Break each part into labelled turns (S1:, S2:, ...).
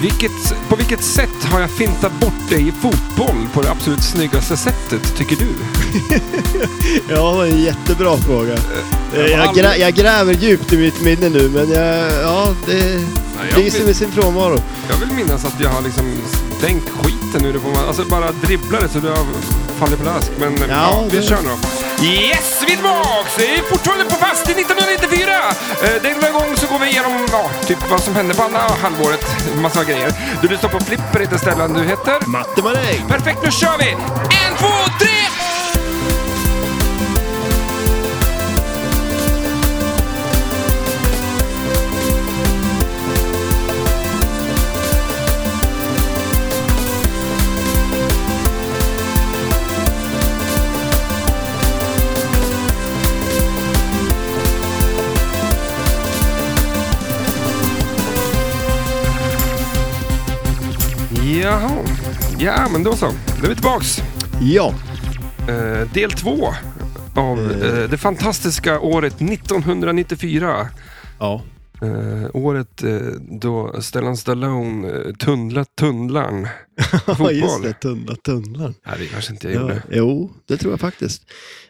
S1: Vilket, på vilket sätt har jag fintat bort dig i fotboll på det absolut snyggaste sättet, tycker du?
S2: Ja, det är en jättebra fråga. Eh,
S1: jag
S2: Jag,
S1: aldrig-
S2: grä, jag gräver djupt i mitt minne nu, men jag, ja, det
S1: jag
S2: lyser
S1: vet-
S2: med sin frånvaro.
S1: Jag vill minnas att jag har liksom stängt skiten nu. Alltså bara dribblade så du har fallit pladask. Men ja, vi
S2: det-
S1: kör nu då. Yes, vi är tillbaks! Det är fortfarande på fast i 1994! Eh, Denna gång så går vi igenom ja, typ vad som hände på andra halvåret. Massa grejer. Du lyssnar på Flipper, heter Stellan du heter.
S2: Matte Maräng!
S1: Perfekt, nu kör vi! En, två, tre! Jaha, ja men då så. Då är vi tillbaks.
S2: Ja,
S1: Eh, del två av
S2: Mm.
S1: eh, det fantastiska året 1994.
S2: ja.
S1: Eh, året eh, då Stellan Stallone eh, tunnlat tunnlarn i
S2: just det.
S1: fotboll.
S2: Tunnlar, tunnlar.
S1: Nej, det kanske inte jag
S2: Ja,
S1: gjorde.
S2: jo, det tror jag faktiskt.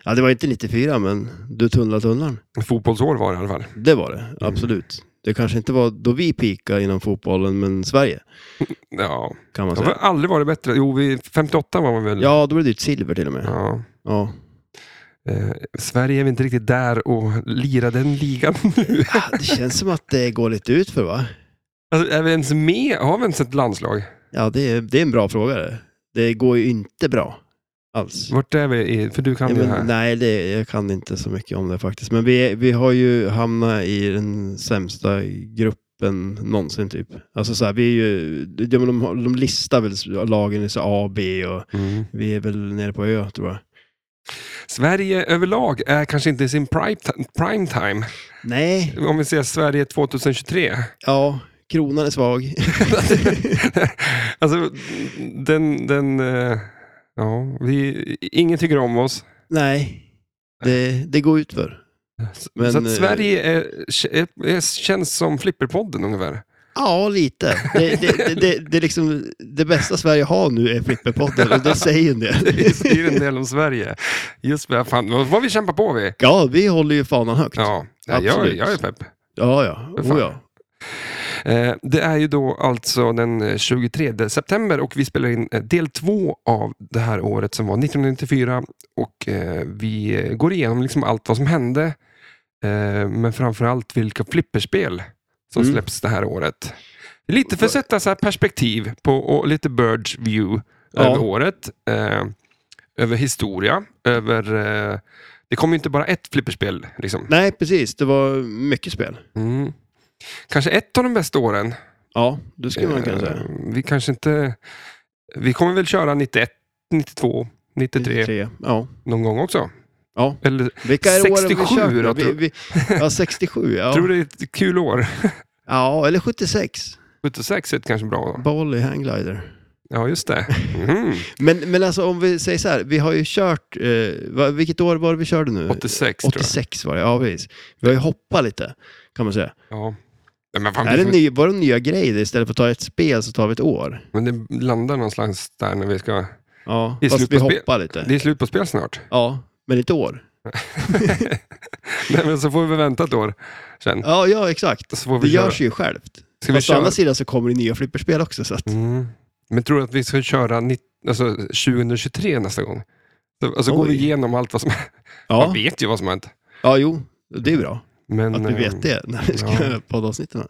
S2: Ja, det var inte 94, men du tunnlar tunnlarn.
S1: Fotbollsår var det i alla fall.
S2: Det var
S1: Mm.
S2: det, absolut. Det kanske inte var då vi peakade inom fotbollen, men Sverige
S1: Ja,
S2: kan man
S1: det har
S2: säga.
S1: aldrig varit bättre. Jo, vi, 58 var man väl.
S2: Ja, då blev det ju ett silver till och med.
S1: Ja.
S2: Ja.
S1: Eh, Sverige är väl inte riktigt där och lirar den ligan nu.
S2: Ja, det känns som att det går lite ut för va?
S1: Alltså, är vi ens med? Har vi ens ett landslag?
S2: Ja, det är, det är en bra fråga det. Det går ju inte bra alls.
S1: Vart är vi? i- För du kan
S2: Ja,
S1: det här.
S2: men, nej, det, jag kan inte så mycket om det faktiskt. Men vi, vi har ju hamnat i den sämsta gruppen någonsin typ. Alltså så här, vi är ju, de, de, har- de listar väl lagen i så A, B och
S1: Mm.
S2: vi är väl nere på Ö tror jag.
S1: Sverige överlag är kanske inte i sin prime, prime time.
S2: Nej,
S1: Om vi ser Sverige 2023.
S2: ja, kronan är svag.
S1: alltså, den... den eh, ja, vi, ingen tycker om oss.
S2: nej, det, det går ut för.
S1: S-
S2: Men,
S1: så att
S2: eh,
S1: Sverige är, är, är, känns som Flipperpodden ungefär.
S2: Ja, lite. Det, det, det, det, det, är liksom, det bästa Sverige har nu är Flipperpodden och det säger en del.
S1: Det är en del om Sverige. Just det, fan, vad vad vi kämpar på vi.
S2: Ja, vi håller ju fanan högt. Ja,
S1: Ja, jag, jag,
S2: Absolut.
S1: jag är pepp.
S2: ja.
S1: För fan.
S2: Oh, ja.
S1: Eh, det är ju då alltså den eh, 23 september och vi spelar in eh, del två av det här året som var 1994. Och eh, vi eh, går igenom liksom allt vad som hände, eh, men framförallt vilka flipperspel som
S2: Mm.
S1: släpps det här året. Lite för att sätta så här perspektiv på, och lite bird's view
S2: Ja.
S1: över året, eh, över historia, över... Eh, det kom ju inte bara ett flipperspel. Liksom.
S2: Nej, precis. Det var mycket spel.
S1: Mm. Kanske ett av de bästa åren.
S2: Ja, det skulle man kunna säga.
S1: Eh, Vi kanske inte... Vi kommer väl köra 91, 92, 93
S2: 93. Ja.
S1: någon gång också.
S2: ja.
S1: Eller,
S2: Vilka är
S1: 67
S2: åren
S1: då,
S2: vi kört? Vi,
S1: tror-
S2: vi, ja, 67. Ja.
S1: Tror du det är ett kul år?
S2: ja, eller 76.
S1: 76 är ett kanske bra år.
S2: Bali Hangglider.
S1: Ja, just det. Mhm.
S2: Men, men alltså om vi säger så här, vi har ju kört, eh, vad- vilket år var det vi körde nu?
S1: 86 tror
S2: 86 var det, ja precis. Vi har ju hoppat lite, kan man säga.
S1: jag. Ja. Nej, Men, fan,
S2: Är
S1: vi
S2: det
S1: får-
S2: ny, var det nya grejer? Istället för att ta ett spel så tar vi ett år.
S1: men det landar någonstans där när vi ska...
S2: Ja,
S1: Det är
S2: fast
S1: slut
S2: vi
S1: på spel.
S2: hoppar lite.
S1: Det är slut på spel snart.
S2: Ja, men inte år.
S1: Nej, men så får vi väl vänta ett år sen.
S2: Ja, ja exakt.
S1: Så får
S2: Det
S1: vi köra.
S2: görs ju självt.
S1: Ska vi
S2: Fast å
S1: köra?
S2: andra sidan så kommer det nya flipperspel också. Så att,
S1: Mm. Men tror du att vi ska köra nitt- alltså, 2023 nästa gång? Så, alltså går vi
S2: Oj.
S1: igenom allt vad som... Jag
S2: ja.
S1: vet ju vad som har hänt.
S2: ja, jo, det är bra
S1: Mm. Men,
S2: att vi
S1: eh,
S2: vet det när vi ska
S1: ja.
S2: göra poddavsnitten.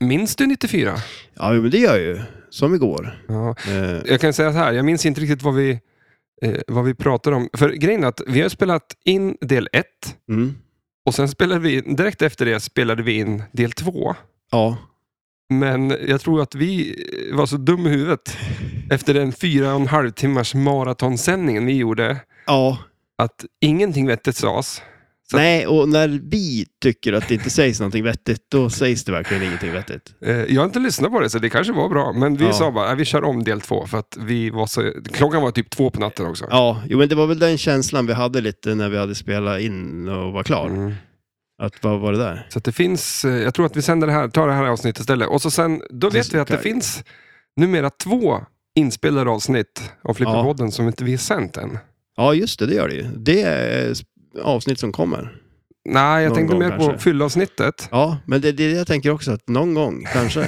S1: Minns du 94?
S2: Ja, jo, men det gör jag ju. Som igår.
S1: Ja.
S2: Eh,
S1: Jag kan säga så här, jag minns inte riktigt vad vi, eh, vad vi pratade om. För grejen är att vi har spelat in del 1
S2: mm.
S1: och sen spelade vi, direkt efter det spelade vi in del 2.
S2: Ja,
S1: Men jag tror att vi eh, var så dum i huvudet efter den fyra och en halv timmars maratonsändningen vi gjorde
S2: ja.
S1: att ingenting vettigt sades. Så-
S2: nej, och när vi tycker att det inte sägs någonting vettigt, då sägs det verkligen ingenting vettigt.
S1: Eh, Jag har inte lyssnat på det så det kanske var bra, men vi
S2: Ja.
S1: sa bara att vi kör om del 2 för att vi var så... Klockan var typ två på natten också.
S2: Ja, jo, men det var väl den känslan vi hade lite när vi hade spelat in och var klar.
S1: Mm.
S2: Att vad var det där?
S1: Så att det finns, eh, jag tror att vi sänder det här, tar det här avsnittet istället. Och så sen, då vet
S2: Just
S1: vi att det
S2: det.
S1: finns numera två inspelade avsnitt av Flipperpodden som inte vi har sänt än.
S2: Ja, just det, det gör det ju. Det är sp- avsnitt som kommer.
S1: Nej, jag
S2: Någon
S1: tänkte
S2: gång
S1: mer på
S2: kanske.
S1: fyllavsnittet.
S2: Ja, men det det är det jag tänker också, att någon gång kanske.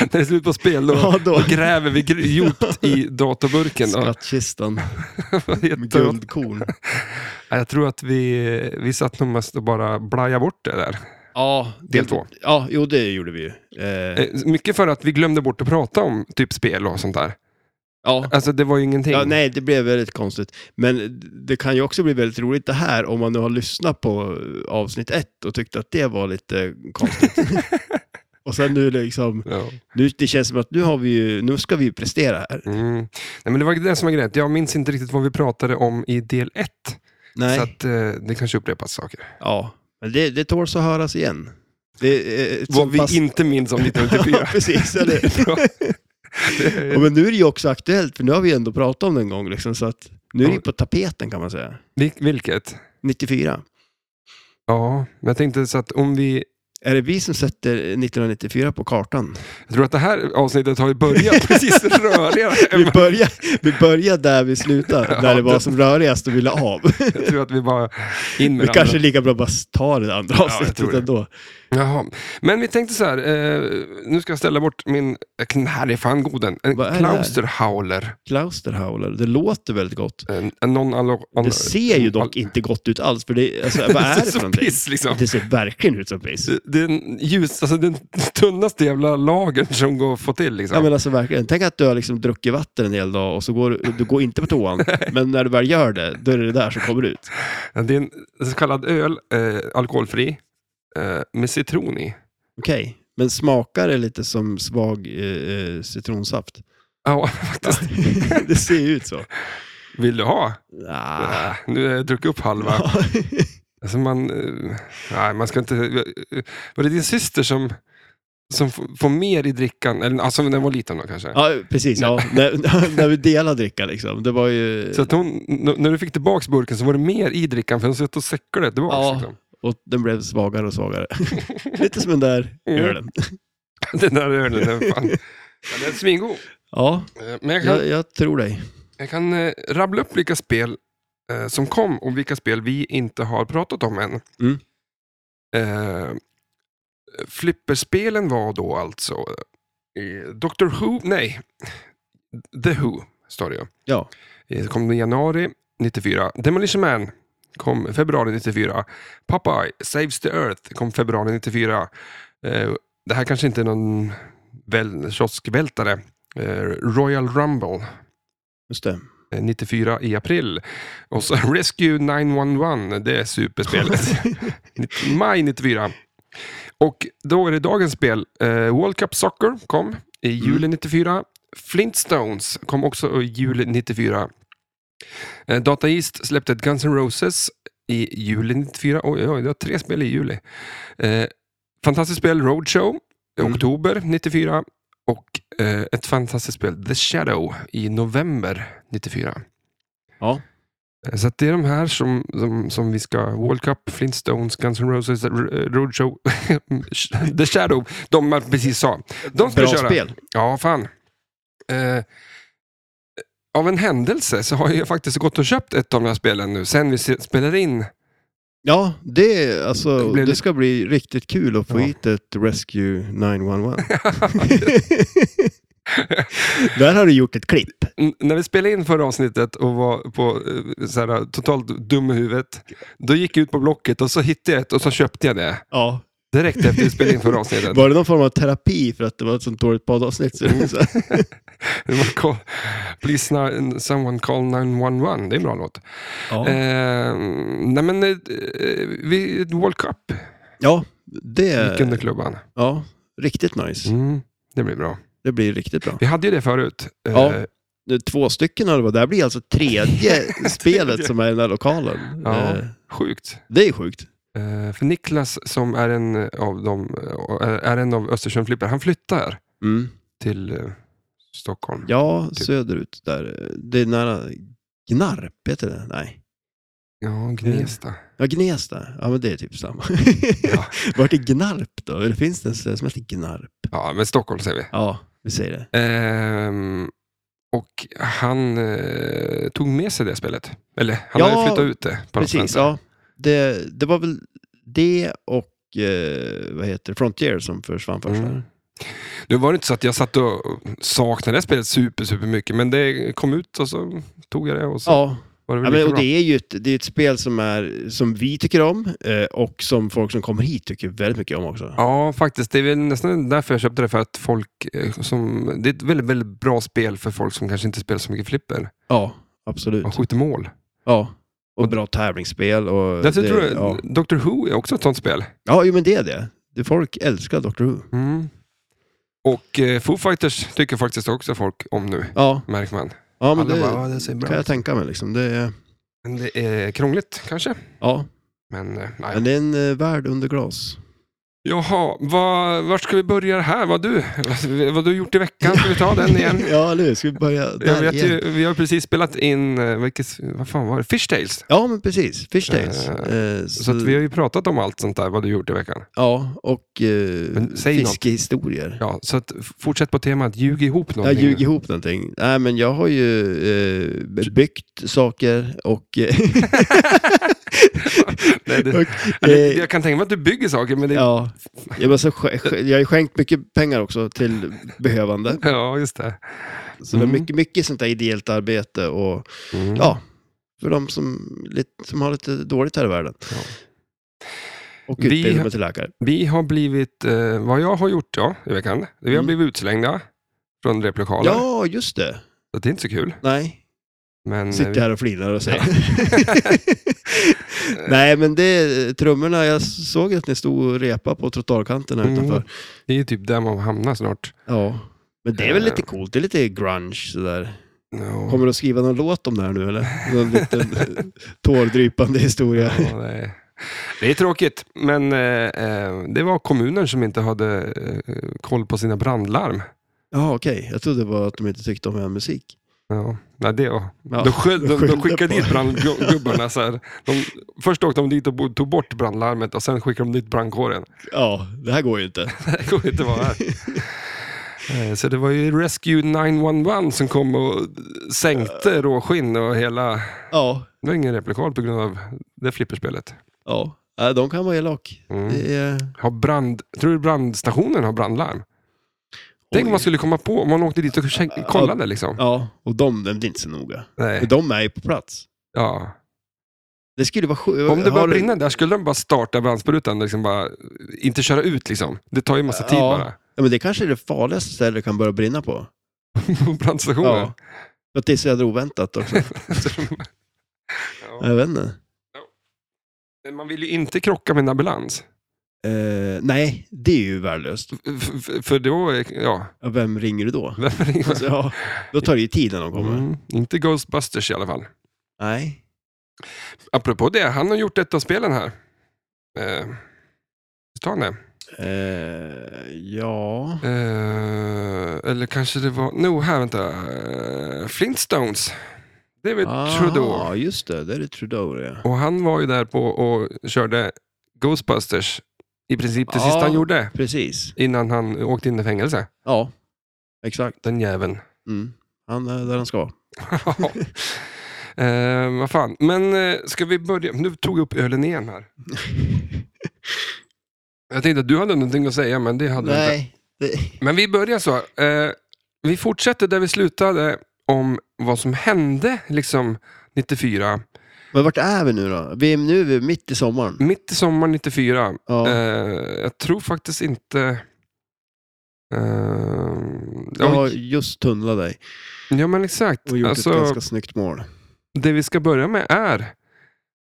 S1: När det är slut på spel, då
S2: ja, då.
S1: gräver vi gr- djupt i datorburken. då.
S2: Skattkistan med
S1: Jätteont.
S2: guldkorn.
S1: Ja, jag tror att vi, vi satt nog mest och bara blajade bort det där.
S2: Ja, det-
S1: Del två.
S2: Ja, jo det gjorde vi ju. Eh,
S1: Eh, Mycket för att vi glömde bort att prata om typ spel och sånt där.
S2: ja.
S1: Alltså det var ju ingenting.
S2: ja, nej det blev väldigt konstigt. Men det kan ju också bli väldigt roligt det här om man nu har lyssnat på eh, avsnitt ett och tyckte att det var lite konstigt. och sen nu liksom,
S1: Ja.
S2: nu, det känns som att nu, har vi ju, nu ska vi ju prestera här.
S1: Mm. Nej, men det var det som var grejen. Jag minns inte riktigt vad vi pratade om i del 1.
S2: Nej,
S1: Så att, eh, det kanske upprepas saker.
S2: ja. Men det, det tåls att höras igen. Det, är ett
S1: Vad
S2: så
S1: vi
S2: pass-
S1: inte minns om
S2: Ja,
S1: 1994.
S2: precis. Eller?
S1: Ja.
S2: Och men nu är det ju också aktuellt, för nu har vi ändå pratat om det en gång. Liksom, så att nu är det ju på tapeten kan man säga.
S1: Vil- vilket?
S2: 94.
S1: Ja, men jag tänkte så att om vi...
S2: Är det vi som sätter 1994 på kartan?
S1: Jag tror att det här avsnittet har ju börjat precis rörigare. än
S2: Vi
S1: vad-
S2: börjar, vi börjar där vi slutar,
S1: Ja,
S2: när det var
S1: det-
S2: som rörigast och ville av.
S1: Jag tror att vi bara in med
S2: Vi
S1: det
S2: kanske
S1: andra.
S2: lika bra bara tar det andra
S1: jag tror
S2: avsnittet
S1: det.
S2: ändå.
S1: Jaha. Men vi tänkte så här, eh, nu ska jag ställa bort min... Den här är fan god den. En
S2: Vad är det här?
S1: Klausterhauler.
S2: Klausterhauler, det låter väldigt gott.
S1: En, en non
S2: Det ser ju dock inte gott ut alls, för det, alltså, vad är det för
S1: så
S2: någonting?
S1: piss liksom.
S2: Det ser verkligen ut som piss.
S1: Den, ljus, alltså den tunnaste jävla lagern som går att få till. Liksom.
S2: Ja men alltså verkligen, tänk att du har liksom druckit vatten en hel dag och så går du- du går inte på toan, men när du väl gör det, då är det det där som kommer ut.
S1: Det är en så kallad öl, eh, alkoholfri, eh, med citron i.
S2: Okej, men smakar det lite som svag eh, eh, citronsaft?
S1: Ja, faktiskt.
S2: det ser ju ut så.
S1: Vill du ha?
S2: Ah.
S1: Ah. Nu har jag druckit upp halva. Alltså man, eh, nej, man ska inte... eh, Var det din syster som, som f- får mer i drickan? Eller, alltså när den var liten då kanske?
S2: Ja, precis. Ja. när, när vi delade dricka liksom. Det var ju...
S1: Så att hon, n- när du fick tillbaka burken så var det mer i drickan för hon satt och säcklade tillbaka.
S2: Ja.
S1: Liksom.
S2: Och den blev svagare och svagare. Lite som den där
S1: Mm.
S2: ölen.
S1: Den där ölen, den, fan. Ja, den är svingod.
S2: Ja,
S1: Eh, Men jag kan,
S2: jag, jag tror dig.
S1: jag kan eh, rabbla upp vilka spel eh, som kom och vilka spel vi inte har pratat om än.
S2: Mm.
S1: Eh, flipperspelen var då alltså eh, Dr Who, nej, The Who, står det ju.
S2: Ja.
S1: Eh, Det kom i januari 94. Demolition Man kom februari 94. Popeye Saves the Earth kom februari 94. Eh, Det här kanske inte är någon väl- kioskvältare. Eh, Royal Rumble
S2: Just det.
S1: eh, 94 i april. Och så Rescue 911, det är superspelet. Maj 94. Och då är det dagens spel. Eh, World Cup Soccer kom i juli 94. Flintstones kom också i juli 94. Eh, Data East släppte Guns N' Roses i juli 94. Oj, oj, det var tre spel i juli. Eh, fantastiskt spel Roadshow i
S2: Mm.
S1: oktober 94. Och eh, ett fantastiskt spel The Shadow i november 94.
S2: Ja.
S1: Så att det är de här som, som, som vi ska, World Cup, Flintstones, Guns N' Roses, R- Roadshow, The Shadow, de man precis sa. De ska
S2: Bra
S1: köra.
S2: spel.
S1: Ja, fan. Eh, av en händelse så har jag faktiskt gått och köpt ett av de här spelen nu, sen vi se- spelade in.
S2: Ja, det, alltså,
S1: Det blev
S2: det
S1: lite-
S2: ska bli riktigt kul att få
S1: Ja.
S2: hit ett Rescue 911. Där har du gjort ett klipp.
S1: N- när vi spelade in förra avsnittet och var på, eh, så här, totalt dum i huvudet, då gick jag ut på Blocket och så hittade jag ett och så köpte jag det.
S2: Ja.
S1: Direkt efter vi spelade in förra avsnittet.
S2: Var det någon form av terapi för att det var ett sånt dåligt poddavsnitt? Så- så-
S1: Det var call, Please ni- someone call 911. Det är en bra låt.
S2: ja.
S1: Eh, nej men, eh, vi, World Cup
S2: ja,
S1: gick
S2: det...
S1: under klubban.
S2: Ja, riktigt nice.
S1: Mm, det blir bra.
S2: Det blir riktigt bra.
S1: Vi hade ju det förut. Eh,
S2: Ja. Nu, Två stycken har det varit. Det här blir alltså tredje spelet som är i den här lokalen.
S1: Ja.
S2: Eh,
S1: Sjukt.
S2: Det är sjukt.
S1: Eh, för Niklas som är en av, dem, eh, är en av Östersundflippar, han flyttar
S2: Mm.
S1: till eh, Stockholm.
S2: Ja,
S1: Typ.
S2: söderut där. Det är nära Gnarp, heter det? Nej.
S1: Ja, Gnesta.
S2: Ja, Gnesta. Ja, men det är typ samma.
S1: Ja.
S2: Vart är Gnarp då? Eller finns det en ställe som heter Gnarp?
S1: Ja, men Stockholm säger vi.
S2: Ja, vi säger det.
S1: Ehm, och han eh, tog med sig det spelet. Eller, han
S2: Ja,
S1: har ju flyttat ut det. På något
S2: Precis,
S1: vänster.
S2: ja. Det, det var väl det och eh, vad heter det? Frontier som försvann först.
S1: Mm.
S2: där.
S1: Nu var det inte så att jag satt och saknade det spelet super, super mycket, men det kom ut och så tog jag det och så
S2: Ja,
S1: var det
S2: ja
S1: väl
S2: men,
S1: lika
S2: och
S1: bra.
S2: det är ju ett, det är ett spel som, är, som vi tycker om eh, och som folk som kommer hit tycker väldigt mycket om också.
S1: Ja, faktiskt. Det är väl nästan därför jag köpte det, för att folk eh, som... Det är ett väldigt, väldigt bra spel för folk som kanske inte spelar så mycket flipper.
S2: Ja, absolut.
S1: Man skjuter mål.
S2: Ja. Och bra tävlingsspel. Och
S1: Därför
S2: det,
S1: tror jag
S2: ja.
S1: Doctor Who är också ett sånt spel.
S2: ja, jo, men det är det. Det- Folk älskar Doctor Who.
S1: Mm. Och eh, Foo Fighters tycker faktiskt också folk om nu,
S2: Ja,
S1: märker man.
S2: ja men
S1: Alla
S2: det,
S1: bara, "Ja, det ser bra
S2: kan jag
S1: ut."
S2: tänka mig. Liksom. Det, är-
S1: Men det är krångligt kanske.
S2: ja,
S1: Men eh, nej.
S2: men det är en eh, värld under glas.
S1: Jaha, vad, vart ska vi börja här? Vad du, vad du gjort i veckan? Ska vi ta den igen?
S2: ja, eller hur? Ska vi börja där
S1: Jag vet
S2: igen?
S1: ju, vi har precis spelat in, eh, vilket, vad fan var det? Fish Tales.
S2: Ja, men precis. Fishtails.
S1: Eh,
S2: Eh,
S1: Så att vi har ju pratat om allt sånt där, vad du gjort i veckan.
S2: Ja, och eh,
S1: Men säg något.
S2: fiskehistorier.
S1: Ja, så att fortsätt på temat, ljug ihop
S2: Jag
S1: någonting.
S2: ljuger ihop någonting. Nej, men jag har ju eh, byggt saker och... eh,
S1: Nej, det,
S2: och,
S1: Ja, det-
S2: eh,
S1: jag kan tänka mig att du bygger saker, men det... Ja,
S2: Ja, jag, måste, sk- sk- jag har ju skänkt mycket pengar också till behövande.
S1: just det.
S2: Så det är
S1: Mm.
S2: mycket, mycket sånt där ideellt arbete och
S1: Mm.
S2: ja, för de som, lite, som har lite dåligt här i världen.
S1: Ja.
S2: Och
S1: Vi-
S2: utbildar mig till läkare.
S1: Vi har blivit, eh, vad jag har gjort ja, i veckan, vi har
S2: Mm.
S1: blivit utslängda från replokalen.
S2: Ja, just det.
S1: Så det är inte så kul.
S2: Nej,
S1: Men, eh,
S2: Sitter
S1: vi-
S2: här och flinar och säger. Nej, men det trummorna. Jag såg att ni stod och repa på trottoarkanten här
S1: Mm.
S2: utanför.
S1: det är ju typ där man hamnar snart.
S2: Ja. Men det är väl lite coolt. Det är lite grunge sådär.
S1: No.
S2: Kommer du att skriva någon låt om det här nu eller? Någon liten tårdrypande historia.
S1: Ja, det, är, det är tråkigt, men eh, eh, det var kommunen som inte hade eh, koll på sina brandlarm.
S2: Ja, okej. Jag trodde bara att de inte tyckte om er musik.
S1: Ja, nej, det var.
S2: Ja,
S1: de, skyll, de, de
S2: skyllde
S1: skickade
S2: på-
S1: dit brandgubbarna. Så här. De, först åkte de dit och bo- tog bort brandlarmet och sen skickade de dit brandkåren.
S2: Ja, det här går ju inte.
S1: Det går inte att vara här. Eh, Så det var ju Rescue 911 som kom och sänkte råskinn och hela...
S2: Ja,
S1: Det var ingen replikal på grund av det flipperspelet.
S2: ja. Nej, De kan vara elak.
S1: Mm.
S2: Det är...
S1: Har brand, tror du brandstationen har brandlarm? Tänk om
S2: Oj.
S1: man skulle komma på, om man åkte dit och känk- kollade liksom.
S2: Ja, och de, de blir inte så noga.
S1: Nej.
S2: Men de är ju på plats.
S1: Ja.
S2: Det skulle vara sjukt.
S1: Om det började brinna där, skulle de bara starta brandsprutan och liksom bara, inte köra ut liksom? Det tar ju massa tid
S2: Ja.
S1: bara.
S2: Ja, men det kanske är det farligaste stället det kan börja brinna på.
S1: På brandstationen.
S2: Ja. För att det är så jävla oväntat också.
S1: ja.
S2: Jag vet inte.
S1: Men Man vill ju inte krocka med en ambulans.
S2: Eh, nej, det är ju värdelöst.
S1: F- f- För då, är- ja.
S2: Ja, Vem ringer du då?
S1: Vem ringer?
S2: Alltså, ja, då tar det ju tid när de kommer.
S1: Mm, inte Ghostbusters i alla fall.
S2: Nej.
S1: Apropå det, han har gjort ett av spelen här. Eh, visst har han det?
S2: Eh, ja.
S1: Eh, eller kanske det var... No, här vänta. Eh, Flintstones. David
S2: Ah.
S1: Trudeau.
S2: Ja, just det. Det är det Trudeau det.
S1: Och han var ju där på och körde Ghostbusters. I princip det
S2: Ja.
S1: sista han gjorde.
S2: Precis.
S1: Innan han åkte in i fängelse.
S2: Ja, exakt.
S1: Den jäveln.
S2: Mm. Han är där han ska.
S1: eh, vad fan. Men eh, ska vi börja? Nu tog jag upp ölen igen här. Jag tänkte att du hade någonting att säga, men det hade du inte.
S2: nej. Det...
S1: Men vi börjar så. Eh, vi fortsätter där vi slutade om vad som hände liksom 94.
S2: Men vart är vi nu då? Vi är, nu är vi mitt i sommaren.
S1: Mitt i sommar 94.
S2: Ja.
S1: Mm. Eh, jag tror faktiskt inte... Eh,
S2: Jag har
S1: ja,
S2: just tunnlat dig
S1: ja, men exakt.
S2: och gjort
S1: Alltså,
S2: ett ganska snyggt mål.
S1: Det vi ska börja med är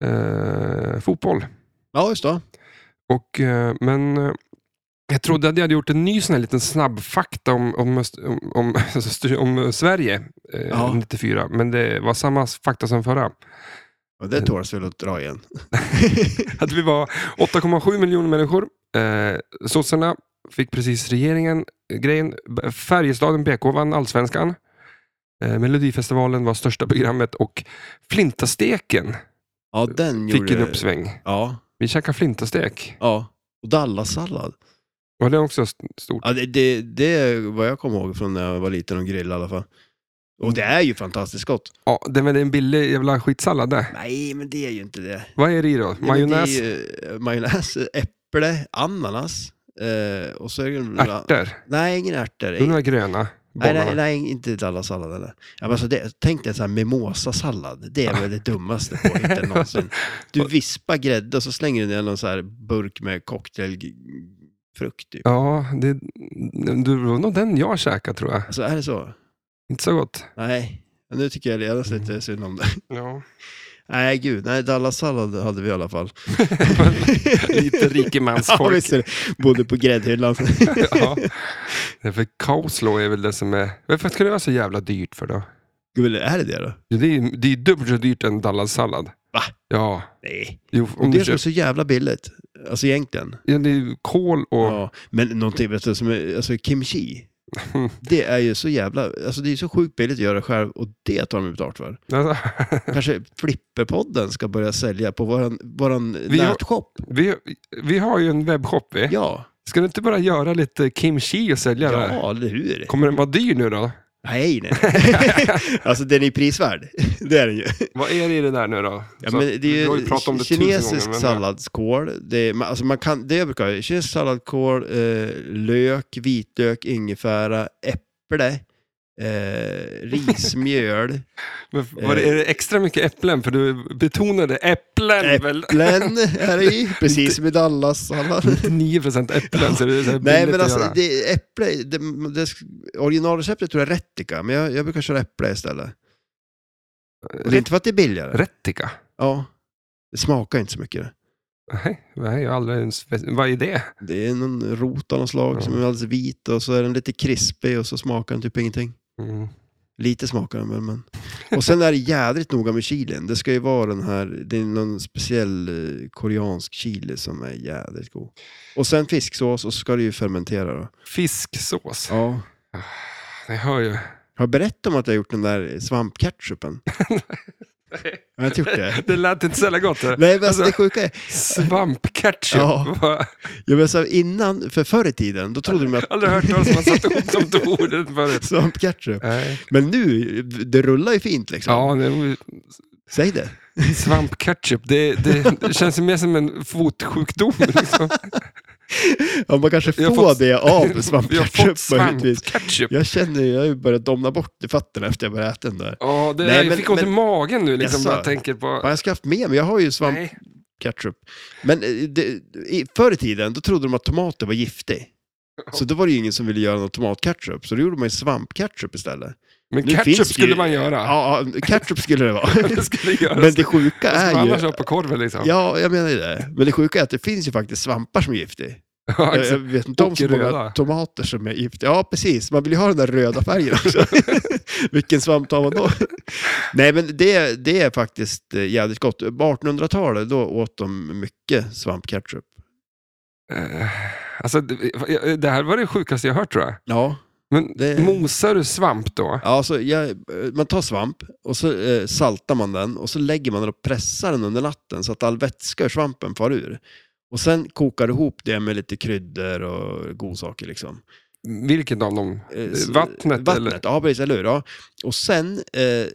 S1: eh, fotboll.
S2: Ja, just det.
S1: Och, eh, men eh, jag trodde att jag hade gjort en ny sån här liten snabbfakta om, om, Öst- om, om, alltså, om Sverige eh,
S2: Ja.
S1: 94, men det var samma fakta som förra.
S2: Och det tåls väl att dra igen.
S1: Att vi var 8,7 miljoner människor. Eh, sossarna fick precis regeringen. eh, Grejen, B- Färjestaden BK vann allsvenskan. Eh, Melodifestivalen var största programmet och Flintasteken
S2: Ja, den
S1: Fick
S2: gjorde...
S1: en uppsväng.
S2: Ja,
S1: Vi käkade flintastek.
S2: ja. Och dallarsallad.
S1: Var det också st- stort?
S2: Ja, det, det, det är vad jag kommer ihåg från när jag var liten och grillade i alla fall. Och det är ju fantastiskt gott.
S1: Ja, det var en billig jävla skitsallad det.
S2: Nej, men det är ju inte det.
S1: Vad är det i då?
S2: Nej, men
S1: Majonnäs?
S2: Det är ju, eh, majonnäs, äpple, ananas. Eh, och så är det...
S1: Ärtor?
S2: Nej, ingen ärtor.
S1: De där gröna
S2: Nej,
S1: bollarna.
S2: nej, nej, inte dallarsallad eller. Ja, men alltså det, tänk dig en sån här mimosasallad. Det är väl det dummaste påhittet någonsin. Du vispar grädde och så slänger du ner någon sån här burk med cocktailfrukt. Typ.
S1: Ja, det, det var nog den jag käkade tror jag.
S2: Alltså är det så?
S1: Inte så gott.
S2: Nej. Ja, Nu tycker jag redan lite synd om det.
S1: Ja.
S2: Nej, gud. Nej, dallarsallad hade vi i alla fall.
S1: Lite
S2: Ja,
S1: rikemansfolk.
S2: visst är det. Bodde på gräddhyllan.
S1: ja. Det är för coleslaw är väl det som är... Varför ska det vara så jävla dyrt för då?
S2: Gud, är det det då?
S1: Jo, Det är, det är dubbelt så dyrt än dallarsallad.
S2: Va?
S1: Ja.
S2: Nej.
S1: Jo,
S2: Och
S1: om
S2: det
S1: du
S2: är som är
S1: köper,
S2: så jävla billigt. Alltså egentligen.
S1: ja, det är ju kol och...
S2: Ja, men någonting vet du, som är, alltså kimchi. Det är ju så jävla, alltså det är så sjukt billigt att göra själv och det tar de betalt för.
S1: Alltså,
S2: Kanske Flipperpodden ska börja sälja på våran, våran
S1: Vi har-
S2: nätshop.
S1: vi, vi har ju en webbshop vi.
S2: Ja,
S1: Ska du inte bara göra lite kimchi och sälja det?
S2: ja, eller hur?
S1: Kommer den vara dyr nu då?
S2: Nej, nej. nej. alltså den är prisvärd. Det är den ju.
S1: Vad är det i det där nu då?
S2: Ja,
S1: Så-
S2: men det
S1: vi
S2: är
S1: har
S2: ju
S1: pratat om det tusen
S2: kinesisk
S1: gånger, men-
S2: salladskål. Det, är, man- alltså man kan, det jag brukar göra, kinesisk salladskål, eh, lök, vitlök, ingefära, äpple, eh, rismjöl.
S1: Men var det, är det extra mycket äpplen? För du betonade äpplen
S2: Eh. Äpp-
S1: väl?
S2: Äpplen är det i, precis som i Dallas-sallad.
S1: 9% äpplen, så det är så här
S2: Nej,
S1: Mm. billigt
S2: men
S1: att
S2: alltså
S1: göra.
S2: det, äpple, det, det, originalreceptet tror jag är rättika, men jag, jag brukar köra äpple istället. Och det är inte för att det är billigare.
S1: Rättika?
S2: Ja. Det smakar inte så mycket. det.
S1: Nej, nej, jag har aldrig ens... Vad är det?
S2: Det är någon rot av något slag
S1: Ja.
S2: som är alldeles vit och så är den lite krispig och så smakar den typ ingenting.
S1: Mm.
S2: Lite smakar den väl, men... Och sen är det jädrigt noga med chilin. Det ska ju vara den här, det är någon speciell eh, koreansk chili som är jädrigt god. Och sen fisksås och så ska det ju fermentera då.
S1: Fisksås.
S2: Ja.
S1: Jag hör ju.
S2: Har jag berättat om att jag har gjort den där svampketchupen? Har jag inte gjort det?
S1: Det lät inte så jävla gott. det.
S2: Nej, men alltså, det
S1: Alltså-
S2: sjuka är,
S1: Svampketchup.
S2: Ja.
S1: Vad-
S2: jag menar, så här, innan, för förr i tiden, då trodde de att
S1: Aldrig hört talas om att man satt ihop de två orden förut.
S2: svampketchup.
S1: Nej.
S2: Men nu, det rullar ju fint liksom.
S1: Ja, det-
S2: Säg det.
S1: svampketchup. Det, det, det känns ju mer som en fotsjukdom. Liksom.
S2: Ja, man kanske
S1: Jag har
S2: får
S1: fått-
S2: det av
S1: Jag har
S2: svampketchup
S1: fått
S2: möjligtvis.
S1: svampketchup.
S2: Jag känner ju, jag har ju börjat domna bort i fötterna efter jag började äta den där.
S1: Ja, det,
S2: Nej,
S1: jag
S2: men-
S1: fick ont i
S2: men-
S1: magen nu liksom,
S2: Jaså?
S1: bara jag tänker på...
S2: Fan, jag ska haft med mig, jag har ju svampketchup.
S1: Nej.
S2: Men eh, det, i, förr i tiden, då trodde de att tomater var giftig. Så då var det ju ingen som ville göra någon tomatketchup, så då gjorde man ju svampketchup istället.
S1: Men
S2: Nu
S1: ketchup
S2: finns det ju-
S1: skulle man göra.
S2: Ja, ja, ketchup skulle det vara.
S1: Det skulle göras.
S2: Men det sjuka
S1: Vad ska
S2: är
S1: man annars
S2: ju...
S1: ha på korven liksom?
S2: Ja, jag menar ju det. Men det sjuka är att det finns ju faktiskt svampar som är giftig.
S1: Ja,
S2: Jag, jag
S1: exakt.
S2: vet inte om
S1: Och
S2: så många
S1: röda.
S2: tomater som är giftiga. Ja, precis. Man vill ju ha den där röda färgen också. Vilken svamp tar man då? Nej, men det, det är faktiskt eh, jävligt gott. På 1800-talet, då åt de mycket svampketchup.
S1: Eh, Alltså, det det här var det sjukaste jag hört tror jag.
S2: Ja.
S1: Men
S2: Det-
S1: mosar du svamp då?
S2: Ja, så jag, eh, man tar svamp och så eh, saltar man den och så lägger man den och pressar den under natten så att all vätska ur svampen far ur. Och sen kokar du ihop det med lite kryddor och godsaker liksom.
S1: Vilket av dem?
S2: Eh,
S1: Eh,
S2: så-
S1: Vattnet?
S2: Vattnet,
S1: Eller?
S2: ja precis, eller hur? Ja. Och sen, eh,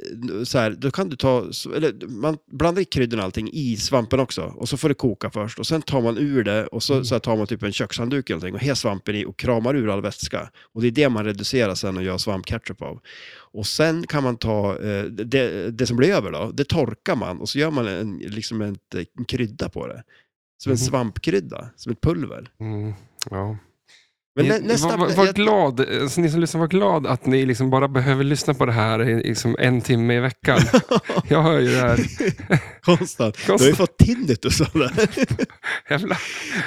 S2: så här, då kan du ta, så- eller man blandar i kryddorna och allting i svampen också. Och så får det koka först. Och sen tar man ur det och
S1: Mm.
S2: så, så här, tar man typ en kökshandduk eller någonting och hes svampen i och kramar ur all vätska. Och det är det man reducerar sen och gör svampketchup av. Och sen kan man ta, eh, det, det som blir över då, det torkar man och så gör man en, liksom en, en krydda på det. Som en
S1: Mhm.
S2: svampkrydda, som ett pulver.
S1: Mm, ja.
S2: Men
S1: Ni-
S2: nä, nästa...
S1: var, var, var
S2: jag-
S1: glad, alltså, ni som lyssnar, var glad att ni liksom bara behöver lyssna på det här i, liksom en timme i veckan. jag hör ju det här.
S2: Konstant. Du har ju
S1: Konstant.
S2: fått tinnitus av det här.
S1: Jävla...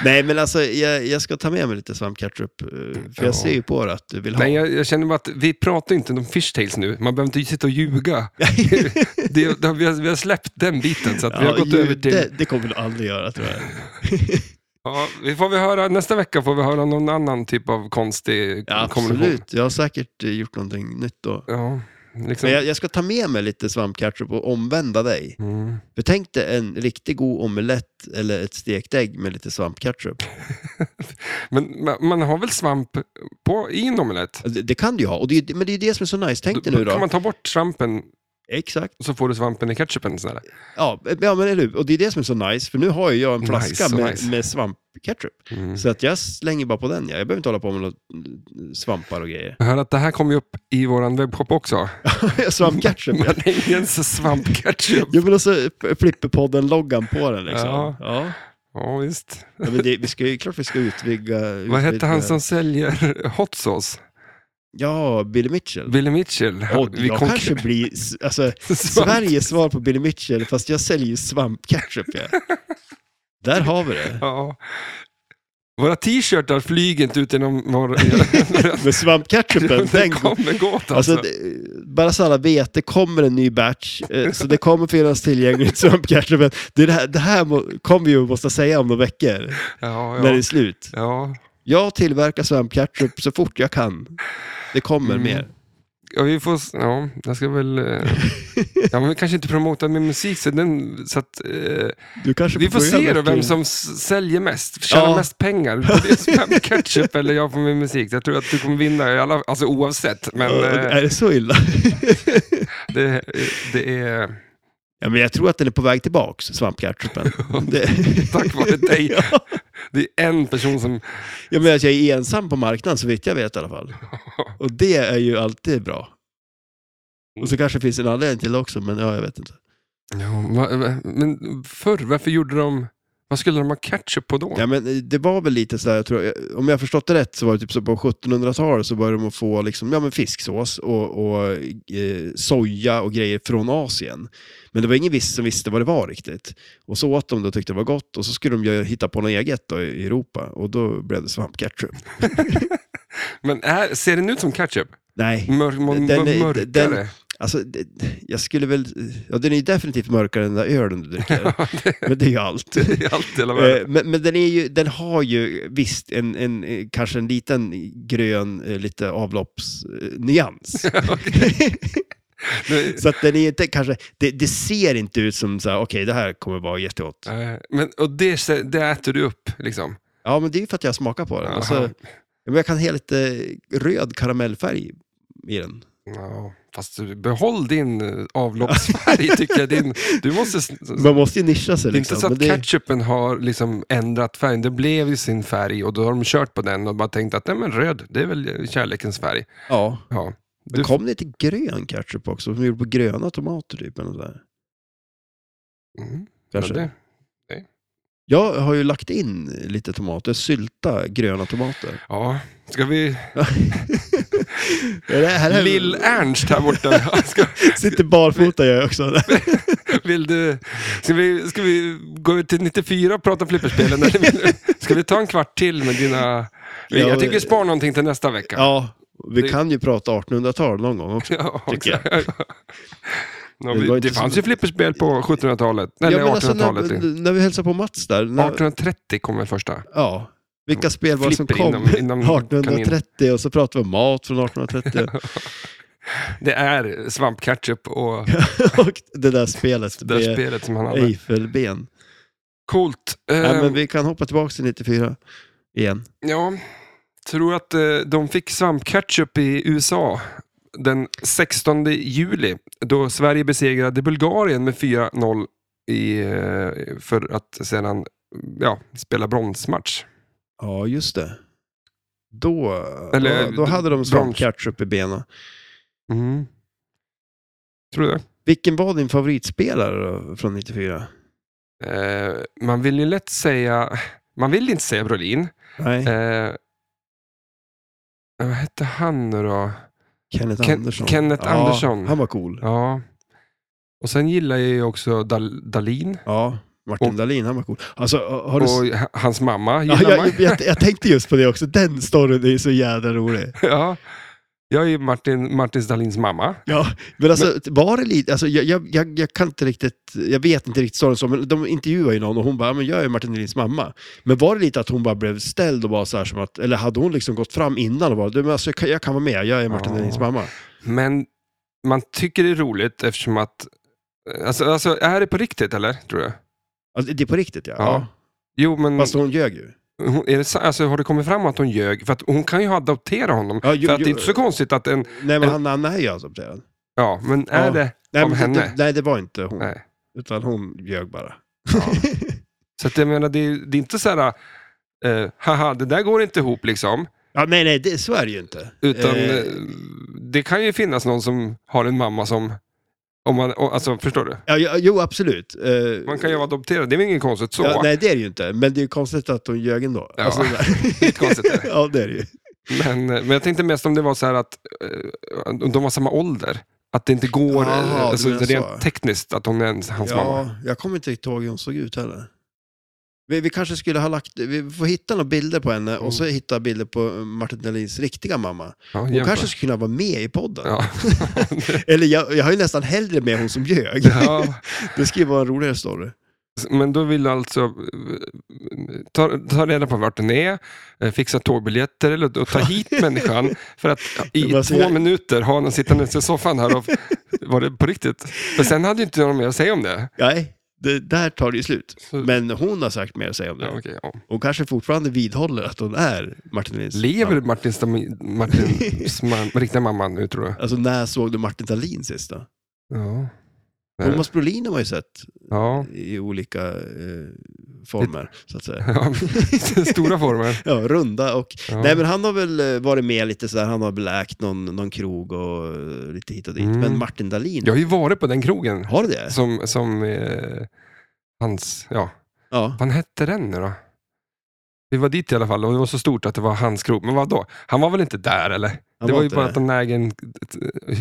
S2: Nej, men alltså jag, jag ska ta med mig lite svampketchup. eh, För jag
S1: Ja.
S2: ser ju på det att du vill ha.
S1: Nej, jag, jag känner bara att vi pratar inte om fishtails nu. Man behöver inte sitta och ljuga. det, det, har- vi, har, vi har släppt den biten, så att vi har
S2: Ja,
S1: gått
S2: ju-
S1: över till...
S2: det, det kommer du aldrig göra tror jag.
S1: Ja, vi får vi höra, nästa vecka får vi höra någon annan typ av konstig
S2: Ja,
S1: kombination.
S2: absolut, jag har säkert eh, gjort någonting nytt då.
S1: Ja. Liksom.
S2: Men jag, jag ska ta med mig lite svampketchup och omvända dig.
S1: Mm.
S2: För tänk dig en riktigt god omelett eller ett stekt ägg med lite svampketchup.
S1: Men ma- man har väl svamp på, i en omelett?
S2: Alltså, Det, det kan du ju ha, och det, är ju- men det är ju det som är så nice. Tänk dig nu
S1: Då kan
S2: då.
S1: man ta bort svampen
S2: Exakt.
S1: och så får du svampen i ketchupen. Sådär.
S2: Ja, ja, men eller hur? Och det är det som är så nice, för nu har ju jag en flaska
S1: Nice, så
S2: med,
S1: nice.
S2: med svampketchup.
S1: Mm.
S2: Så att jag slänger bara på den. Jag, jag behöver inte hålla på med något mm, svampar och grejer.
S1: Jag hör att det här kommer ju upp i vår webbshop också.
S2: Svampketchup, ja.
S1: Men Engels svampketchup.
S2: Jo, men alltså, också Flipperpodden-loggan på den liksom.
S1: Ja.
S2: Ja. Ja.
S1: Ja, visst.
S2: men det, vi ska ju, klart vi ska utvidga...
S1: Vad hette
S2: utvidga-
S1: han som säljer hot sauce?
S2: Ja, Billy Mitchell.
S1: Billy Mitchell.
S2: Och
S1: Vi
S2: jag
S1: kom-
S2: kanske blir s- alltså,
S1: Svamp.
S2: Sveriges svar på Billy Mitchell, fast jag säljer ju svampketchup. Ja. Där har vi det.
S1: Ja. Våra t-shirtar flyger inte ut genom vår...
S2: Med svampketchupen,
S1: det
S2: den
S1: kommer gå åt alltså.
S2: Alltså, det- bara så alla vet, det kommer en ny batch, eh, så det kommer finnas tillgängligt svampketchupen. Det, är det här, det här må, kommer vi att måste säga om några veckor,
S1: Ja,
S2: när det är
S1: ja.
S2: slut.
S1: ja.
S2: Jag tillverkar svampketchup så fort jag kan. Det kommer
S1: Mm.
S2: mer.
S1: ja, vi får... s- Ja, jag ska väl... eh, Ja, men vi kanske inte promotar min musik, så, den, så att... Eh,
S2: Du kanske
S1: Vi får
S2: börja
S1: se då
S2: verkligen-
S1: vem som s- säljer mest, tjänar
S2: Ja.
S1: mest pengar. Både Spam Ketchup eller jag på min musik. Jag tror att du kommer vinna, i alla, alltså oavsett. Men
S2: Ja,
S1: eh,
S2: är det så illa?
S1: det, det är
S2: ja, men jag tror att den är på väg tillbaks, svampketchupen. Det...
S1: tack vare dig.
S2: Ja.
S1: Det är en person som...
S2: Ja, men att jag är ensam på marknaden, så vitt jag vet i alla fall. Och det är ju alltid bra. Och så kanske det finns en anledning till det också, men ja, jag vet inte.
S1: Ja, va, va, men förr, varför gjorde de... Vad skulle de ha ketchup på då?
S2: Ja, men eh, det var väl lite sådär, jag tror, eh, om jag har förstått det rätt så var det typ så på 1700-talet så började de att få liksom, ja, men fisksås och, och eh, soja och grejer från Asien. Men det var ingen viss som visste vad det var riktigt. Och så åt de det och tyckte det var gott och så skulle de ju hitta på något eget då, i Europa och då blev det svampketchup.
S1: Men är, ser den ut som ketchup?
S2: Nej,
S1: Mör, mör,
S2: Den är-
S1: mörkare?
S2: den- Alltså, det, jag skulle väl... Ja, den är ju definitivt mörkare än den där ölen du dricker. men det är ju allt.
S1: I allt i hela världen.
S2: Eh, men men den, är ju, den har ju visst en, en, eh, kanske en liten grön, eh, lite avloppsnyans.
S1: Det-
S2: så att den är inte kanske... Det, det ser inte ut som så här, okej, det här kommer vara jättegott.
S1: eh, Men, och det, det äter du upp liksom?
S2: Ja, men det är ju för att jag smakar på den. Och så,
S1: Aha.
S2: ja, men jag kan ha lite röd karamellfärg i den.
S1: Ja, fast du- behåll din eh, avloppsfärg tycker jag. Din, du måste, s- s-
S2: Man måste ju nischa sig.
S1: det är inte
S2: Liksom.
S1: så att
S2: men det-
S1: ketchupen har liksom ändrat färg. Det blev ju sin färg och då har de kört på den och bara tänkt att nej men röd, det är väl kärlekens färg.
S2: ja.
S1: Ja.
S2: Men
S1: Du-
S2: kom det inte grön ketchup också? Som gjorde på gröna tomater typ? Eller något där,
S1: Mm.
S2: kanske.
S1: Ja, det-
S2: Jag har ju lagt in lite tomater, sylta gröna tomater.
S1: Ja, ska vi...
S2: Ja, det här är-
S1: Lill-Ernst här borta. Ska,
S2: Sitter barfota jag också.
S1: vill du, ska, vi, ska vi gå ut till 94 och prata flipperspelen? Eller vill, du- ska vi ta en kvart till med dina...
S2: Ja,
S1: jag tycker
S2: men-
S1: vi sparar någonting till nästa vecka.
S2: Ja, vi
S1: Det-
S2: kan ju prata 1800-tal någon gång också.
S1: Ja,
S2: tycker jag.
S1: exakt. Ja,
S2: Det
S1: vi-
S2: var
S1: det
S2: inte så-
S1: fanns ju flipperspel på 1700-talet. Eller
S2: ja, men alltså,
S1: 1800-talet.
S2: när, när vi hälsade på Mats där. När,
S1: 1830 kom väl första.
S2: ja, vilka spel var det som
S1: Flipper
S2: kom?
S1: inom- inom
S2: 1830 och så pratade vi om mat från 1830.
S1: Det är svampketchup och
S2: och det där spelet
S1: det där
S2: med
S1: spelet som han hade.
S2: Eiffelben.
S1: Coolt.
S2: Ja,
S1: Ehm,
S2: men vi kan hoppa tillbaka till 94 igen.
S1: Ja, tror att eh, de fick svampketchup i USA den 16 juli då Sverige besegrade Bulgarien med 4-0 i, eh, för att sedan ja, spela bronsmatch.
S2: Ja, just det. Då,
S1: Eller-
S2: då, då hade de
S1: brons.
S2: svampketchup i benen.
S1: Mm. Tror du det?
S2: Vilken var din favoritspelare då, från 94?
S1: Eh, man vill ju lätt säga, man vill inte säga Brolin.
S2: Nej,
S1: Eh, vad hette han nu då?
S2: Kenneth
S1: Ken-
S2: Andersson.
S1: Kenneth
S2: ja,
S1: Andersson.
S2: Han var cool.
S1: Ja. Och sen gillar jag ju också Dal- Dalin
S2: Ja, Martin
S1: Och-
S2: Dahlin, han var cool. Alltså, har du...
S1: och h- hans mamma
S2: ja,
S1: gillar man.
S2: jag, jag, jag tänkte just på det också. Den storyn är så jävla rolig.
S1: ja. Jag är ju Martin, Martin Dalins mamma.
S2: Ja, men alltså, var det lite... Alltså, jag, jag, jag, jag kan inte riktigt... Jag vet inte riktigt storyn så, men de intervjuade ju någon och hon bara, "Ja, men jag är Martin Dahlins mamma. Men var det lite att hon bara blev ställd och bara så här som att... Eller hade hon liksom gått fram innan och bara, du, men alltså, jag, kan, jag kan vara med, jag är Martin
S1: Ja.
S2: Dahlins mamma.
S1: Men man tycker det är roligt eftersom att... Alltså, alltså är det på riktigt eller? Tror du?
S2: Alltså, det är på riktigt ja.
S1: Ja. Mm. Jo, men
S2: Fast hon ljög ju.
S1: hon, är det, sa- alltså, har det kommit fram att hon ljög? För att hon kan ju adoptera honom.
S2: Ja, eh. ju-
S1: för att
S2: ju-
S1: det är inte så konstigt att en...
S2: Nej men
S1: Eller-
S2: han, han är ju adopterad.
S1: Ja, men är
S2: Ja.
S1: det...
S2: Nej,
S1: Av
S2: men
S1: henne?
S2: Det, nej det var inte hon.
S1: Nej.
S2: Utan hon ljög bara.
S1: Så att jag menar, det, är- det är inte så här... eh, haha, det där går inte ihop liksom.
S2: Ja, nej nej, det, så är det ju inte.
S1: Utan
S2: Eh,
S1: eh, det kan ju finnas någon som har en mamma som... Om man, och- alltså, förstår du?
S2: ja, ja, jo absolut. Eh,
S1: Man kan ju vara adopterad, det är väl inget konstigt så?
S2: Ja, nej det är det ju inte. Men det är ju konstigt att hon ljög ändå.
S1: Ja.
S2: Alltså, sådär.
S1: Lite konstigt är det.
S2: ja det är det ju.
S1: Men, eh, men jag tänkte mest om det var så här att eh, de var samma ålder. Att det inte går
S2: Jaha,
S1: eh,
S2: du
S1: alltså,
S2: menar
S1: rent
S2: så.
S1: tekniskt att hon är ens- hans mamma.
S2: Ja, jag kommer inte riktigt ihåg hur hon såg ut heller. Vi, vi kanske skulle ha lagt, vi får hitta några bilder på henne
S1: Mm.
S2: och så hitta bilder på Martin Dahlins riktiga mamma.
S1: Ja,
S2: Hon
S1: jämför.
S2: kanske skulle kunna vara med i podden.
S1: Ja.
S2: Eller jag, jag har ju nästan hellre med hon som ljög.
S1: ja.
S2: Det skulle ju vara en roligare story.
S1: Men då vill du alltså eh, ta, ta reda på vart den är, eh, fixa tågbiljetter eller, och ta hit människan för att i
S2: Det var så
S1: två
S2: jag-
S1: minuter ha henne sittandes i soffan här. Och, var det på riktigt? För sen hade ju inte jag något mer att säga om det.
S2: Nej, det, där tar det ju slut.
S1: Så,
S2: Men hon har sagt mer att säga om
S1: Mm. ja,
S2: det.
S1: okej, ja.
S2: Hon kanske fortfarande vidhåller att hon är Martin Dahlins
S1: Lever
S2: mamma.
S1: Martin Stam- Martins ma- riktiga mamma nu tror du?
S2: Alltså när såg du Martin Dahlin sist då?
S1: Ja. Nej.
S2: Thomas Brolin har man ju sett
S1: Ja.
S2: i olika eh, former, så att säga.
S1: Ja, Stora former.
S2: Ja, runda och...
S1: Ja.
S2: Nej, men han har väl eh, varit med lite sådär, han har beläkt någon, någon krog och eh, lite hit och dit.
S1: Mm.
S2: Men Martin Dahlin,
S1: Jag har ju varit på den krogen
S2: har du det?
S1: som, som eh, hans, ja,
S2: Ja.
S1: vad hette den nu då? Vi var dit i alla fall och det var så stort att det var hans krog. Men vad då? Han var väl inte där eller?
S2: Han
S1: det var ju
S2: inte
S1: bara
S2: det.
S1: att han äger en,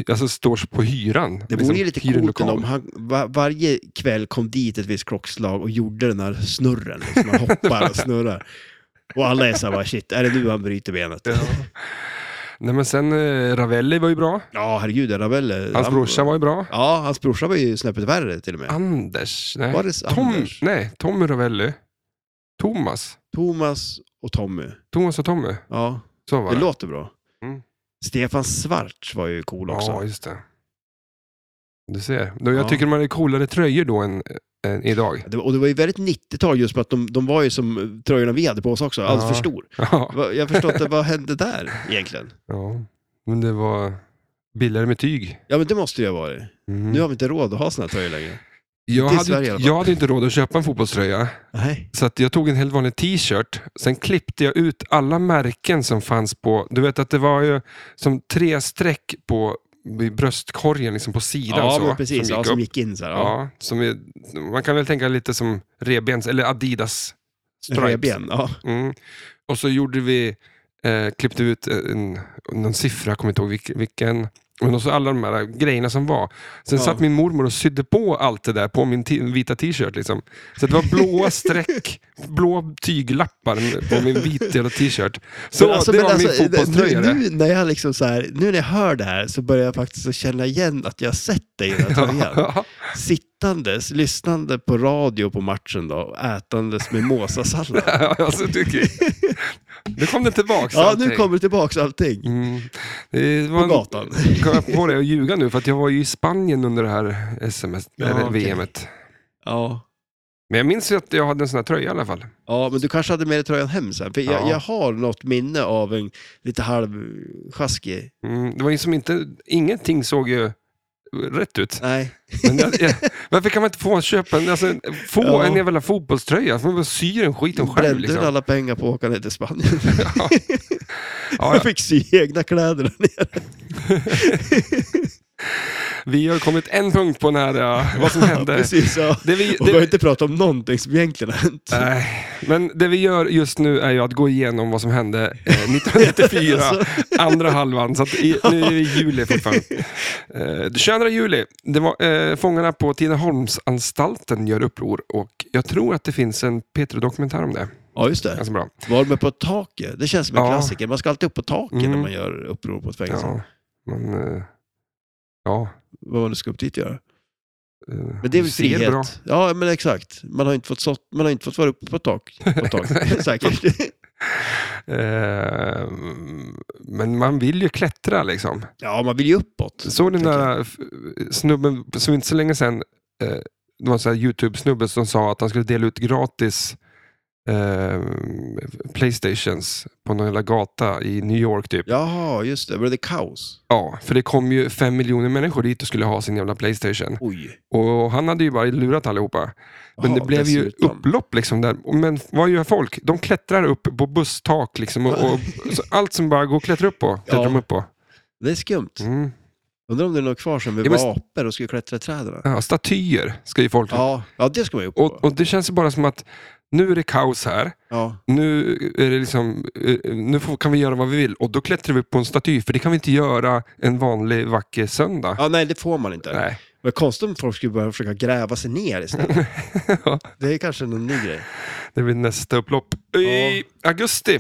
S1: alltså står på hyran. liksom,
S2: Det vore ju lite coolt ändå om han va- varje kväll kom dit ett visst klockslag och gjorde den här snurren. Liksom. Han hoppar och snurrar. Och alla är såhär, bara, shit, är det nu han bryter benet?
S1: Ja. Nej men sen eh, Ravelli var ju bra.
S2: Ja, herregud, Ravelli.
S1: Hans brorsa var ju bra.
S2: Ja, hans brorsa var ju snäppet värre till och med.
S1: Anders? Nej.
S2: Var det
S1: Tom,
S2: Anders?
S1: nej, Tommy Ravelli. Thomas.
S2: Thomas och Tommy.
S1: Thomas och Tommy.
S2: Ja,
S1: Så var
S2: det
S1: det.
S2: låter bra.
S1: Mm.
S2: Stefan Svarts var ju cool också.
S1: Ja, just det. Du ser. Då, jag
S2: Ja.
S1: tycker man är coolare tröjor då än, än idag.
S2: Det var- Och det var ju väldigt 90-tal just för att de, de var ju som eh, tröjorna vi hade på oss också, alldeles
S1: Ja.
S2: för stor.
S1: Ja.
S2: Va- Jag förstår inte, vad hände där egentligen?
S1: ja. Men det var billigare med tyg.
S2: Ja men det måste ju ha varit.
S1: Mm.
S2: Nu har vi inte råd att ha såna här tröjor längre.
S1: jag,
S2: i
S1: hade,
S2: Sverige i alla
S1: inte-
S2: fall.
S1: jag hade inte råd att köpa en fotbollströja,
S2: Nej.
S1: så att jag tog en helt vanlig t-shirt. Sen klippte jag ut alla märken som fanns på... Du vet att det var ju som tre streck på i bröstkorgen, liksom på sidan.
S2: Ja,
S1: så,
S2: men precis.
S1: som
S2: ja,
S1: gick
S2: som
S1: upp.
S2: gick in så här. Ja.
S1: Ja, som är, man kan väl tänka lite som rebens eller Adidas stripes.
S2: Revben, ja.
S1: Mm. Och så gjorde vi, eh, klippte ut en, någon siffra, jag kommer inte ihåg vilk- vilken. Men också alla de här grejerna som var. Sen
S2: Ja.
S1: satt min mormor och sydde på allt det där på min ti- vita t-shirt. Liksom. Så det var blåa streck, blå tyglappar på min vita jävla t-shirt. Så
S2: Men alltså,
S1: det
S2: men
S1: var min
S2: alltså,
S1: fotbollströja.
S2: nu,
S1: det.
S2: nu, när jag liksom så här, nu när jag hör det här så börjar jag faktiskt att känna igen att jag har sett dig i den här tröjan.
S1: Ja.
S2: Sittandes, lyssnande på radio på matchen då och ätandes med måsasallad.
S1: alltså, tycker, nu kom det tillbaks
S2: Ja,
S1: allting.
S2: nu kommer tillbaks allting.
S1: Mm. Det var
S2: På gatan.
S1: Kom jag på det och ljuga nu för att jag var ju i Spanien under det här SMS,
S2: Ja,
S1: eller
S2: okej.
S1: VMet.
S2: Ja.
S1: Men jag minns ju att jag hade en sån här tröja i alla fall.
S2: Ja, men du kanske hade med dig tröjan hem sen. För jag,
S1: Ja.
S2: jag har något minne av en lite halvsjaskig...
S1: Mm, det var ju som inte, ingenting såg ju rätt ut.
S2: Nej.
S1: Men jag, jag, varför kan man inte få köpa en, alltså, få
S2: Ja.
S1: en jävla fotbollströja? Får man bara sy den skiten själv
S2: Brände du
S1: liksom.
S2: alla pengar på att åka ner till Spanien?
S1: Ja. Ja,
S2: Jag
S1: ja.
S2: fick sy egna kläder där nere.
S1: Vi har kommit en punkt på den här, ja, vad som hände.
S2: Precis, ja.
S1: Det vi,
S2: Och vi har
S1: det,
S2: inte pratat om någonting som egentligen har hänt.
S1: nej, men det vi gör just nu är ju att gå igenom vad som hände eh, 1994.
S2: Alltså,
S1: andra halvan, så att i, nu är det juli fortfarande. Eh, 22 juli, det var, eh, fångarna på Tidaholmsanstalten gör uppror och jag tror att det finns en P3-dokumentär om det.
S2: ja, just det.
S1: Ganska bra.
S2: Var med på taket. Det känns som en
S1: Ja.
S2: klassiker. Man ska alltid upp på taket
S1: Mm.
S2: när man gör uppror på ett fängelse.
S1: Ja, men, eh, ja,
S2: Vad man nu ska upp dit göra.
S1: eh,
S2: Men det är väl
S1: ser
S2: frihet.
S1: Bra.
S2: Ja, men exakt. Man har inte fått, sått, man har inte fått vara uppe på tak. På tak. Säkert.
S1: Eh, men man vill ju klättra liksom.
S2: Ja, man vill ju uppåt.
S1: Såg den
S2: Tycker
S1: där f- snubben, som inte så länge sedan, eh, det var en sån här YouTube-snubbe som sa att han skulle dela ut gratis eh, Playstations på någon jävla gata i New York typ.
S2: Jaha, just det. Var det kaos?
S1: Ja, för det kom ju fem miljoner människor dit och skulle ha sin jävla Playstation.
S2: Oj.
S1: Och han hade ju bara lurat allihopa. Men
S2: Jaha,
S1: det blev ju
S2: dessutom.
S1: upplopp liksom där. Men vad gör folk? De klättrar upp på busstak liksom. Och, och, så allt som bara går att klättra upp på, klättrar
S2: Ja.
S1: de upp på.
S2: Det är skumt.
S1: Mm.
S2: Undrar om det är något kvar som vi
S1: Ja,
S2: var
S1: men-
S2: apor och skulle klättra i träden.
S1: Ja, statyer ska ju folk...
S2: Ja, ja det ska man ju upp
S1: Och,
S2: på.
S1: och det känns ju bara som att nu är det kaos här.
S2: Ja.
S1: Nu, är det liksom, eh, nu får, kan vi göra vad vi vill. Och då klättrar vi upp på en staty. För det kan vi inte göra en vanlig vacker söndag.
S2: ja, nej det får man inte.
S1: Nej.
S2: Men konstigt om folk skulle börja försöka gräva sig ner istället.
S1: Ja.
S2: Det är kanske någon ny grej.
S1: Det blir nästa upplopp. I augusti,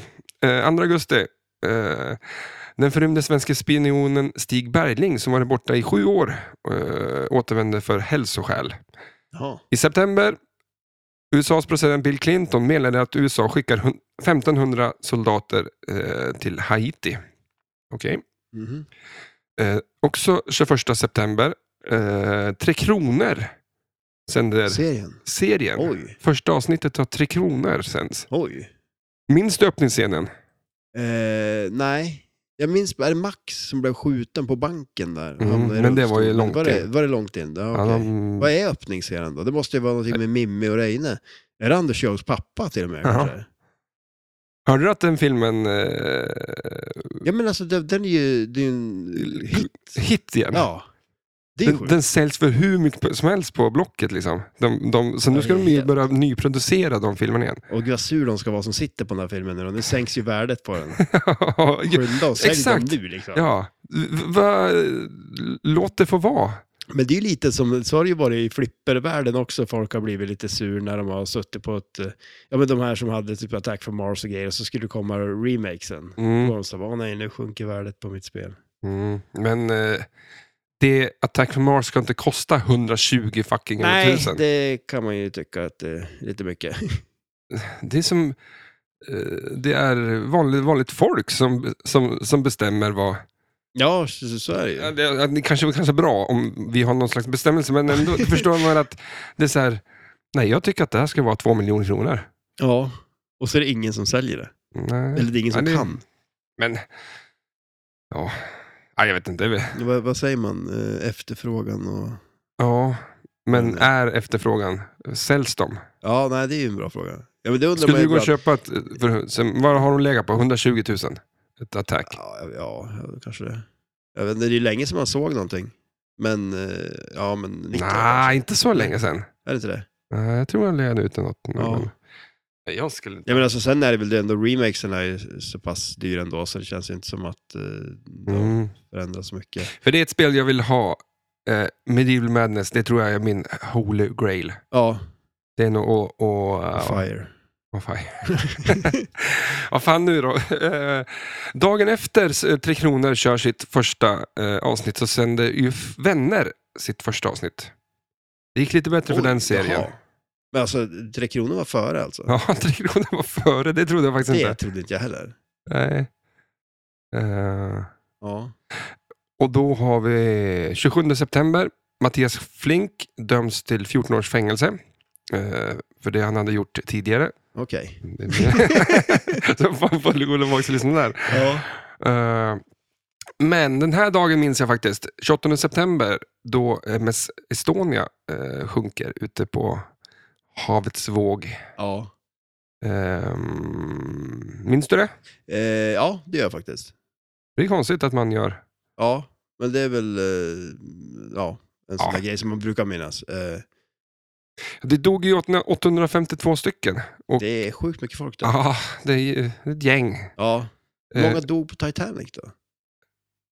S1: eh, 2 augusti. Eh, den förrymde svenska spionen Stig Bergling som varit borta i sju år eh, återvände för hälsoskäl.
S2: Jaha.
S1: I september, USAs president Bill Clinton meddelade att USA skickar hun- 1500 soldater eh, till Haiti. Okej.
S2: Mhm.
S1: Eh, också 21 september, eh, Tre Kronor sänder
S2: Serien?
S1: serien.
S2: Oj,
S1: Första avsnittet av Tre Kronor sänds.
S2: oj.
S1: Minns du öppningsscenen?
S2: Eh, nej. Jag minns, är det Max som blev skjuten på banken där?
S1: Mm,
S2: Hamnade i
S1: men det var ju
S2: rullstol.
S1: långt
S2: var det,
S1: in.
S2: var det långt in? Ja,
S1: Ja,
S2: okej.
S1: de-
S2: Vad är öppningsscenen då? Det måste ju vara någonting med Mimmi och Reine. Är det Anders Jågs pappa till och med?
S1: Ja.
S2: kanske?
S1: Hörde du att den filmen eh,
S2: Ja men alltså den, den är ju, det är ju en hit.
S1: hit igen?
S2: Ja. Det är ju
S1: Den,
S2: sjukt.
S1: den säljs för hur mycket som helst på Blocket. Liksom. De, de, så nu
S2: Ja,
S1: ska de
S2: det är
S1: ju
S2: helt-
S1: börja nyproducera de filmerna igen.
S2: Och gud vad sur de ska vara som sitter på den här filmen nu då. Nu sänks ju värdet på den. Skynda och sälj den
S1: Exakt.
S2: nu liksom.
S1: ja. V- va, låt det få vara.
S2: Men det är ju lite som, så har det ju varit i flippervärlden också, folk har blivit lite sur när de har suttit på ett, eh, ja men de här som hade typ Attack from Mars och grejer, och så skulle det komma remakesen. Då var
S1: Mm.
S2: de så här, åh nej nu sjunker värdet på mitt spel.
S1: Mm. Men eh, det Attack from Mars ska inte kosta 120 fucking
S2: Nej,
S1: 000. Det...
S2: det kan man ju tycka att det är lite mycket.
S1: är som eh, det är vanligt, vanligt folk som, som, som bestämmer vad,
S2: Ja, så, så är det
S1: Ja,
S2: ju.
S1: det, ja, det kanske kanske är bra om vi har någon slags bestämmelse, men ändå förstår man att det är så här, nej jag tycker att det här ska vara två miljoner kronor.
S2: Ja, och så är det ingen som säljer det.
S1: Nej.
S2: Eller det är ingen som
S1: Ja, det-
S2: kan.
S1: Men, ja, nej, jag vet inte. Det är väl-
S2: Vad, vad säger man? Eh, Efterfrågan och...
S1: Ja, men
S2: Mm.
S1: är efterfrågan, säljs de?
S2: Ja, nej det är ju en bra fråga. Ja, men det undrar
S1: Skulle
S2: man
S1: du
S2: ju
S1: gå och
S2: ibland.
S1: köpa ett, eh, för, sen, vad har de legat på? 120 000? Ett attack.
S2: Ja, ja, ja, kanske det. Jag vet inte, det är länge sedan man såg någonting. Men, eh, ja men 19
S1: Nej,
S2: kanske.
S1: inte så länge sedan.
S2: Är det inte det?
S1: Nej, jag tror han led ut något.
S2: Ja.
S1: Men- Nej, Jag skulle...
S2: Ja men alltså sen är det väl det ändå, remakesen är ju så pass dyr ändå så det känns ju inte som att eh, det har
S1: Mm.
S2: förändrats så mycket.
S1: För det är ett spel jag vill ha. Eh, Medieval Madness, det tror jag är min holy grail.
S2: Ja,
S1: Det är nog och... och
S2: Fire.
S1: Vad fan. Vad fan nu då? Eh, Dagen efter eh, Tre Kronor kör sitt första eh, avsnitt så sänder ju F- Vänner sitt första avsnitt. Det gick lite bättre för
S2: Oj,
S1: den serien.
S2: jaha. Men alltså, Tre Kronor var före alltså?
S1: Ja, Tre Kronor var före, det trodde jag faktiskt
S2: det
S1: inte.
S2: trodde inte jag heller.
S1: Nej. Eh,
S2: Ja.
S1: och då har vi 27 september. Mattias Flink döms till 14 års fängelse. eh, för det han hade gjort tidigare.
S2: Okej.
S1: så fan får du gå tillbaka och lyssna där.
S2: Ja.
S1: Eh, men den här dagen minns jag faktiskt. 28 september då MS Estonia eh, sjunker ute på havets våg.
S2: Ja.
S1: Eh, Ehm, minns du det?
S2: Eh, ja, det gör jag faktiskt.
S1: Det är konstigt att man gör.
S2: Ja, men det är väl eh, ja, en sån
S1: Ja.
S2: där grej som man brukar minnas. Eh,
S1: Det dog ju 852 stycken. Och,
S2: det är sjukt mycket folk där.
S1: ja, det är ju ett gäng. Eh,
S2: Ja. Hur många dog på Titanic då?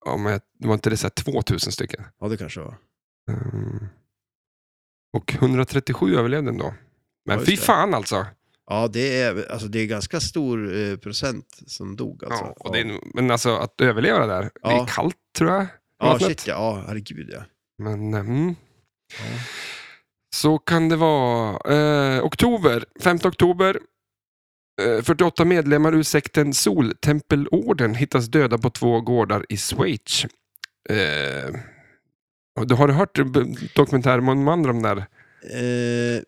S1: ja, men det var inte det så här 2000 stycken?
S2: Ja, det kanske var.
S1: Mm. Och 137 överlevde ändå. Men
S2: Ja, just
S1: fy
S2: det.
S1: fan alltså.
S2: Ja, det är, alltså, det är ganska stor eh, procent som dog. Alltså.
S1: ja, och det är, nog- Men alltså att överleva det där. Det
S2: Ja.
S1: är kallt tror jag. i
S2: ja,
S1: vattnet.
S2: shit ja. ja, herregud ja.
S1: Men eh, mm.
S2: ja.
S1: så kan det vara. Eh, oktober, 5 oktober. Eh, 48 medlemmar ur sekten Soltempelorden hittas döda på två gårdar i Schweiz. Eh, och då har du hört b- dokumentären om de andra? om där?
S2: Eh,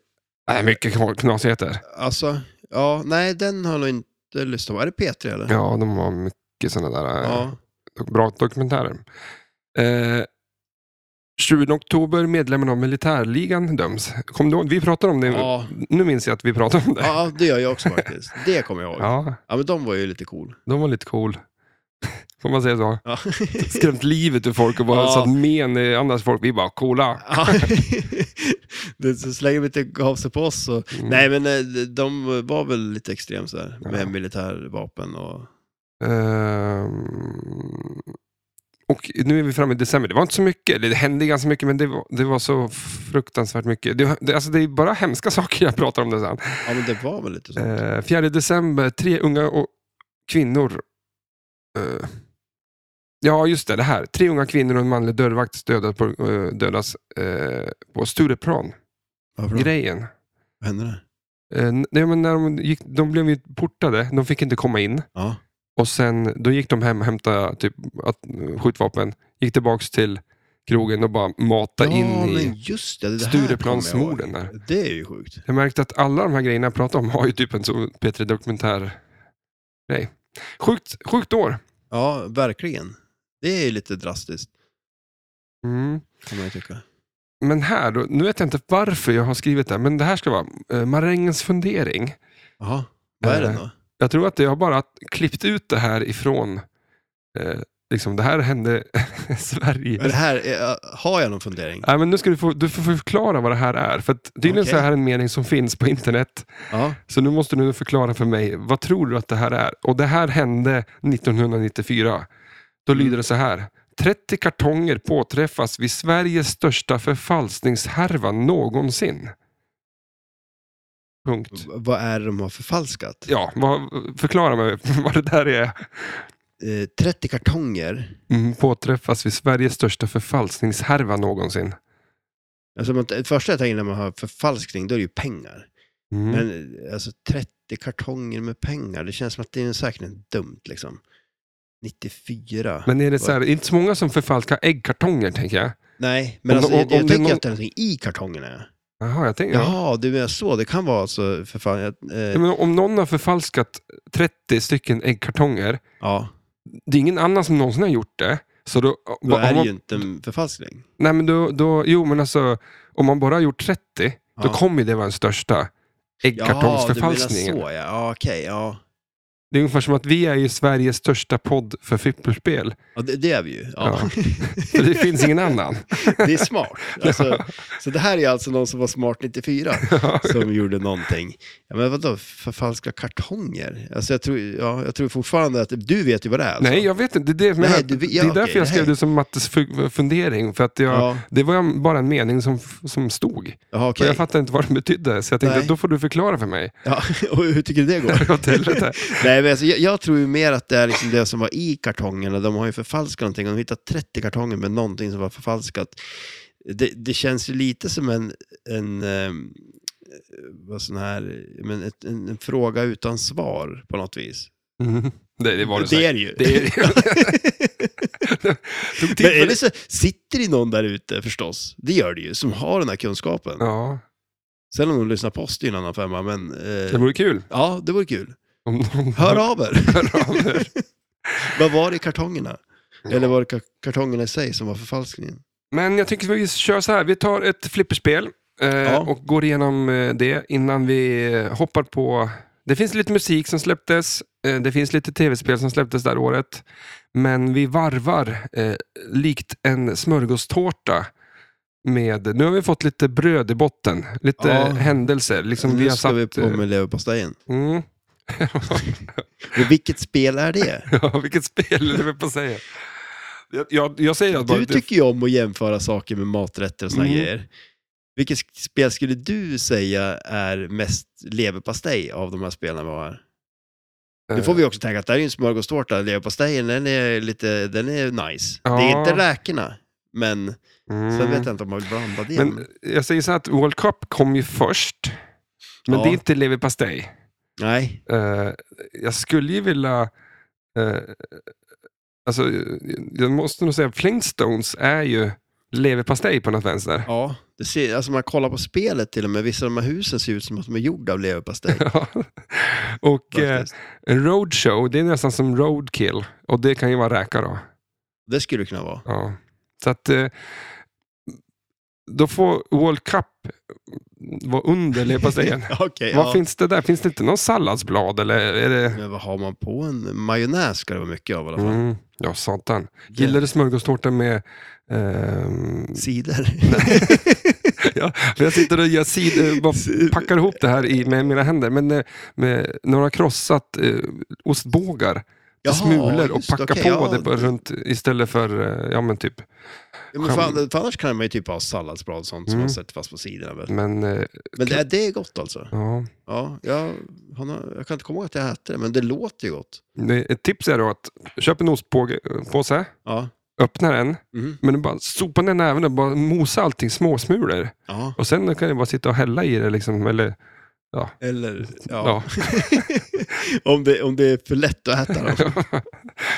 S1: Nej, mycket kna- knasigheter.
S2: alltså, ja, nej, den har jag nog inte lyssnat på. Är det Petri eller?
S1: Ja, de har mycket sådana där eh,
S2: Ja.
S1: dok- bra dokumentärer. Eh, 20 oktober, medlemmarna av militärligan döms. Kom då, vi pratar om det.
S2: Ja.
S1: Nu minns jag att vi pratar om det.
S2: ja, det gör jag också faktiskt. Det kommer jag ihåg. Ja.
S1: Ja,
S2: men de var ju lite cool.
S1: de var lite cool. Får man säga så?
S2: Ja.
S1: Skrämt livet ur folk och bara
S2: Ja.
S1: satt men i andras folk. Vi bara coola.
S2: Ja. Det- så så länge de inte gav sig på oss så...
S1: Mm.
S2: Nej, men eh, de var väl lite extrema så här, med
S1: Ja.
S2: militärvapen och...
S1: Ehm, och nu är vi framme i december. Det var inte så mycket. eller Det hände ganska mycket, men det var, det var så fruktansvärt mycket. Det, det, alltså, det är bara hemska saker jag pratar om. Det sen.
S2: Ja, men det var väl lite så.
S1: Eh, 4 december, tre unga och kvinnor. Eh, ja, just det, det här. Tre unga kvinnor och en manlig dörrvakt dödas på, eh, dödas, eh, på Stureplan.
S2: Varför då?
S1: Grejen.
S2: Vad hände där?
S1: Eh, n- nej, men när de, gick, de blev ju portade, de fick inte komma in.
S2: Ja.
S1: Och sen, då gick de hem och hämtade typ, att, skjutvapen. Gick tillbaks till krogen och bara matade
S2: ja,
S1: in
S2: men
S1: i...
S2: just det. det här
S1: Stureplansmorden
S2: kommer jag ihåg. Det är ju sjukt.
S1: Jag märkte att alla de här grejerna jag pratar om har ju typ en så P3 Dokumentär grej. Sjukt, sjukt år.
S2: Ja, verkligen. Det är ju lite drastiskt,
S1: Mm.
S2: kan man ju tycka.
S1: Men här, då, nu vet jag inte varför jag har skrivit det, men det här ska vara eh, Marängens fundering.
S2: Jaha, vad är
S1: Eh,
S2: den då?
S1: Jag tror att jag har bara klippt ut det här ifrån, eh, liksom, det här hände i Sverige.
S2: Men det här, är, har jag någon fundering?
S1: Nej, men nu ska du, få, du får förklara vad det här är. För att tydligen så
S2: Okej.
S1: är det här en mening som finns på internet.
S2: Ja.
S1: Så nu måste du förklara för mig, vad tror du att det här är? Och det här hände 1994. Då lyder det så här. 30 kartonger påträffas vid Sveriges största förfalskningshärva någonsin. Punkt.
S2: V- Vad är det de har förfalskat?
S1: Ja, vad, förklara mig vad det där är.
S2: Eh, 30 kartonger.
S1: Mm, påträffas vid Sveriges största förfalskningshärva någonsin.
S2: Alltså, man, det första jag tänker när man har förfalskning, då är det ju pengar.
S1: Mm.
S2: Men eh, alltså 30 kartonger med pengar, det känns som att det är säkert en dumt liksom. 94.
S1: Men är det så här, inte så många som förfalskar äggkartonger, tänker jag.
S2: Nej, men
S1: Om-
S2: alltså,
S1: om-
S2: jag, jag
S1: om det är
S2: tänker
S1: någon-
S2: att det är någonting i kartongerna.
S1: Jaha, jag tänker... Ja.
S2: Jaha, du menar så. Det kan vara alltså, för fan, jag,
S1: Ja,
S2: eh,
S1: men om någon har förfalskat 30 stycken äggkartonger,
S2: ja,
S1: det är ingen annan som någonsin har gjort det. Så då,
S2: då är
S1: om
S2: det
S1: man,
S2: ju inte en förfalskning.
S1: nej men då, då, jo, men alltså, om man bara har gjort 30, då
S2: Ja.
S1: kommer ju det vara den största
S2: Ja,
S1: äggkartongsförfalskningen.
S2: du menar så ja. ja okej, ja.
S1: det är ungefär som att vi är ju Sveriges största podd för flipperspel.
S2: ja det, det är vi ju. Ja.
S1: För det finns ingen annan.
S2: det är smart. Alltså, så det här är alltså någon som var smart 94 som gjorde någonting. Ja, men vadå, förfalska kartonger? Alltså, jag, tror, ja, jag tror fortfarande att du vet ju vad det är. Alltså.
S1: Nej, jag vet inte. Det är, det, som
S2: Nej,
S1: jag-
S2: du- ja,
S1: det är
S2: okej,
S1: därför jag skrev
S2: nej.
S1: det som Mattes fu- fundering. För att jag,
S2: Ja,
S1: Det var ju bara en mening som, som stod.
S2: jaha,
S1: Och
S2: okej.
S1: jag fattade inte vad den betydde, så jag tänkte
S2: Nej.
S1: att då får du förklara för mig.
S2: Ja, och hur tycker du det går?
S1: Åt helvete.
S2: Nej, men alltså, jag, jag tror ju mer att det är liksom det som var i kartongerna. De har ju förfalskat någonting. De har hittat 30 kartonger med någonting som var förfalskat. Det, det känns ju lite som en, en, ehm, vad sån här, men ett, en, en fråga utan svar på något vis.
S1: Mm. Det, det var det,
S2: det
S1: säkert.
S2: är det ju.
S1: det är Tog tid
S2: men är
S1: för
S2: det så, sitter det någon där ute förstås? Det gör det ju, som har den här kunskapen.
S1: Ja,
S2: Sen om de lyssnar på oss, det är ju en annan femma, men
S1: det
S2: eh,
S1: vore kul.
S2: ja, det vore kul.
S1: Om någon
S2: Hör av er!
S1: hör av er.
S2: Vad var det i kartongerna? Eller
S1: Ja.
S2: var det ka- kartongerna i sig som var förfalskningen?
S1: Men jag tycker vi kör så här. Vi tar ett flipperspel eh,
S2: Ja.
S1: och går igenom eh, det innan vi eh, hoppar på... Det finns lite musik som släpptes. Eh, det finns lite tv-spel som släpptes där året. Men vi varvar eh, likt en smörgåstårta. Med, nu har vi fått lite bröd i botten, lite
S2: Ja.
S1: händelser. Liksom vi
S2: nu
S1: har
S2: ska
S1: satt,
S2: vi på med leverpastejen.
S1: eh, mm.
S2: Och vilket spel är det?
S1: ja, vilket spel, det vill på att säga. Jag, jag, jag säger att bara,
S2: Du tycker ju om att jämföra saker med maträtter och såna
S1: Mm.
S2: grejer. Vilket sk- spel skulle du säga är mest leverpastej av de här spelen vi har? här?
S1: eh,
S2: Nu får vi också tänka att det här är ju en smörgåstårta. Leverpastejen, den är lite, den är nice.
S1: Ja.
S2: Det är inte räkorna, men
S1: mm.
S2: sen vet jag inte om man vill blanda det.
S1: Men jag säger så här att World Cup kom ju först. Men
S2: Ja.
S1: det är inte leverpastej.
S2: Nej.
S1: Eh, jag skulle ju vilja... Eh, alltså, jag måste nog säga att Flintstones är ju leverpastej på något vänster.
S2: Ja. Det ser, alltså man kollar på spelet till och med. Vissa av de här husen ser ut som att de är gjorda av leverpastej.
S1: och eh,
S2: faktiskt.
S1: en roadshow, det är nästan som roadkill. Och det kan ju vara räka då.
S2: det skulle det kunna vara.
S1: Ja. Så att... Eh, då får World Cup vara under leverpastejen.
S2: Okej,
S1: Vad
S2: ja.
S1: finns det där? Finns det inte någon salladsblad? Eller är det...
S2: Men vad har man på en majonnäs ska det vara mycket av i alla fall.
S1: Mm, ja, satan. Gillar du smörgåstårta med... ehm,
S2: Cider.
S1: ja, för jag sitter och gör sid, eh, bara packar ihop det här i, med mina händer. Men eh, med några krossat eh, ostbågar till
S2: Jaha,
S1: smulor och
S2: just,
S1: packar
S2: okej,
S1: på
S2: ja.
S1: det bara runt istället för, eh, ja men typ.
S2: Ja, men för, för annars kan man ju typ ha salladsblad och sånt som
S1: Mm.
S2: man sätter fast på sidorna. Väl?
S1: Men eh,
S2: Men det, det är gott alltså.
S1: ja,
S2: Ja, jag, han har, jag kan inte komma ihåg att jag äter det, men det låter ju gott.
S1: Mm. Det- ett tips är då att köp en ostpåse,
S2: Ja.
S1: öppna den,
S2: Mm.
S1: men bara sopa ner näven och bara mosa allting småsmulor.
S2: ja.
S1: Och sen kan du bara sitta och hälla i det liksom, eller
S2: Eller,
S1: ja.
S2: ja. om, det, om det är för lätt att äta dem.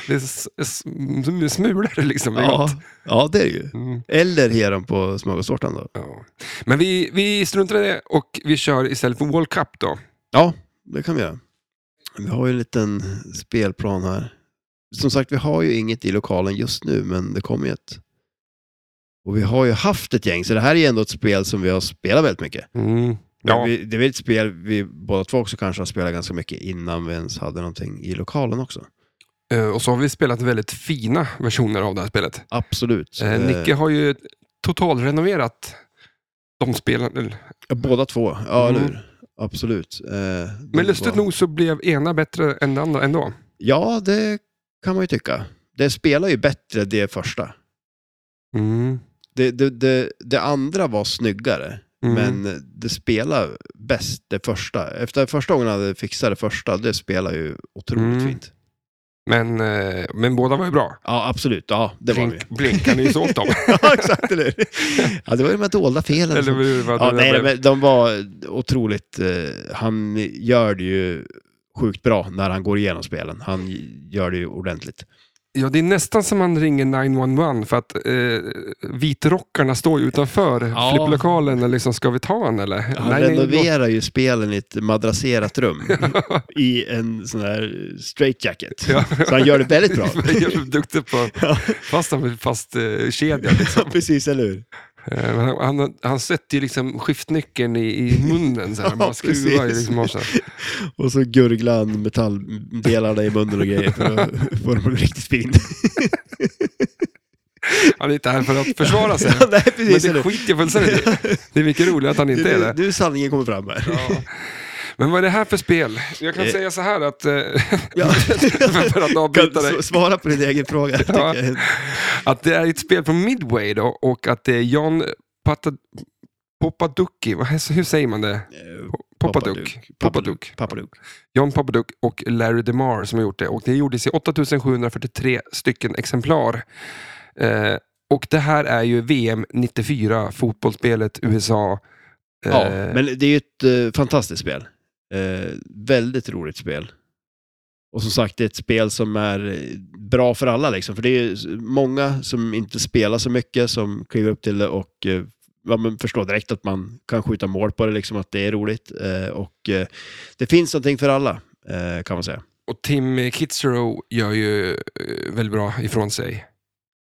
S1: det är s- s- sm- smulor liksom. det är
S2: ja.
S1: gott.
S2: ja, det är det ju.
S1: Mm.
S2: Eller ge dem på smörgåstårtan då.
S1: Ja. Men vi, vi struntar i det och vi kör istället för World Cup då.
S2: Ja, det kan vi göra. Vi har ju en liten spelplan här. Som sagt, vi har ju inget i lokalen just nu, men det kommer ju ett. Och vi har ju haft ett gäng, så det här är ju ändå ett spel som vi har spelat väldigt mycket. Mm. Men
S1: Ja.
S2: Vi, det är väl ett spel vi båda två också kanske har spelat ganska mycket innan vi ens hade någonting i lokalen också.
S1: Eh, Och så har vi spelat väldigt fina versioner av det här spelet.
S2: Absolut.
S1: Eh,
S2: Eh,
S1: Nicke har ju totalrenoverat de spelen. eller-
S2: ja, båda två, ja
S1: Mm.
S2: eller hur? Absolut. Eh, det
S1: Men lustigt
S2: var-
S1: nog så blev ena bättre än den andra ändå.
S2: Ja, det kan man ju tycka. Det spelar ju bättre det första.
S1: Mm.
S2: Det, det, det, det andra var snyggare,
S1: Mm.
S2: men det spelar bäst det första. Efter första gången hade fixat det första, det spelar ju otroligt
S1: Mm.
S2: fint.
S1: Men, eh, men båda var ju bra.
S2: Ja, absolut. Ja, det var det ju.
S1: Blink, blinkar ni så åt dem?
S2: ja, exakt. Eller hur? Ja, det var ju de här dolda felen.
S1: Eller
S2: som-
S1: hur? Vad
S2: ja,
S1: det
S2: nej,
S1: blev.
S2: men de var otroligt... Eh, han gör det ju sjukt bra när han går igenom spelen. Han gör det ju ordentligt.
S1: Ja, det är nästan som man ringer 911 för att eh, vitrockarna står ju utanför
S2: Ja.
S1: flipplokalen. och Liksom, ska vi ta en eller?
S2: Han renoverar ju spelen i ett madrasserat rum i en sån här straightjacket.
S1: Ja.
S2: Så han gör det väldigt bra.
S1: Jag är duktig på
S2: Ja.
S1: fast han med fast eh, kedja. Liksom.
S2: Precis, eller hur?
S1: Eh, men han, han, han sätter ju liksom skiftnyckeln i, i munnen. Så här.
S2: Ja,
S1: Bara skruvar ju
S2: precis.
S1: liksom av så här.
S2: Och så gurglar han metalldelarna i munnen och grejer för att få dem riktigt fin.
S1: Han är inte här för att försvara sig.
S2: Ja, nej,
S1: Alltså, Men det
S2: precis, eller hur?
S1: skiter jag fullständigt i. Det är mycket roligt att han inte är
S2: Nu,
S1: det.
S2: nu sanningen kommer fram här.
S1: Ja. Men vad är det här för spel? Jag kan
S2: Eh.
S1: säga så här att... eh,
S2: Ja.
S1: för att avbryta
S2: Kan
S1: dig.
S2: s- svara på din egen fråga. tycker
S1: Ja.
S2: jag.
S1: Att det är ett spel från Midway då och att det är John Pata- Popaduki, vad, hur säger man det?
S2: Eh,
S1: Popaduk. Popaduk.
S2: Papaduk.
S1: John Popaduk och Larry DeMar som har gjort det. Och det gjordes i 8743 stycken exemplar. Eh, och det här är ju VM 94, fotbollsspelet USA. Eh,
S2: Ja, men det är ju ett eh, fantastiskt spel. Eh, väldigt roligt spel. Och som sagt, det är ett spel som är eh, bra för alla. Liksom. För det är ju s- många som inte spelar så mycket som kliver upp till det och eh, ja, men förstår direkt att man kan skjuta mål på det, liksom, att det är roligt. Eh, och eh, det finns någonting för alla, eh, kan man säga.
S1: Och Tim Kitzero gör ju eh, väldigt bra ifrån sig.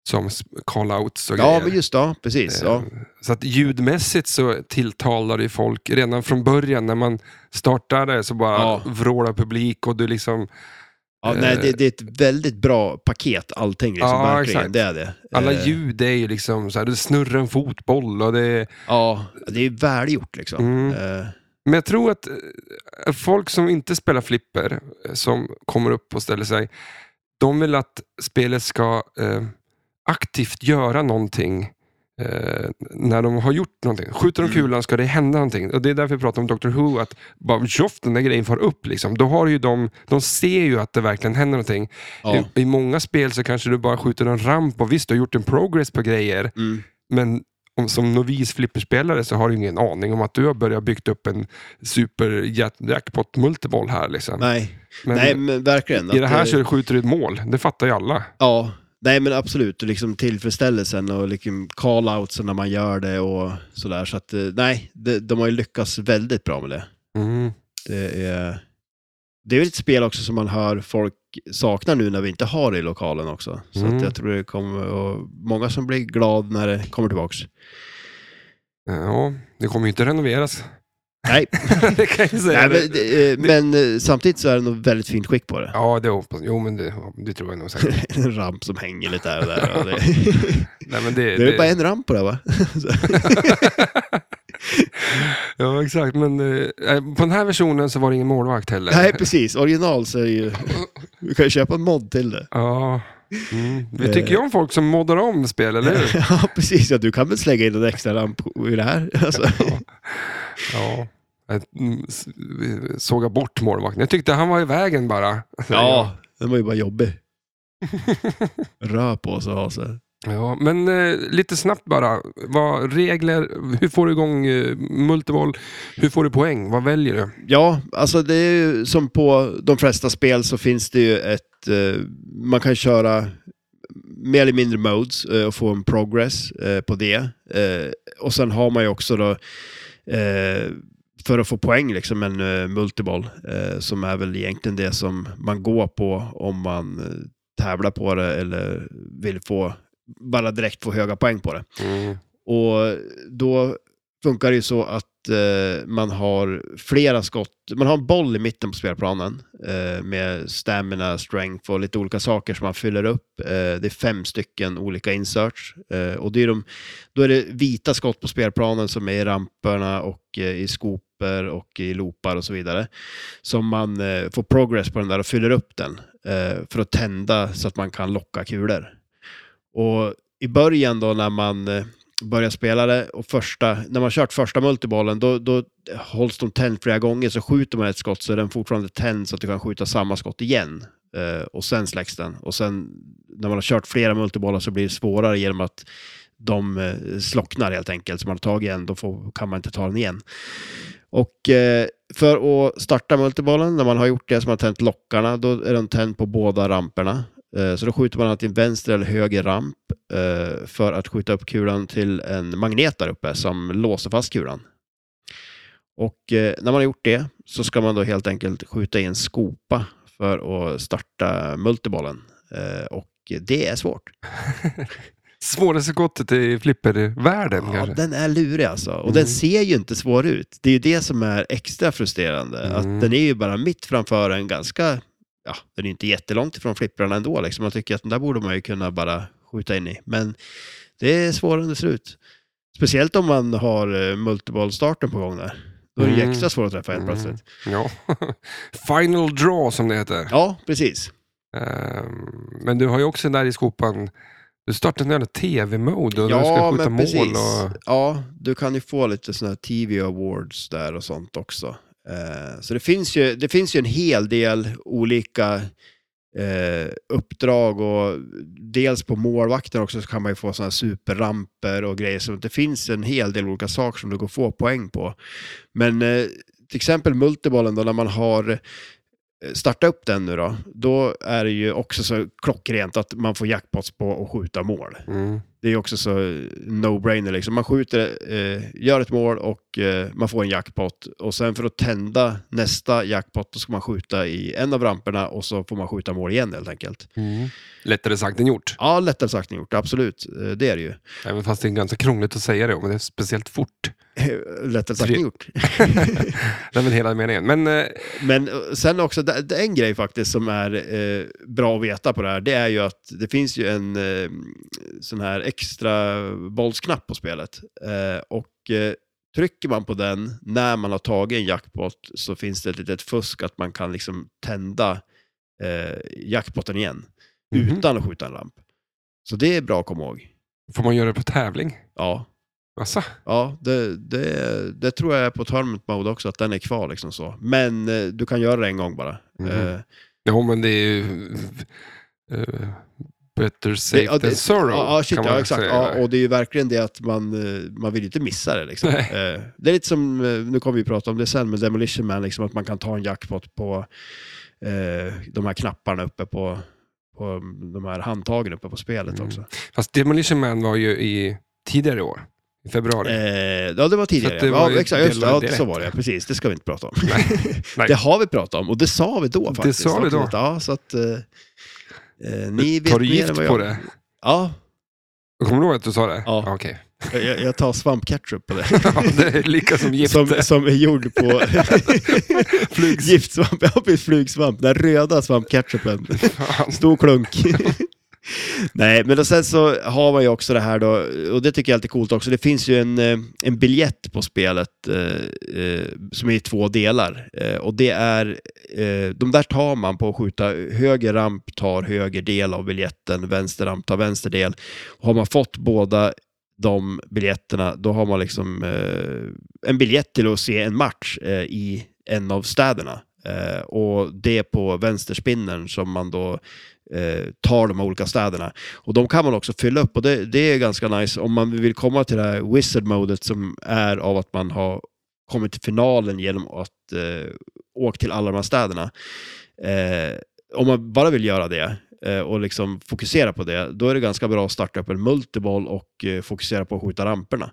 S1: Som s- call-outs och
S2: Ja,
S1: grejer.
S2: men just det, precis. Ja.
S1: Eh, Så att ljudmässigt så tilltalar det ju folk redan från början när man startade så bara
S2: Ja.
S1: vrålar publik och du liksom,
S2: Ja,
S1: eh,
S2: nej, det, det är ett väldigt bra paket, allting. Liksom,
S1: Ja,
S2: verkligen.
S1: exakt.
S2: Det är det.
S1: alla
S2: Eh,
S1: ljud är ju liksom så här, det snurrar en fotboll och det är,
S2: Ja, det är välgjort liksom.
S1: mm.
S2: Eh,
S1: Men jag tror att eh, folk som inte spelar flipper, eh, som kommer upp och ställer sig, de vill att spelet ska eh, aktivt göra någonting eh, när de har gjort någonting. Skjuter de
S2: Mm.
S1: kulan ska det hända någonting. Och det är därför vi pratar om Doctor Who, att bara tjoff, den där grejen far upp. Liksom. Då har ju de, de ser ju att det verkligen händer någonting.
S2: ja.
S1: I, I många spel så kanske du bara skjuter en ramp och visst, du har gjort en progress på grejer,
S2: Mm.
S1: men om, som novis flipperspelare så har du ingen aning om att du har börjat byggt upp en super jackpot multiboll här. Liksom.
S2: Nej,
S1: Men
S2: nej men verkligen.
S1: i
S2: att
S1: det här
S2: det-
S1: så skjuter du ett mål, det fattar ju alla.
S2: Ja, nej men absolut. Och Liksom tillfredsställelsen och liksom call-outsen när man gör det och sådär. Så att eh, nej, de, de har ju lyckats väldigt bra med det.
S1: Mm.
S2: Det är, det är väl ett spel också som man hör folk saknar nu när vi inte har det i lokalen också. Så
S1: Mm.
S2: att jag tror det kommer och många som blir glad när det kommer tillbaks.
S1: Ja, det kommer ju inte renoveras.
S2: Nej,
S1: det kan jag ju säga.
S2: nej men, eh, men eh, samtidigt så är det nog väldigt fint skick på det.
S1: Ja, det hoppas Jo, men det, ja, det tror jag nog säkert.
S2: en ramp som hänger lite här och där. Och det,
S1: Nej, men det,
S2: det är väl bara en ramp på det va?
S1: Ja, exakt. Men eh, på den här versionen så var det ingen målvakt heller.
S2: nej, precis. Original så är det ju... Du kan ju köpa en mod till det.
S1: Ja. Mm.
S2: Eh.
S1: Vi tycker ju om folk som moddar om spel, eller hur?
S2: ja, precis. Ja, du kan väl slänga in en extra ramp i det här? Alltså.
S1: Ja. Att, mm, s- Såga bort målvakten. Jag tyckte han var i vägen bara.
S2: Ja, den var ju bara jobbig. Rör på sig och ha sig.
S1: ja men eh, lite snabbt bara. Vad, regler, hur får du igång eh, multiboll? Hur får du poäng? Vad väljer du?
S2: Ja, alltså det är ju som på de flesta spel så finns det ju ett... Eh, man kan köra mer eller mindre modes eh, och få en progress eh, på det. Eh, och sen har man ju också då... Eh, för att få poäng, liksom en eh, multiboll, eh, som är väl egentligen det som man går på om man eh, tävlar på det eller vill få, bara direkt få höga poäng på det. Mm. Och då funkar det ju så att eh, man har flera skott, man har en boll i mitten på spelplanen eh, med stamina, strength och lite olika saker som man fyller upp. Eh, det är fem stycken olika inserts eh, och det är de, då är det vita skott på spelplanen som är i ramperna och eh, i skopor och i loopar och så vidare. Som man eh, får progress på den där och fyller upp den eh, för att tända så att man kan locka kulor. Och i början då när man eh, börjar spela det och första, när man kört första multibollen då, då hålls de tänd flera gånger så skjuter man ett skott så är den fortfarande tänd så att du kan skjuta samma skott igen. Eh, och sen släcks den. Och sen när man har kört flera multibollar så blir det svårare genom att de eh, slocknar helt enkelt. Så man har tagit en, då får, kan man inte ta den igen. Och eh, för att starta multibollen, när man har gjort det som har tänt lockarna, då är den tänd på båda ramperna. Eh, Så då skjuter man antingen vänster eller höger ramp eh, för att skjuta upp kulan till en magnet där uppe som låser fast kulan. Och eh, när man har gjort det så ska man då helt enkelt skjuta i en skopa för att starta multibollen. Eh, Och det är svårt.
S1: Svåraste skottet i flippervärlden
S2: Ja,
S1: kanske?
S2: den är lurig alltså. Och
S1: Mm.
S2: den ser ju inte svår ut. Det är ju det som är extra frustrerande.
S1: Mm.
S2: Att den är ju bara mitt framför en ganska, ja, den är ju inte jättelångt ifrån flipprarna ändå. Liksom. Man tycker att den där borde man ju kunna bara skjuta in i. Men det är svårare än det ser ut. Speciellt om man har eh, multibollstarten på gång där. Då är det ju
S1: Mm.
S2: extra svårt att träffa helt
S1: Mm.
S2: plötsligt.
S1: Ja. Final draw som det heter.
S2: Ja, precis.
S1: Ehm, Men du har ju också den där i skopan, du startar en jävla tv-mode och du ska
S2: Ja,
S1: skjuta
S2: men
S1: mål.
S2: precis.
S1: Och,
S2: Ja, du kan ju få lite sådana här TV awards där och sånt också. Eh, så det finns, ju, det finns ju en hel del olika eh, uppdrag och dels på målvakter också så kan man ju få sådana här superramper och grejer. Så det finns en hel del olika saker som du går få poäng på. Men eh, till exempel multibollen då när man har eh, startat upp den nu då, då är det ju också så klockrent att man får jackpots på att skjuta mål
S1: mm.
S2: det är också så eh, no-brainer liksom. Man skjuter, eh, gör ett mål och eh, man får en jackpot. Och sen för att tända nästa jackpot då ska man skjuta i en av ramperna och så får man skjuta mål igen helt enkelt.
S1: Lättare sagt än gjort.
S2: Ja, lättare sagt än gjort, absolut. Eh, det är det ju.
S1: Även fast det är ganska krångligt att säga det, men det är speciellt fort.
S2: lättare sagt
S1: Tre-
S2: än gjort.
S1: Det är väl hela meningen. Men eh,
S2: Men eh, sen också, det, det är en grej faktiskt som är eh, bra att veta på det här, det är ju att det finns ju en eh, sån här extra bollsknapp på spelet. Eh, och eh, trycker man på den när man har tagit en jackpot så finns det ett litet fusk att man kan liksom tända eh, jackpotten igen
S1: Mhm.
S2: utan att skjuta en lamp. Så det är bra att komma ihåg.
S1: får man göra det på tävling?
S2: Ja,
S1: Asså?
S2: Ja, det, det, det tror jag är på tournament mode också, att den är kvar liksom så. Men eh, du Eh, kan göra det en gång bara.
S1: Mhm.
S2: Eh,
S1: Ja, men det är ju... eh, Better safe
S2: ja, det-
S1: than sorrow.
S2: Ja, ja, shit,
S1: kan man
S2: ja
S1: väl
S2: exakt.
S1: säga.
S2: Ja, och det är ju verkligen det att man, eh, man vill ju inte missa det. Liksom.
S1: Nej.
S2: Eh, Det är lite som, eh, nu kommer vi prata om det sen, men Demolition Man, liksom, att man kan ta en jackpot på eh, de här knapparna uppe på, på mm, de här handtagen uppe på spelet
S1: Mm.
S2: också.
S1: Fast Demolition Man var ju i tidigare i år, i februari.
S2: Eh, ja, det var tidigare.
S1: Så att det var
S2: ja,
S1: ju
S2: exakt, just, det.
S1: del-
S2: ja,
S1: direkt.
S2: så var det. Precis, det ska vi inte prata om.
S1: nej.
S2: Det har vi pratat om och det sa vi då
S1: Det
S2: faktiskt.
S1: sa vi då.
S2: Ja, så att, eh, eh, ni vet
S1: Tar du
S2: mer än
S1: gift
S2: vad
S1: på
S2: jag-
S1: det?
S2: Ja,
S1: Kommer du ihåg att du sa det?
S2: Ja.
S1: Okej.
S2: jag, jag tar svampketchup på det.
S1: Ja, det är lika som gift.
S2: Som, som är gjord på
S1: Flygs-
S2: giftsvamp. Ja, precis, flugsvamp. Den röda svampketchupen.
S1: Fan.
S2: Stor klunk. Nej, men och sen så har man ju också det här då, och det tycker jag är lite coolt också. Det finns ju en, eh, en biljett på spelet eh, eh, som är i två delar. Eh, och det är, eh, de där tar man på att skjuta, höger ramp tar höger del av biljetten, vänster ramp tar vänster del. Och har man fått båda de biljetterna, då har man liksom eh, en biljett till att se en match eh, i en av städerna. Eh, och det är på vänsterspinnen som man då eh, tar de här olika städerna. Och de kan man också fylla upp och det, det är ganska nice om man vill komma till det här wizard-modet som är av att man har kommit till finalen genom att eh, åka till alla de här städerna. Eh, om man bara vill göra det eh, och liksom fokusera på det, då är det ganska bra att starta upp en multiboll och eh, fokusera på att skjuta ramperna.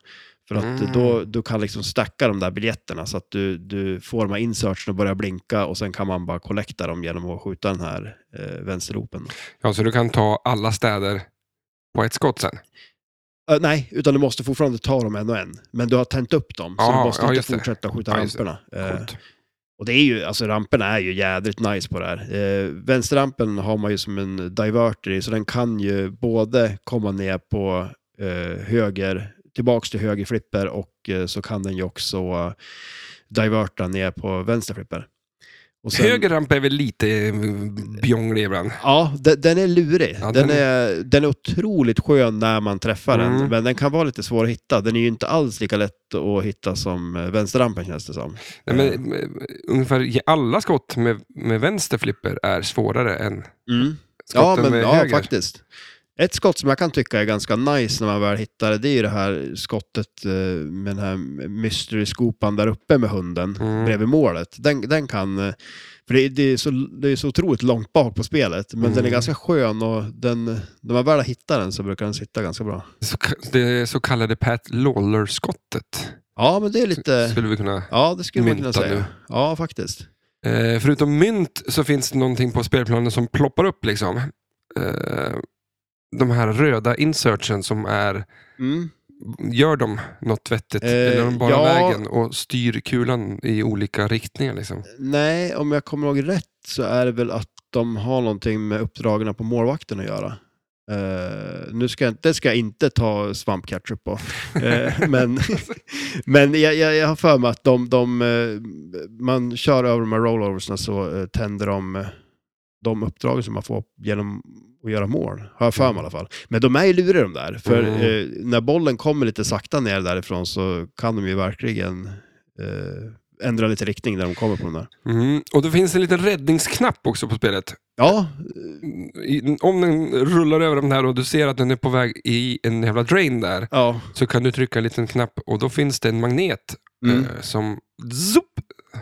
S2: För att
S1: Mm.
S2: då du kan liksom stacka de där biljetterna så att du, du får de här insertsen att börja blinka och sen kan man bara kollekta dem genom att skjuta den här eh, vänsterropen.
S1: Ja, så du kan ta alla städer på ett skott sen?
S2: Eh, nej, utan du måste fortfarande ta dem en och en. Men du har tänt upp dem, så
S1: Ja,
S2: du måste
S1: ja, just
S2: inte
S1: det.
S2: fortsätta skjuta
S1: Ja, just det.
S2: ramperna. Eh,
S1: Coolt.
S2: och det är ju, alltså ramperna är ju jädrigt nice på det här. Eh, vänsterrampen har man ju som en diverter i, så den kan ju både komma ner på eh, höger, tillbaks till höger flipper och eh, så kan den ju också eh, diverta ner på vänster flipper. Och sen-
S1: Höger ramp är väl lite eh, bjonglig ibland?
S2: Ja, de- den är lurig.
S1: Ja,
S2: den,
S1: den
S2: är, den är otroligt skön när man träffar den,
S1: Mm.
S2: men den kan vara lite svår att hitta. Den är ju inte alls lika lätt att hitta som eh, vänsterrampen känns det som.
S1: Nej, men, eh, ungefär i alla skott med, med vänster flipper är svårare än
S2: Mm. Ja,
S1: skotten
S2: men
S1: med
S2: ja,
S1: höger.
S2: faktiskt. Ett skott som jag kan tycka är ganska nice när man väl hittar det, det är ju det här skottet eh, med den här mystery-skopan där uppe med hunden
S1: Mm.
S2: bredvid målet. Den, den kan... eh, För det, det, är så, det är så otroligt långt bak på spelet, men den är
S1: Mm.
S2: ganska skön och den, när man väl hittar den så brukar den sitta ganska bra.
S1: Så, det så kallade Pat Lawler-skottet.
S2: Ja, men det är lite...
S1: Skulle vi kunna...
S2: Ja, det skulle man kunna
S1: mynta
S2: säga.
S1: nu.
S2: Ja, faktiskt.
S1: Eh, förutom mynt så finns det någonting på spelplanen som ploppar upp. liksom. Eh, de här röda insertsen som är...
S2: Mm.
S1: Gör de något vettigt?
S2: Eh,
S1: Eller är de bara
S2: ja.
S1: vägen och styr kulan i olika riktningar? Liksom?
S2: Nej, om jag kommer ihåg rätt så är det väl att de har någonting med uppdragen på målvakten att göra. Eh, nu ska jag, det ska jag inte ta svampketchup på. Eh, men men jag, jag, jag har för mig att de, de, eh, man kör över de här rolloversna så eh, tänder de eh, de uppdrag som man får genom att göra mål, har jag för mig i alla fall. Men de är ju luriga de där, för
S1: Mm.
S2: eh, när bollen kommer lite sakta ner därifrån så kan de ju verkligen eh, ändra lite riktning när de kommer på den där.
S1: Mm. Och det finns en liten räddningsknapp också på spelet.
S2: Ja, eh,
S1: I- Om den rullar över den här och du ser att den är på väg i en jävla drain där,
S2: ja.
S1: så kan du trycka en liten knapp och då finns det en magnet
S2: Mm.
S1: eh, som zoop,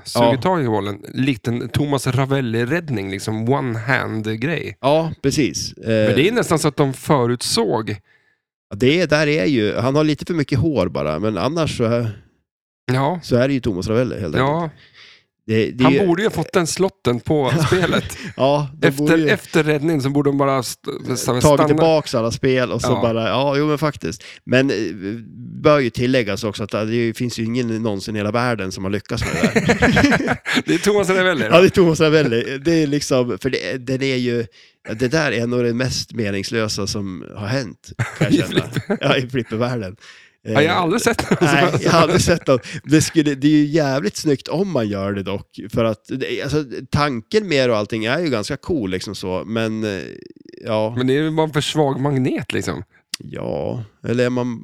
S1: suger
S2: Ja.
S1: tag i bollen. Likt en Thomas Ravelli-räddning, liksom one-hand-grej.
S2: ja precis. Eh,
S1: Men det är nästan så att de förutsåg.
S2: det där är ju, han har lite för mycket hår bara, men annars så är,
S1: Ja,
S2: så är det ju Thomas Ravelli helt enkelt.
S1: ja.
S2: Det, det är ju-
S1: han borde ju ha fått den slotten på spelet.
S2: ja, de borde
S1: Efter,
S2: ju- Eh,
S1: efter räddningen så borde de bara st- stanna.
S2: tagit tillbaka alla spel och så
S1: Ja.
S2: bara, ja, jo men faktiskt. Men eh, bör ju tilläggas också att eh, det finns ju ingen någonsin i hela världen som har lyckats med det där.
S1: Det är Thomas Ravelli.
S2: ja, det är Thomas Ravelli. Det är liksom, för det, den är ju, det där är nog det mest meningslösa som har hänt, kan
S1: I
S2: jag känna. ja, i flippervärlden. Eh,
S1: Ja, jag har aldrig sett någon
S2: Nej,
S1: som-
S2: jag har aldrig sett dem. Det, skulle, det är ju jävligt snyggt om man gör det dock. För att det- alltså, tanken med det och allting är ju ganska cool liksom så, men eh, ja.
S1: Men det är ju bara en för svag magnet liksom.
S2: Ja, eller är man,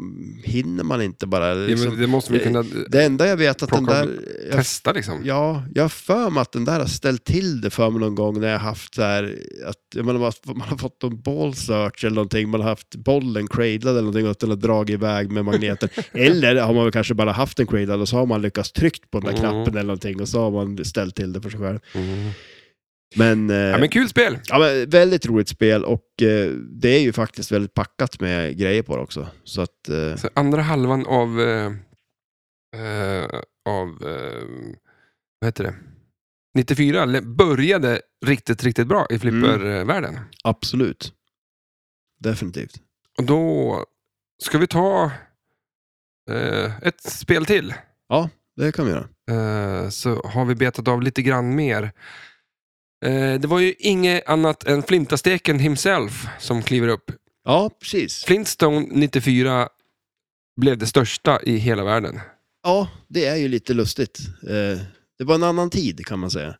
S2: hinner man inte bara?
S1: Ja,
S2: Liksom,
S1: men det måste vi
S2: eh,
S1: kunna
S2: Det enda jag vet att den
S1: Plocka-
S2: där... Jag
S1: testa liksom.
S2: Ja, jag har för mig att den där har ställt till det för mig någon gång när jag haft så här, att jag menar, att man har fått en ball search eller någonting, man har haft bollen cradlad eller någonting och den har dragit iväg med magneten. eller har man väl kanske bara haft den cradlad och så har man lyckats tryckt på den där
S1: Mm.
S2: knappen eller någonting och så har man ställt till det för sig själv.
S1: Mm.
S2: Men, eh,
S1: Ja, men kul spel!
S2: Ja, men väldigt roligt spel och eh, det är ju faktiskt väldigt packat med grejer på det också. Så att, eh,
S1: Så andra halvan av, eh, eh, av eh, vad heter det? 94 le- började riktigt, riktigt bra
S2: Mm.
S1: i flippervärlden.
S2: absolut. Definitivt.
S1: Och då ska vi ta eh, ett spel till.
S2: Det kan vi göra.
S1: Eh, så har vi betat av lite grann mer. Eh, det var ju inget annat än Flintasteken himself som kliver upp.
S2: Ja, precis.
S1: Flintstone 94 blev det största i hela världen.
S2: Ja, det är ju lite lustigt. Eh, Det var en annan tid kan man säga.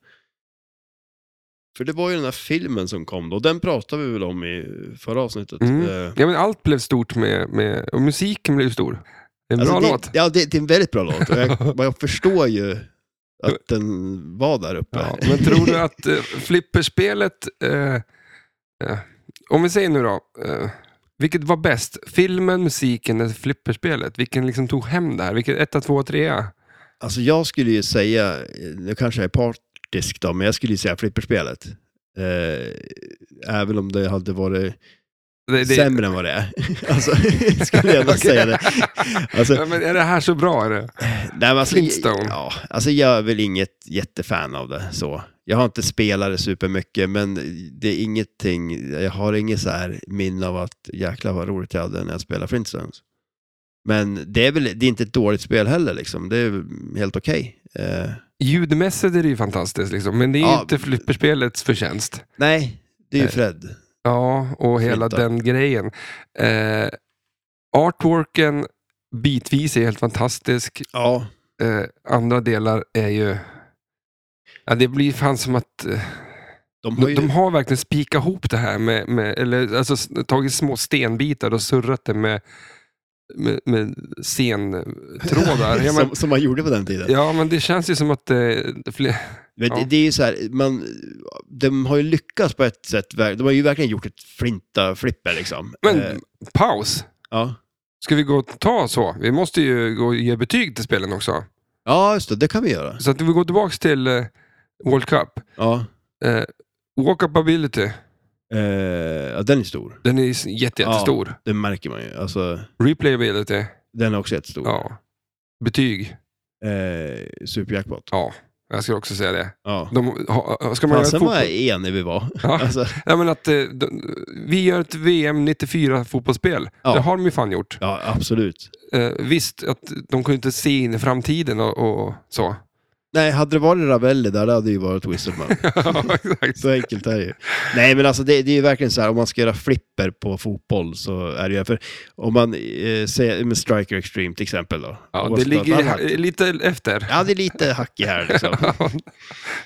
S2: För det var ju den här filmen som kom då, den pratade vi väl om i förra avsnittet.
S1: Mm.
S2: Eh,
S1: Ja, men allt blev stort med, med och musiken blev stor. En
S2: alltså,
S1: bra
S2: det,
S1: låt.
S2: Ja, det, det är en väldigt bra låt. Och Jag, jag förstår ju att den var där uppe.
S1: Ja, men tror du att eh, flipperspelet, eh, eh, om vi säger nu då, eh, vilket var bäst? Filmen, musiken eller flipperspelet? Vilken liksom tog hem det här? Vilken etta, tvåa, trea?
S2: Alltså jag skulle ju säga, eh, nu kanske jag är partisk då, men jag skulle ju säga flipperspelet. Eh, även om det hade varit
S1: Det, det,
S2: sämre än vad det är. alltså, skulle jag nog
S1: Okej.
S2: säga det. Alltså,
S1: Ja, men är det här så bra? Är det?
S2: Nej, men alltså,
S1: Flintstone.
S2: Ja, alltså jag är väl inget jättefan av det. så. Jag har inte spelat det supermycket, men det är ingenting, jag har inget så här minne av att jäklar vad roligt jag hade när jag spelade Flintstones. Men det är väl det är inte ett dåligt spel heller, liksom. det är väl helt okej. Eh,
S1: Ljudmässigt är det ju fantastiskt, liksom, men det är ju
S2: Ja.
S1: inte flipperspelets förtjänst.
S2: nej, det är ju
S1: Nej.
S2: Fred.
S1: Ja, och hela
S2: Flinta.
S1: den grejen. Eh, artworken bitvis är helt fantastisk.
S2: Ja,
S1: eh, andra delar är ju... Ja, det blir fan som att eh,
S2: de har
S1: de,
S2: ju...
S1: de har verkligen spikat ihop det här med, med eller alltså s- tagit små stenbitar och surrat det med, med, med scentrådar. ja, men,
S2: som, som man gjorde på den tiden.
S1: ja, men det känns ju som att eh, fler,
S2: Men
S1: Ja.
S2: det, det är ju så här, man, de har ju lyckats på ett sätt, ver- de har ju verkligen gjort ett flinta-flipper liksom.
S1: Men
S2: Eh,
S1: paus!
S2: ja.
S1: Ska vi gå och ta så? Vi måste ju gå och ge betyg till spelen också.
S2: ja, just det, det kan vi göra.
S1: Så att vi går tillbaka till eh, World Cup.
S2: Ja.
S1: Eh, Walk-up ability,
S2: Eh, ja, den är stor.
S1: den är s- jätte,
S2: Ja.
S1: jättestor.
S2: Det märker man ju. Alltså,
S1: Replayability,
S2: den är också jättestor.
S1: ja. Betyg.
S2: Eh, superjackpot.
S1: Ja, jag skulle också säga det.
S2: Ja.
S1: De, ha, ska man göra ett
S2: Fasen vad
S1: fotboll... Ah.
S2: enig vi var.
S1: Ja.
S2: Alltså,
S1: Nej, men att, eh, de, vi gör ett VM 94 fotbollsspel.
S2: Ja.
S1: Det har de ju fan gjort.
S2: ja, absolut.
S1: Eh, visst, att de kunde inte se in i framtiden och, och så.
S2: Nej, hade det varit Ravelli där, det hade ju varit Wizard Man.
S1: ja, exakt.
S2: Så enkelt är det ju. Nej, men alltså det, det är ju verkligen så här, om man ska göra flipper på fotboll så är det ju... För om man eh, säger med Striker Extreme till exempel då. Om
S1: Ja,
S2: man
S1: det
S2: ska ta ett
S1: ligger
S2: annat hack.
S1: ha- lite efter.
S2: Ja, det är lite hackig här liksom.
S1: det är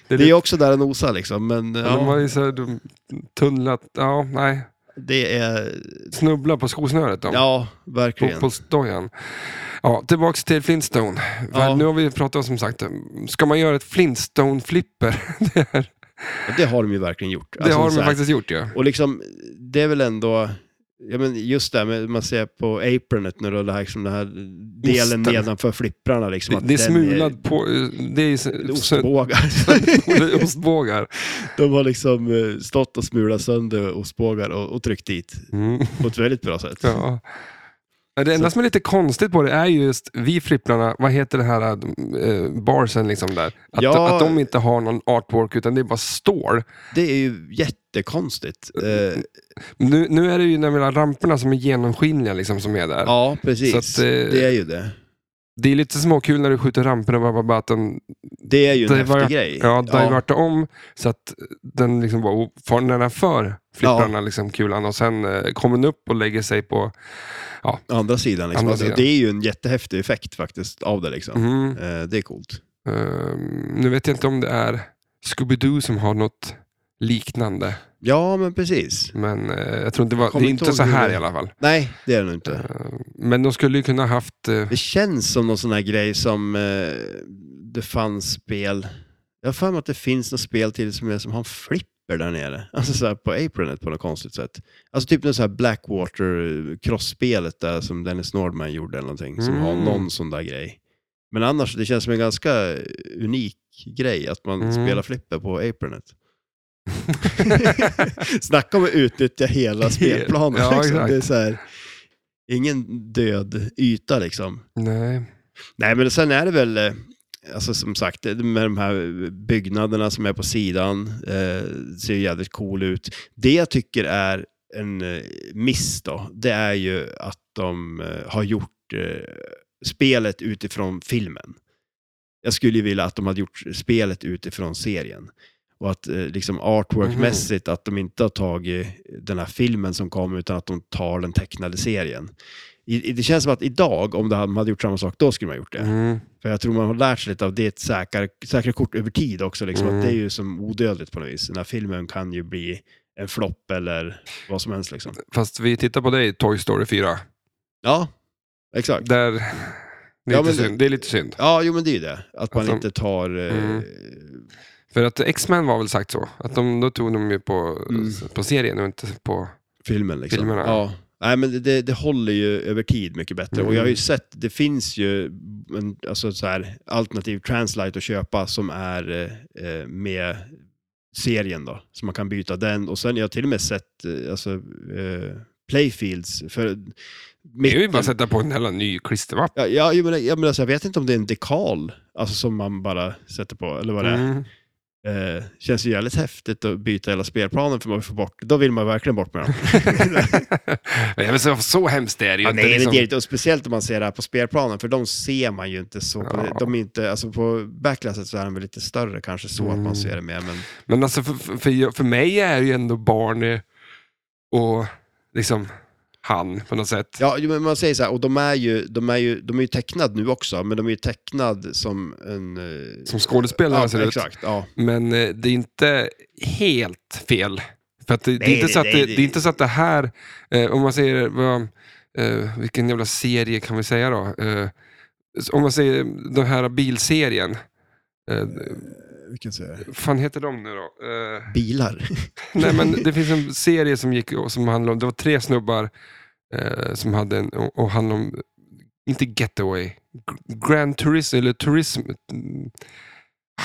S2: Det är ju
S1: lite,
S2: också där den osar liksom, men eh,
S1: De har
S2: ja,
S1: ju så här, de, tunnlat... Ja, nej.
S2: det är...
S1: Snubbla på skosnöret de.
S2: Ja, verkligen.
S1: Fotbollsdojan. Ja, tillbaks till Flintstone. För
S2: Ja.
S1: Nu har vi pratat om, som sagt, ska man göra ett Flintstone-flipper? det, är,
S2: Ja, Det har de ju verkligen gjort.
S1: det
S2: Alltså,
S1: har de
S2: så
S1: ju
S2: här-
S1: faktiskt gjort ju.
S2: Och liksom, det är väl ändå, ja men just det här med, man ser på apronet nu då, det här, liksom, den här delen
S1: Just det.
S2: nedanför flipprarna liksom.
S1: Det,
S2: att
S1: det är
S2: den
S1: smulad på... Det är
S2: det
S1: s-
S2: är Ostbågar.
S1: det är ostbågar.
S2: de har liksom eh, stått och smulat sönder ostbågar och, och tryckt dit
S1: Mm,
S2: på ett väldigt bra sätt.
S1: ja. Ja, Det enda som är lite konstigt på det är ju just vi flipprarna, vad heter det här äh, barsen liksom där? Att,
S2: Ja.
S1: att de inte har någon artwork utan det är bara stål.
S2: Det är ju jättekonstigt. Eh,
S1: Nu, nu är det ju nämligen ramperna som är genomskinliga liksom som är där.
S2: ja, precis.
S1: Så att, eh,
S2: det är ju det.
S1: Det är lite småkul när du skjuter ramperna bara, bara, bara att den
S2: Det är ju en
S1: det var-
S2: häftig grej.
S1: ja, divertar om så att den liksom bara far nedanför flipprarna liksom kulan och sen eh, kommer den upp och lägger sig på...
S2: andra sidan liksom.
S1: Andra
S2: alltså,
S1: sidan.
S2: Det är ju en jättehäftig effekt faktiskt av det liksom.
S1: Mhm.
S2: Eh, det är coolt.
S1: Ehm, nu vet jag inte om det är Scooby-Doo som har något liknande.
S2: Ja, men precis.
S1: Men eh, jag tror inte det var,
S2: Kommer
S1: det är
S2: inte
S1: inte så
S2: ihåg hur
S1: här
S2: det-
S1: i alla fall.
S2: Nej, det är det nog inte.
S1: Eh, Men de skulle ju kunna haft... eh,
S2: Det känns som någon sån här grej som eh, det fanns spel. Jag har för mig att det finns något spel till som är som han flipper där nere. Alltså så här på Apronet på något konstigt sätt. Alltså typ något så här Blackwater eh, crossspelet där som Dennis Nordman gjorde eller någonting. Som har
S1: Mm.
S2: någon sån där grej. Men annars, det känns som en ganska unik grej att man
S1: Mm.
S2: spelar flipper på Apronet. Snacka om att utnyttja hela spelplanen.
S1: Ja,
S2: liksom.
S1: exakt.
S2: Det är så här, ingen död yta liksom.
S1: Nej.
S2: Nej, men sen är det väl, eh, alltså som sagt, det- med de här byggnaderna som är på sidan, eh, ser ju jävligt cool ut. Det jag tycker är en eh, miss då, det är ju att de eh, har gjort eh, spelet utifrån filmen. Jag skulle ju vilja att de hade gjort spelet utifrån serien. Och att eh, liksom artworkmässigt, att de inte har tagit den här filmen som kom, utan att de tar den tecknade serien. I, i- det känns som att idag, om de hade gjort samma sak, då skulle man ha gjort det.
S1: Mm.
S2: För jag tror man har lärt sig lite av det, är ett säkra, säkra kort över tid också. Liksom,
S1: Mm.
S2: att det är ju som odödligt på något vis. Den här filmen kan ju bli en flopp eller vad som helst. Liksom.
S1: Fast vi tittar på dig, Toy Story 4.
S2: Ja, exakt.
S1: Där... Det är,
S2: Ja,
S1: lite
S2: men-
S1: synd. det är lite synd.
S2: Ja, jo men det är ju det. Att man
S1: Alltså-
S2: inte tar... eh,
S1: Mm. För att X-Men var väl sagt så. Att de, då tog de ju på,
S2: Mm.
S1: på serien och inte på...
S2: filmen. Liksom.
S1: Filmerna.
S2: Ja. Nej, men det- det, det håller ju över tid mycket bättre.
S1: Mm.
S2: Och jag har ju sett, det finns ju en, alltså, så här, alternativ translite att köpa som är eh, eh, med serien då. Så man kan byta den. Och sen jag har till och med sett eh, alltså, eh, playfields. För
S1: Det är ju bara
S2: mitten-
S1: att sätta på en jävla ny klistermapp.
S2: Ja, ja, jag, menar, jag, menar, så jag vet inte om det är en dekal alltså, som man bara sätter på, eller vad det är.
S1: Mm.
S2: Eh, känns ju jävligt häftigt att byta hela spelplanen för man får bort, då vill man verkligen bort med dem.
S1: Nej, men så, så hemskt är det ju
S2: Ja,
S1: inte.
S2: nej,
S1: liksom.
S2: men det är inte, och speciellt om man ser det här på spelplanen, för de ser man ju inte så. på-
S1: Ja.
S2: De är inte, alltså på backlasset så är de väl lite större kanske, så att
S1: Mm.
S2: man ser det mer. Men,
S1: Men alltså för, för, för, jag- för mig är ju ändå Barney och liksom han på något sätt.
S2: ja, jo, men man säger så här, och de är ju, de är ju, de är ju tecknad nu också, men de är ju tecknad som en... eh,
S1: Som skådespelare
S2: ja,
S1: ser det ut.
S2: exakt, ja.
S1: Men eh, det är inte helt fel. För att det, det, är
S2: Nej,
S1: inte så att det,
S2: nej,
S1: det,
S2: det-
S1: är inte så att det här, eh, om man säger, vad, eh, vilken jävla serie kan vi säga då? Eh, om man säger den här bilserien, eh,
S2: Vilken serie?
S1: vad fan heter de nu då? Eh,
S2: Bilar.
S1: Nej, men det finns en serie som gick och som handlade om, det var tre snubbar eh, som hade en, och, och handlade om, inte getaway, Gr- Grand Turism, eller Turism, mm,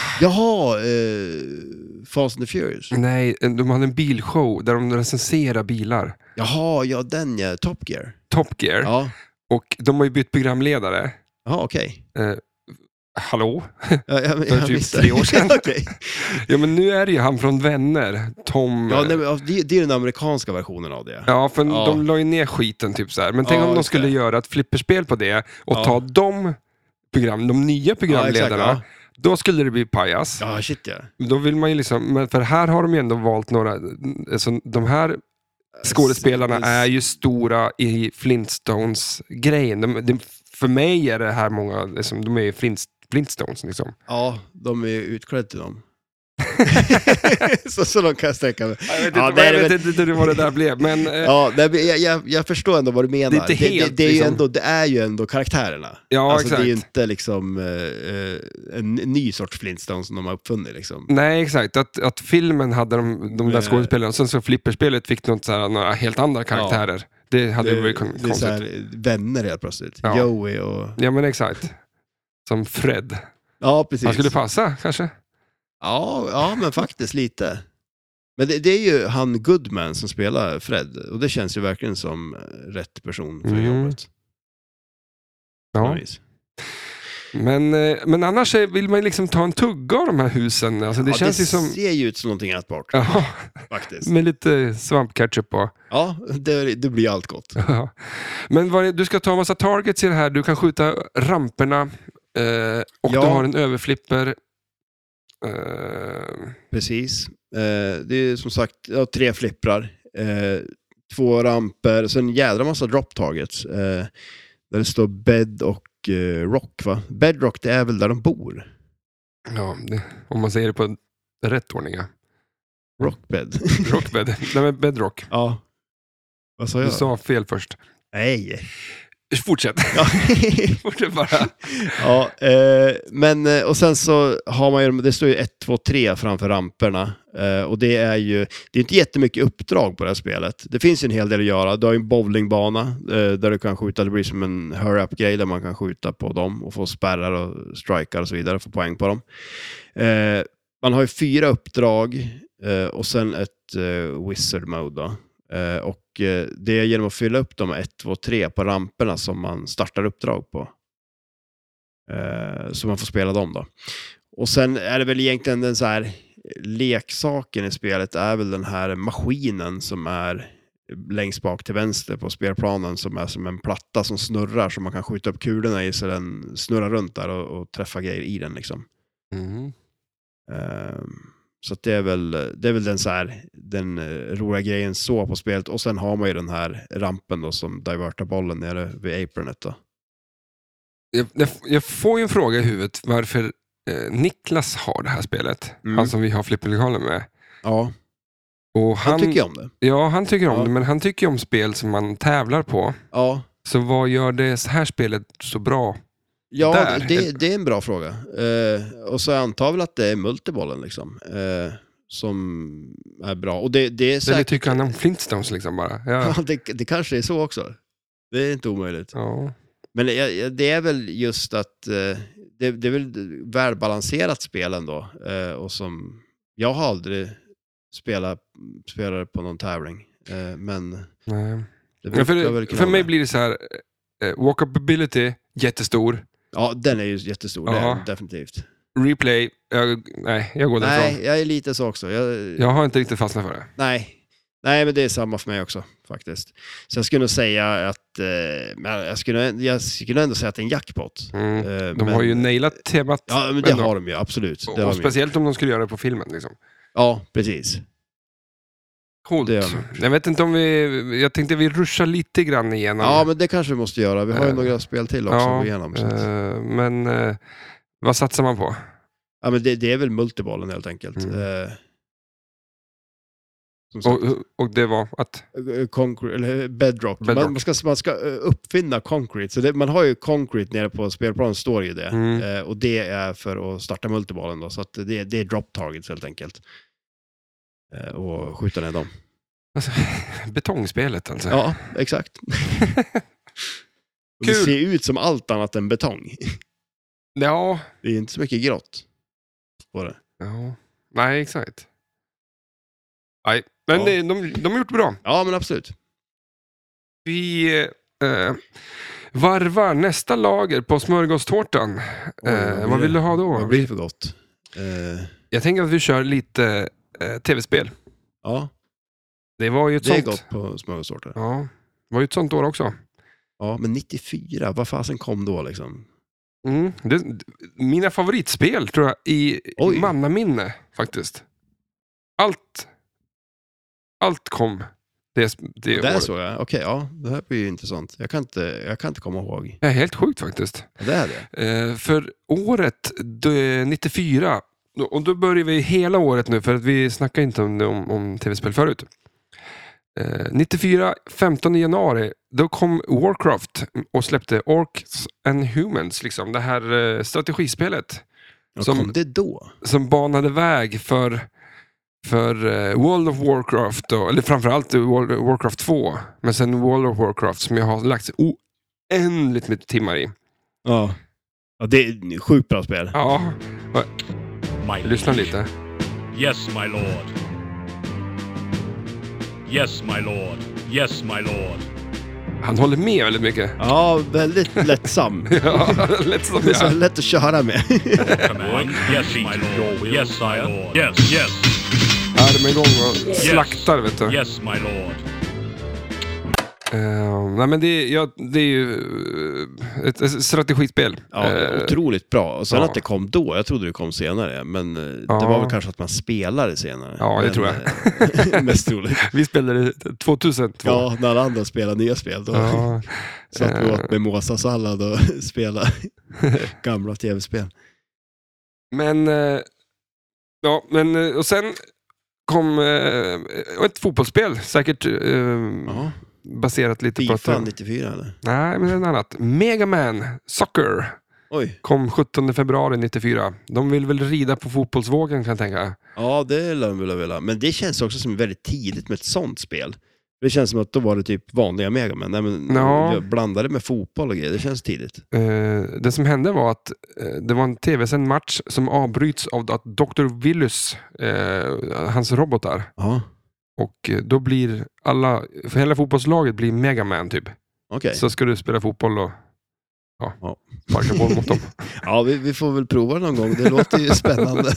S2: Jaha, eh, Fast and the Furious.
S1: nej, de hade en bilshow där de recenserar bilar.
S2: Jaha, ja den ja, Top Gear.
S1: Top Gear.
S2: Ja,
S1: Och de har ju bytt programledare.
S2: ja okej.
S1: Hallå?
S2: Ja, jag,
S1: För
S2: jag
S1: typ
S2: missade.
S1: tre år sedan.
S2: Okej.
S1: Ja, men nu är det ju han från Vänner, Tom.
S2: Ja,
S1: eh,
S2: nej, men, ja, det, det är den amerikanska versionen av det.
S1: Ja, för
S2: Ja.
S1: de la ju ner skiten typ så här. Men tänk
S2: Ja,
S1: om de
S2: just
S1: skulle
S2: det.
S1: göra ett flipperspel på det och
S2: Ja.
S1: ta de program, de nya programledarna.
S2: Ja, exakt,
S1: Då skulle det bli pajas.
S2: ja. ja shit ja.
S1: Då vill man ju liksom, men för här har de ju ändå valt några, alltså de här skådespelarna är ju stora i Flintstones-grejen. De, de, för mig är det här många, liksom, de är ju Flint, Flintstones liksom.
S2: Ja, de är ju utklädda till dem. så, så de kan jag sträcka mig.
S1: Jag vet inte,
S2: Ja,
S1: vad-
S2: det är
S1: jag
S2: det
S1: vet inte hur- vad det där blev, men eh, ja,
S2: Ja, nej, men jag, jag, jag förstår ändå vad du menar.
S1: Det är inte helt,
S2: det, det, är ju
S1: liksom.
S2: ändå, det är ju ändå karaktärerna. alltså,
S1: exakt.
S2: Det är ju inte liksom eh, eh, en ny sorts Flintstone som de har uppfunnit. Liksom.
S1: Nej, exakt. Att, att filmen hade de, de där
S2: Nej.
S1: skådespelarna, och sen så flipperspelet fick något så här, några helt andra karaktärer. Det hade varit kon-
S2: det är
S1: konstigt.
S2: så här, vänner helt plötsligt.
S1: Ja.
S2: Joey och...
S1: Ja, men exakt. Som Fred.
S2: Ja, precis.
S1: Han skulle passa, kanske?
S2: Ja, ja men faktiskt lite. Men det, det är ju han Goodman som spelar Fred och det känns ju verkligen som eh, rätt person för
S1: Mm.
S2: jobbet. på
S1: Ja.
S2: något vis.
S1: Men, eh, men annars är- vill man ju liksom ta en tugga av de här husen. Alltså, det
S2: ja,
S1: känns
S2: det
S1: ju som...
S2: ser ju ut som någonting att bort
S1: Ja,
S2: faktiskt.
S1: med lite svampketchup på.
S2: Ja, det, det blir allt gott.
S1: Ja. Men vad är, du ska ta en massa targets i det här. Du kan skjuta ramperna eh, och
S2: Ja.
S1: du har en överflipper. Eh,
S2: Precis. Eh, det är som sagt ja, tre flipprar, eh, två ramper, sen en jädra massa drop targets. Eh, där det står bed och eh, rock va? Bedrock det är väl där de bor?
S1: ja, det, om man säger det på rätt ordning. Ja.
S2: Rockbed.
S1: Rockbed. Nej, men bedrock.
S2: ja. Vad sa
S1: Du
S2: jag?
S1: sa fel först.
S2: Nej.
S1: Fortsätt.
S2: Ja.
S1: Fortsätt bara.
S2: ja, eh, men eh, och sen så har man ju, det står ju 1, 2, 3 framför ramperna. Eh, och det är ju, det är inte jättemycket uppdrag på det här spelet. Det finns ju en hel del att göra. Du har ju en bowlingbana eh, där du kan skjuta, det blir som en hurry up-grej där man kan skjuta på dem och få spärrar och strikar och så vidare, få poäng på dem. Eh, man har ju fyra uppdrag eh, och sen ett eh, wizard mode då. Eh, och eh, det är genom att fylla upp de 1, 2, 3 på ramperna som man startar uppdrag på. Eh, så man får spela dem då. Och sen är det väl egentligen den så här leksaken i spelet är väl den här maskinen som är längst bak till vänster på spelplanen som är som en platta som snurrar så man kan skjuta upp kulorna i så den snurrar runt där och, och träffa grejer i den liksom.
S1: Mm.
S2: Ehm, Så att det är väl, det är väl den, så här, den eh, roliga grejen så på spelet. Och sen har man ju den här rampen då som divertar bollen nere vid apronet då.
S1: Jag, jag, jag får ju en fråga i huvudet varför eh, Niklas har det här spelet.
S2: Mm.
S1: Han som vi har flipperlegalen med.
S2: Ja,
S1: Och
S2: han,
S1: han,
S2: tycker ju om det.
S1: ja, han tycker om
S2: Ja.
S1: det, men han tycker ju om spel som man tävlar på.
S2: Ja,
S1: Så vad gör det så här spelet så bra?
S2: ja
S1: Där.
S2: det, det är en bra fråga. Eh, och så jag antar väl att det är multibollen liksom. eh, som är bra. Och det, det är
S1: Eller
S2: säkert...
S1: tycker han om Flintstones liksom bara? Ja.
S2: Ja, det, det kanske är så också. Det är inte omöjligt.
S1: Ja.
S2: Men jag- jag- det är väl just att eh, det, det är väl välbalanserat spel ändå. eh, Och som, jag har aldrig spelat, spelat på någon tävling. eh, Men
S1: Nej.
S2: det
S1: Ja,
S2: brukar
S1: för,
S2: väl kunna
S1: för mig
S2: vara.
S1: blir det så här, eh, walkability, jättestor.
S2: Ja, den är ju jättestor. Det är
S1: Ja.
S2: den definitivt.
S1: Replay, jag, nej, jag går därifrån.
S2: Nej, jag är lite så också. Jag,
S1: Jag har inte riktigt fastnat för det.
S2: Nej. Nej, men det är samma för mig också faktiskt. Så jag skulle nog säga att, eh, men jag skulle, jag skulle ändå säga att det är en jackpot.
S1: Mm.
S2: Eh,
S1: De
S2: men-
S1: har ju nailat temat.
S2: Ja, men det
S1: ändå.
S2: har de ju, absolut. Det har
S1: och
S2: de ju.
S1: speciellt om de skulle göra det på filmen. Liksom.
S2: Ja, precis.
S1: Coolt.
S2: Det gör de.
S1: Jag vet inte om vi... Jag tänkte vi ruschar lite grann igenom.
S2: Ja, men det kanske vi måste göra. Vi har ju
S1: Eh,
S2: några spel till också
S1: ja,
S2: att gå igenom. Så att,
S1: Eh, men eh, vad satsar man på?
S2: ja, men det, det är väl multibollen helt enkelt.
S1: Mm.
S2: Eh, som sagt,
S1: Och, och det var att...
S2: eh, concre- eller bedrock.
S1: Bedrock.
S2: Man, man, ska, man ska eh, uppfinna concrete. Så det, man har ju concrete nere på spelplanen, står ju det.
S1: Mm.
S2: Eh, och det är för att starta multibollen då. Så att det, det är drop targets helt enkelt. Eh, och skjuta ner dem.
S1: Alltså, betongspelet alltså.
S2: Ja, exakt. Och det
S1: Kul.
S2: ser ut som allt annat än betong.
S1: ja.
S2: Det är inte så mycket grått på det.
S1: Ja. Nej, exakt. Nej, men
S2: Ja.
S1: det, de, de har gjort bra.
S2: Ja, men absolut.
S1: Vi eh, varvar nästa lager på smörgåstårtan.
S2: Oj,
S1: Eh,
S2: blir
S1: vad vill
S2: det?
S1: du ha då?
S2: Vad blir det för gott? Eh,
S1: Jag tänker att vi kör lite eh, tv-spel.
S2: ja,
S1: Det var ju ett
S2: det är
S1: sånt.
S2: gott på smörgåstårta.
S1: Ja, det var ju ett sånt år också.
S2: Ja, men 94, vad fasen kom då liksom?
S1: Mm. Det, mina favoritspel tror jag i
S2: Oj.
S1: mannaminne faktiskt. Allt, allt kom det, det
S2: Där
S1: året.
S2: såg jag, okej, ja, det här blir ju intressant. Jag kan inte, jag kan inte komma ihåg.
S1: Det är helt sjukt faktiskt.
S2: Ja, Det är det.
S1: Eh, för året det, 94, då- och då börjar vi hela året nu för att vi snackar inte om, det- om, om tv-spel förut. Eh, 94, 15 januari, då kom Warcraft och släppte Orcs and Humans, liksom, det här eh, strategispelet
S2: Ja,
S1: Som-
S2: Kom det då?
S1: som banade väg för, för eh, World of Warcraft, då, eller framförallt World of Warcraft 2, men sen World of Warcraft som jag har lagt oändligt mycket timmar i.
S2: Ja. ja, det är ett sjukt bra spel.
S1: Ja,
S3: My
S1: lyssna
S3: liege.
S1: lite.
S3: Yes, my lord. Yes, my lord. Yes, my lord.
S1: Han håller med väldigt mycket.
S2: Ja, väldigt lättsam.
S1: Ja, lätt som
S2: Det är så
S1: jag.
S2: lätt att köra med.
S3: Command. yes, my lord. Yes, my lord. Yes, yes,
S1: Armen igång och slaktar, vet du.
S3: yes, my lord.
S1: Eh, nej, men det, är- ja, det är ju eh, ett, ett strategispel.
S2: Ja,
S1: Eh,
S2: otroligt bra. Och sen
S1: ja.
S2: att det kom då, jag trodde det kom senare, men eh, det
S1: Ja.
S2: var väl kanske att man spelade senare.
S1: Ja, det
S2: men,
S1: tror
S2: jag. mest troligt.
S1: Eh, vi spelade 2002.
S2: Ja, när alla andra spelar nya spel. Då
S1: Ja,
S2: satt vi
S1: eh.
S2: åt mimosasallad och spelade gamla tv-spel.
S1: men, eh, ja, men eh, och sen kom eh, och ett fotbollsspel, säkert eh,
S2: Ja.
S1: baserat lite på... Typ att-
S2: Fifa 94 eller?
S1: Nej, men en annat. Mega Man Soccer
S2: Oj.
S1: kom 17 februari 94. De vill väl rida på fotbollsvågen kan jag tänka.
S2: Ja, det lär de väl vilja. Men det känns också som väldigt tidigt med ett sånt spel. Det känns som att då var det typ vanliga Megaman. Nej, men
S1: Ja.
S2: jag blandade med fotboll och grejer. Det känns tidigt.
S1: Eh, det som hände var att eh, det var en tv-sänd match som avbryts av att Dr. Willys, eh, hans robotar,
S2: Ja,
S1: och eh, då blir alla, för hela fotbollslaget blir Mega Man typ.
S2: okej.
S1: Så ska du spela fotboll och ja,
S2: Ja.
S1: sparka boll mot dem.
S2: Ja, vi, vi får väl prova det någon gång. Det låter ju spännande.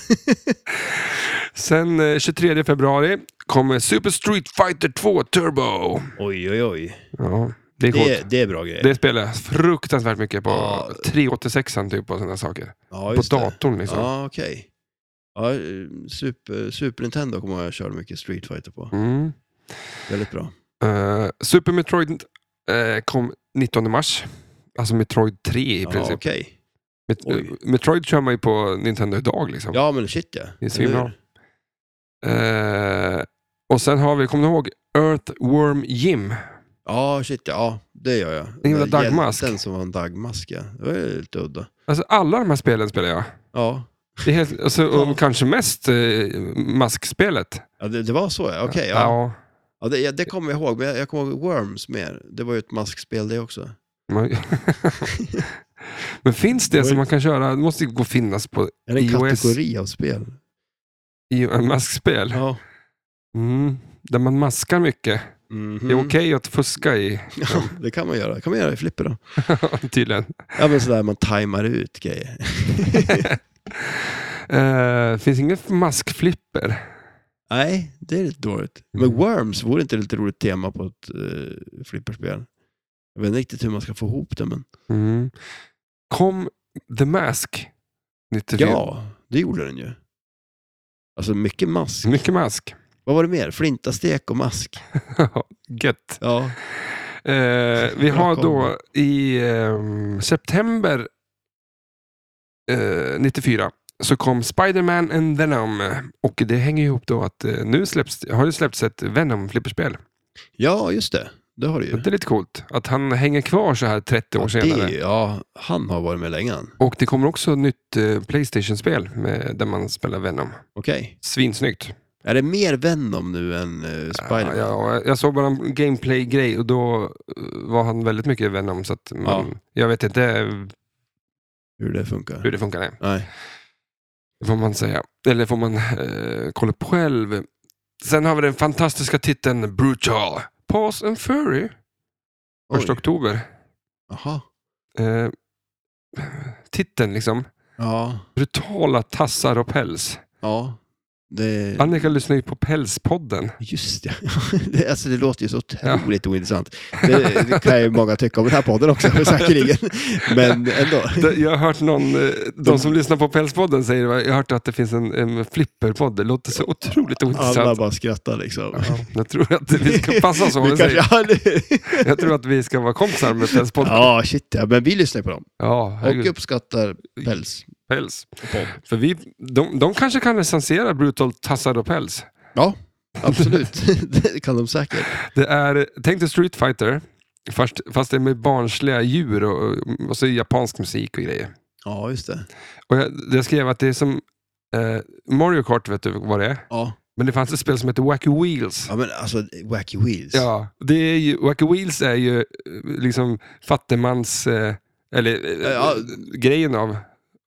S1: Sen eh, 23 februari kommer Super Street Fighter 2 Turbo.
S2: oj, oj, oj.
S1: Ja, det är coolt.
S2: Det, det är bra grejer.
S1: Det spelar jag fruktansvärt mycket på
S2: Ja.
S1: 386 typ och sådana saker.
S2: ja,
S1: på
S2: just det.
S1: datorn liksom.
S2: Ja, okej. Ja, eh, Super, Super Nintendo kommer jag ihåg jag körde mycket Street Fighter på.
S1: Mm.
S2: Väldigt bra.
S1: Eh, Super Metroid eh, kom 19 mars. Alltså Metroid 3 i
S2: Ja,
S1: princip.
S2: okej.
S1: Met-
S2: oj.
S1: eh, Metroid kör man ju på Nintendo idag liksom.
S2: Ja, men shit ja.
S1: Det är
S2: Eller
S1: svinbra.
S2: hur?
S1: Eh, och sen har vi, kommer ni ihåg, Earthworm Jim?
S2: Ja, shit ja. ja. Det gör jag.
S1: Den jävla
S2: där
S1: dagmask.
S2: Hjälten som var en dagmask, ja. Det var ju lite udda.
S1: Alltså alla de här spelen spelar jag.
S2: Ja,
S1: Det är helt, alltså,
S2: Ja.
S1: och kanske mest eh, maskspelet.
S2: ja det, det var så ja. Okej, ja.
S1: ja.
S2: ja. Det, ja, det kommer jag ihåg. Men jag, jag kommer ihåg Worms mer. Det var ju ett maskspel det också.
S1: Man- Men finns det som man kan köra? Det måste ju gå och finnas på
S2: Är det en
S1: iOS.
S2: kategori av spel?
S1: i en maskspel.
S2: Ja.
S1: Mm. Där man maskar mycket.
S2: Mhm.
S1: Det är okej att fuska i,
S2: Ja, det kan man göra. Det kan man göra i flipper då.
S1: tydligen.
S2: Ja, men sådär man tajmar ut grejer.
S1: Eh, finns inget maskflipper?
S2: Nej, det är lite dåligt. Men Worms, vore inte det lite roligt tema på ett eh, flipperspel? Jag vet inte riktigt hur man ska få ihop det, men
S1: Mm. Kom The Mask 94.
S2: ja, det gjorde den ju. Alltså mycket mask.
S1: Mycket mask.
S2: Vad var det mer? Flintastek och mask.
S1: Gött.
S2: Ja,
S1: Eh, vi
S2: Bra
S1: har
S2: kombo.
S1: då i ehm, september eh, 94 så kom Spider-Man and Venom. Och det hänger ju ihop då att eh, nu släpps, har det släppts ett Venom-flipperspel.
S2: ja just det. Det har du ju.
S1: Det är lite coolt att han hänger kvar så här 30 år
S2: Ja, det
S1: senare.
S2: är ju- ja, han har varit med länge. han.
S1: Och det kommer också ett nytt eh, Playstation-spel med, där man spelar Venom.
S2: Okej.
S1: Svinsnyggt.
S2: Är det mer Venom nu än eh, Spiderman?
S1: Ja, ja, jag såg bara en gameplay-grej och då eh, var han väldigt mycket Venom. Så att man, Jag vet inte
S2: Hur det funkar?
S1: hur det funkar. Nej.
S2: Nej.
S1: Det får man säga. Eller får man eh, kolla upp själv. Sen har vi den fantastiska titeln Brutal. Pause and Fury.
S2: Oj.
S1: Första oktober.
S2: Jaha.
S1: Eh, titeln liksom.
S2: Ja.
S1: Brutala tassar och päls.
S2: Ja. Det...
S1: Annika lyssnar ju på Pälspodden.
S2: Just det. det. Alltså det låter ju så otroligt ointressant. Det, det kan ju många tycka om den här podden också, säkerligen. Men ändå.
S1: Det- Jag har hört någon, eh, de som lyssnar på Pälspodden säger det, jag har hört att det finns en, en flipperpodd. Det låter så otroligt
S2: Alla
S1: ointressant.
S2: bara skrattar liksom.
S1: Ja, jag tror att vi ska passa så.
S2: Vi
S1: Jag,
S2: kanske-
S1: säger.
S2: ja, det-
S1: jag tror att vi ska vara kompisar med Pälspodden. Ja,
S2: ja, shit ja. Men vi lyssnar på dem.
S1: ja
S2: Och
S1: herregud.
S2: uppskattar päls.
S1: Päls.
S2: och podd.
S1: För vi, de, de kanske kan recensera Brutal Tassar och Päls.
S2: Ja, absolut. det kan de säkert.
S1: Det är, tänk dig Street Fighter, fast, fast det är med barnsliga djur och, och, och så japansk musik och grejer.
S2: Ja, just det.
S1: Och jag, jag skrev att det är som eh, Mario Kart, vet du vad det är?
S2: Ja,
S1: Men det fanns ett spel som heter Wacky Wheels.
S2: ja men alltså Wacky Wheels.
S1: Ja, det är ju, Wacky Wheels är ju eh, liksom fattigmans, eh, eller eh,
S2: Ja.
S1: grejen av,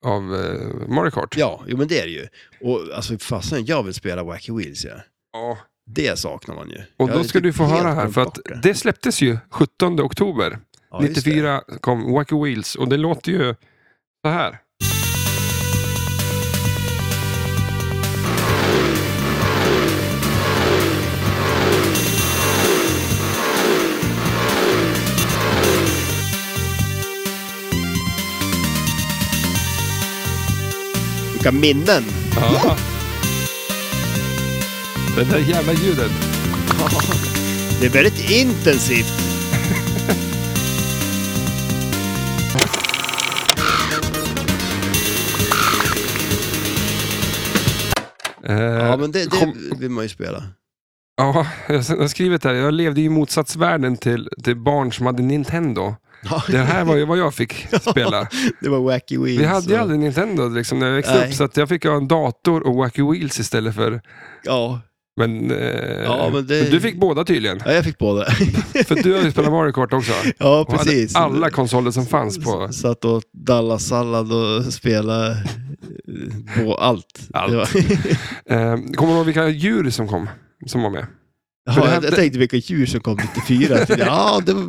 S1: av eh, Mario Kart.
S2: Ja, jo, men det är det ju. Och alltså fasen, jag vill spela Wacky Wheels ja.
S1: Ja.
S2: Det saknar man ju.
S1: Och
S2: Jag
S1: då
S2: är
S1: ska
S2: typ
S1: du få
S2: helt
S1: höra här, för att
S2: glömt bort
S1: det släpptes ju 17 oktober.
S2: Ja, just det.
S1: 94 kom Wacky Wheels och det låter ju så här.
S2: Vilka minnen!
S1: Ja. Det där jävla ljudet.
S2: Det är väldigt intensivt.
S1: Eh,
S2: Ja, men det- det-
S1: kom,
S2: vill man ju spela.
S1: Eh, Ja, jag har skrivit här. Jag levde i motsatsvärlden till, till barn som hade Nintendo. Det här var ju vad jag fick spela.
S2: det var Wacky Wheels.
S1: Vi hade ju
S2: och-
S1: aldrig Nintendo liksom, när jag växte
S2: Nej.
S1: upp, så att jag fick ha en dator och Wacky Wheels istället för...
S2: Ja.
S1: Men, eh,
S2: Ja, men det-
S1: du fick båda tydligen.
S2: ja, jag fick båda.
S1: För du har ju spelat Mario Kart också.
S2: ja,
S1: Och hade
S2: precis.
S1: alla konsoler som fanns på...
S2: S- Satt och dallade sallad och spelade eh, på allt.
S1: Allt.
S2: Det var-
S1: Eh, kommer du ihåg vilka djur som kom? Som var med? För det
S2: Ja, jag,
S1: hade-
S2: jag tänkte vilka djur som kom 94. ja, det var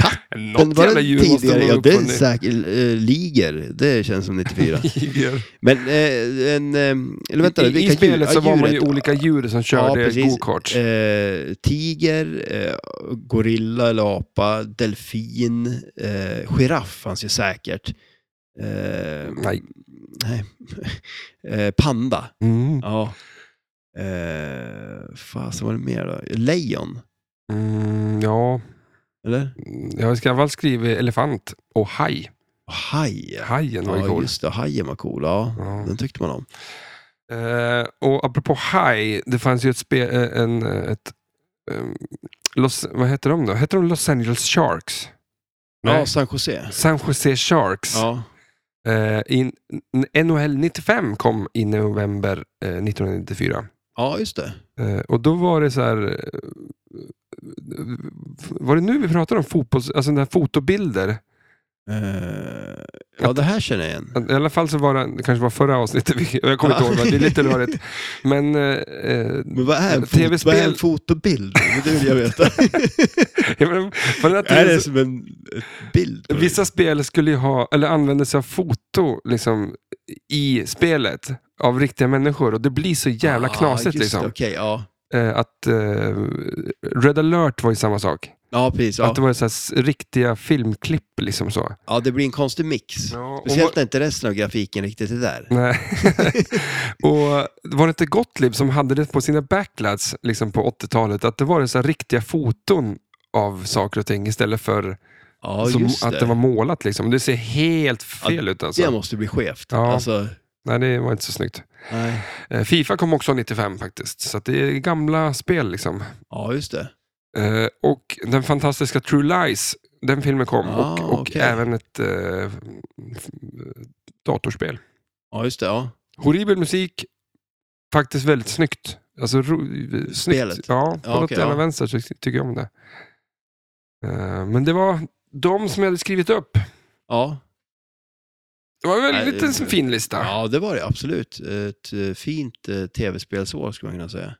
S2: katten
S1: Något
S2: var
S1: jävla
S2: det
S1: djur måste
S2: tidigare.
S1: de
S2: Ja,
S1: ha
S2: det är
S1: uppfunnit.
S2: säkert. eh, Liger, det känns som 94.
S1: Tiger.
S2: Men eh, en... eh, Eller vänta,
S1: I, I
S2: vilka
S1: spelet
S2: djur?
S1: så
S2: Ja,
S1: var man ju
S2: djuret.
S1: olika djur som körde
S2: precis.
S1: go-karts.
S2: Eh, tiger, eh, gorilla eller apa, delfin, eh, giraff fanns ju säkert. Eh,
S1: Nej.
S2: nej. eh, panda.
S1: Mm.
S2: Ja. Eh, fasen var det mer då? Lejon?
S1: Mm, ja,
S2: Eller?
S1: jag har i alla fall skrivit elefant och haj.
S2: Och Haj.
S1: Hajen var ju
S2: Ja,
S1: cool.
S2: just det. Hajen var cool. Ja.
S1: Ja.
S2: Den tyckte man om.
S1: Eh, och apropå haj, det fanns ju ett spel, eh, en, eh, ett, ehm, Los, vad hette de då? Hette de Los Angeles Sharks?
S2: Ja, San Jose.
S1: San Jose Sharks.
S2: Ja.
S1: Eh, in, n- NHL 95 kom i november eh, 1994.
S2: ja, just det.
S1: Eh, och då var det så här... eh, Var det nu vi pratade om fotbolls, alltså den här fotobilder?
S2: Eh, ja, det här känner jag igen.
S1: I alla fall så var det, det kanske var förra avsnittet, vi- jag kommer inte
S2: Ja.
S1: ihåg, men det är lite rörigt. Men eh, eh,
S2: Men vad är en, fot,
S1: TV-spel-
S2: vad är en fotobild? Det vill jag veta.
S1: jag menar, på den här
S2: är
S1: tiden så-
S2: det som en ett bild? på det?
S1: vissa spel skulle ju ha, eller använde sig av foto liksom, i spelet av riktiga människor och det blir så jävla
S2: ah,
S1: knasigt.
S2: just det,
S1: Liksom.
S2: Okej, ja.
S1: Eh, att, eh, Red alert var ju samma sak.
S2: Ja, precis. Ja.
S1: Att det var så här, s- riktiga filmklipp. liksom så.
S2: ja, det blir en konstig mix.
S1: Ja, och, Mm,
S2: Speciellt när inte resten av grafiken riktigt är där.
S1: nej. och var det inte Gottlieb som hade det på sina backlads liksom på 80-talet? Att det var det så här, riktiga foton av saker och ting istället för
S2: Ja,
S1: som,
S2: just det.
S1: att det var målat. Liksom. Det ser helt fel ut. Alltså.
S2: Det måste bli skevt.
S1: Ja.
S2: Alltså,
S1: Nej, det var inte så snyggt.
S2: nej.
S1: Eh, Fifa kom också 95 faktiskt, så att det är gamla spel liksom.
S2: Ja, just det.
S1: Eh, och den fantastiska True Lies, den filmen kom.
S2: Ah,
S1: och och
S2: okej.
S1: även ett eh, f- datorspel.
S2: Ja, just det. Ja.
S1: Horribel musik, faktiskt väldigt snyggt. Alltså, ro, snyggt.
S2: Spelet?
S1: Ja, på
S2: Ja,
S1: något
S2: okej,
S1: jävla
S2: ja.
S1: vänster så tycker jag om det. Eh, men det var de som jag hade skrivit upp.
S2: Ja.
S1: Det var en
S2: Nej,
S1: väldigt
S2: det-
S1: fin lista. Ja.
S2: ja, det var det absolut. Ett eh, fint eh, tv-spelsår skulle man kunna säga.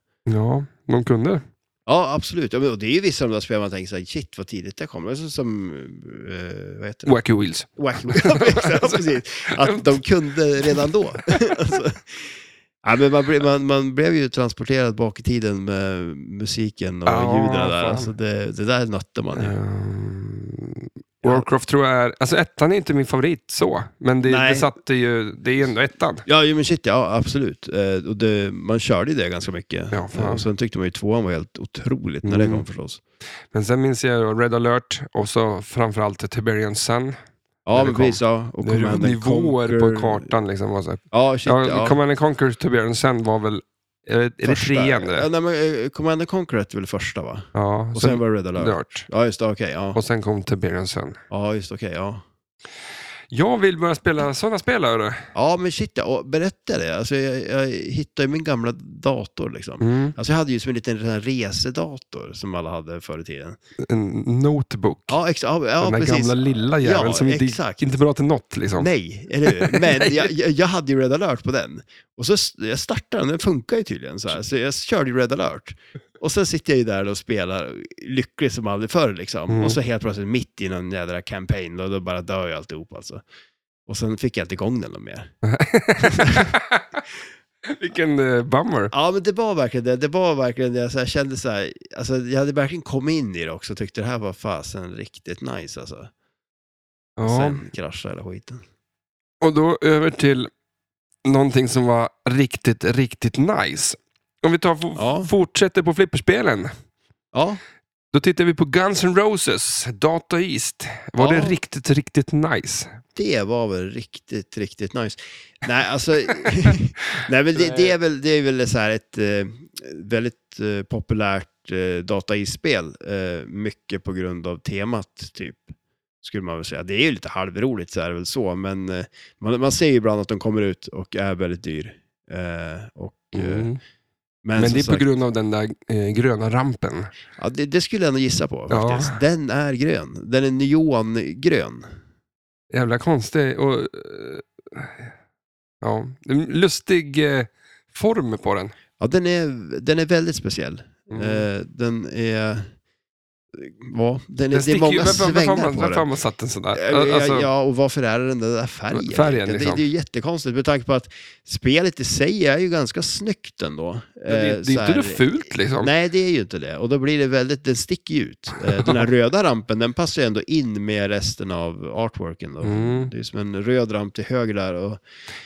S1: de kunde.
S2: Ja, absolut. Ja, men, och det är ju vissa av de där spelen man tänker så här, shit vad tidigt det kom. Det är så som, eh, vad heter det?
S1: Wacky Wheels.
S2: Wacky Wheels. ja, precis. Att de kunde redan då. alltså. Ja, men man, blev, man, man blev ju transporterad bak i tiden med musiken och
S1: Ja,
S2: ljuden där.
S1: fan.
S2: Alltså det, det där nötte man ju.
S1: Ehm,
S2: Ja.
S1: Eh, Warcraft tror jag är... Alltså ettan är inte min favorit så, men det,
S2: Nej.
S1: det satte ju... Det är ju ändå ettan.
S2: Ja, ju, men shit, ja absolut. Eh, och det, man körde ju det ganska mycket. Eh,
S1: Ja, fan.
S2: och sen tyckte man ju tvåan var helt otroligt när det
S1: Mm.
S2: kom förstås.
S1: Men sen minns jag ju Red alert och så framförallt Tiberian Sun. När
S2: Ja,
S1: det
S2: men
S1: kom.
S2: precis. Ja. Och
S1: Det är ju
S2: Command and
S1: nivåer
S2: Conquer.
S1: på kartan liksom. Och så. här.
S2: Ja, shit, ja.
S1: ja, Command and Conquer Tiberian Sun var väl... Är det, är det
S2: Första-
S1: trean det?
S2: Ja, nej, men eh, Command and Conquer hette väl första va?
S1: Ja.
S2: Och sen, var det Red
S1: Red
S2: Alert.
S1: alert.
S2: Ja, just det. Okej, ja.
S1: Och sen kom Tiberian Sun.
S2: Ja, just det, okej, ja.
S1: Jag vill börja spela sådana spel, hörru.
S2: Ja, men shit, ja. och Berätta det. Alltså, jag, jag hittade ju min gamla dator liksom.
S1: Mm.
S2: Alltså, jag hade ju som en liten sån här resedator som alla hade förr i tiden.
S1: En notebook.
S2: Ja, exa- ja, ja
S1: Den där
S2: precis.
S1: gamla lilla jäveln
S2: Ja,
S1: som inte,
S2: exakt.
S1: inte är bra till något. Liksom.
S2: Nej, eller hur? Men jag, jag, jag hade ju Red alert på den. Och så s- jag startade den, den funkar ju tydligen så här. Så jag körde ju Red alert. Och sen sitter jag ju där och spelar lycklig som aldrig förr liksom.
S1: Mm.
S2: Och så helt plötsligt mitt i någon jädra campaign, då, då bara dör jag alltihop alltså. Och sen fick jag inte igång den någon mer.
S1: Vilken eh, bummer.
S2: Ja, men det var verkligen det. Det var verkligen det. Så jag kände så här, alltså jag hade verkligen kommit in i det också. Tyckte det här var fasen riktigt nice alltså.
S1: Ja.
S2: Sen kraschade hela skiten.
S1: Och då över till någonting som var riktigt, riktigt nice. Om vi tar, f-
S2: Ja.
S1: fortsätter på flipperspelen.
S2: Ja,
S1: Då tittar vi på Guns N' Roses, Data East. Var
S2: Ja.
S1: det riktigt, riktigt nice?
S2: det var väl riktigt, riktigt nice. Nej, alltså... nej, men det, det, är väl, det är väl så här ett eh, väldigt eh, populärt eh, dataisspel. Eh, mycket på grund av temat, typ. Skulle man väl säga. Det är ju lite halvroligt, så är det väl så. Men eh, man, man ser ju ibland att de kommer ut och är väldigt dyr. Eh, och, eh,
S1: Mm.
S2: men
S1: Men
S2: som
S1: det är
S2: sagt-
S1: på grund av den där eh, gröna rampen.
S2: Ja, det, det skulle jag nog gissa på
S1: Ja.
S2: faktiskt. Den är grön. Den är neongrön.
S1: Jävla konstig och... eh, Ja, en lustig eh, form på den.
S2: Ja, den är, den är väldigt speciell.
S1: Mm.
S2: Eh, den är... Ja, den är,
S1: Den
S2: det är
S1: sticker ju-
S2: många
S1: varför- varför har
S2: svängar
S1: man-
S2: på
S1: Varför har
S2: den.
S1: man satt den sådär?
S2: Eh,
S1: Alltså,
S2: ja, och varför är det den där färgen?
S1: Färgen,
S2: egentligen?
S1: liksom.
S2: det, det är ju jättekonstigt med tanke på att spelet i sig är ju ganska snyggt ändå.
S1: det, det är
S2: Eh, så
S1: inte
S2: här-
S1: det fult liksom.
S2: Nej, det är ju inte det. Och då blir det väldigt, den sticker ju ut. Eh, Den här röda rampen, den passar ju ändå in med resten av artworken. Då.
S1: Mm.
S2: Det är som en röd ramp till höger där. Och,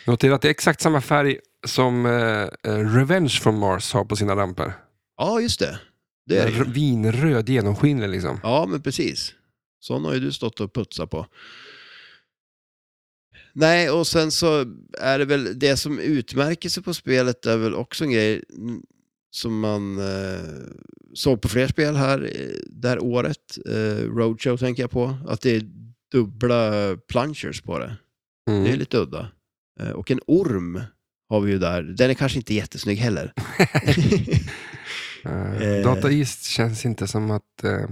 S1: Notera att det är exakt samma färg som eh, eh, Revenge from Mars har på sina ramper.
S2: ja, just det. Det är det.
S1: Den
S2: ju.
S1: r- Vinröd, genomskinlig liksom.
S2: Ja, men precis. Sån har ju du stått och putsat på. Nej, och sen så är det väl det som utmärker sig på spelet är väl också en grej mm, som man eh, såg på fler spel här eh, det här året. Eh, Roadshow tänker jag på. Att det är dubbla plungers på det.
S1: Mm.
S2: Det är lite udda. Eh, och en orm har vi ju där. Den är kanske inte jättesnygg heller.
S1: Eh,
S2: eh.
S1: Data East känns inte som att... eh,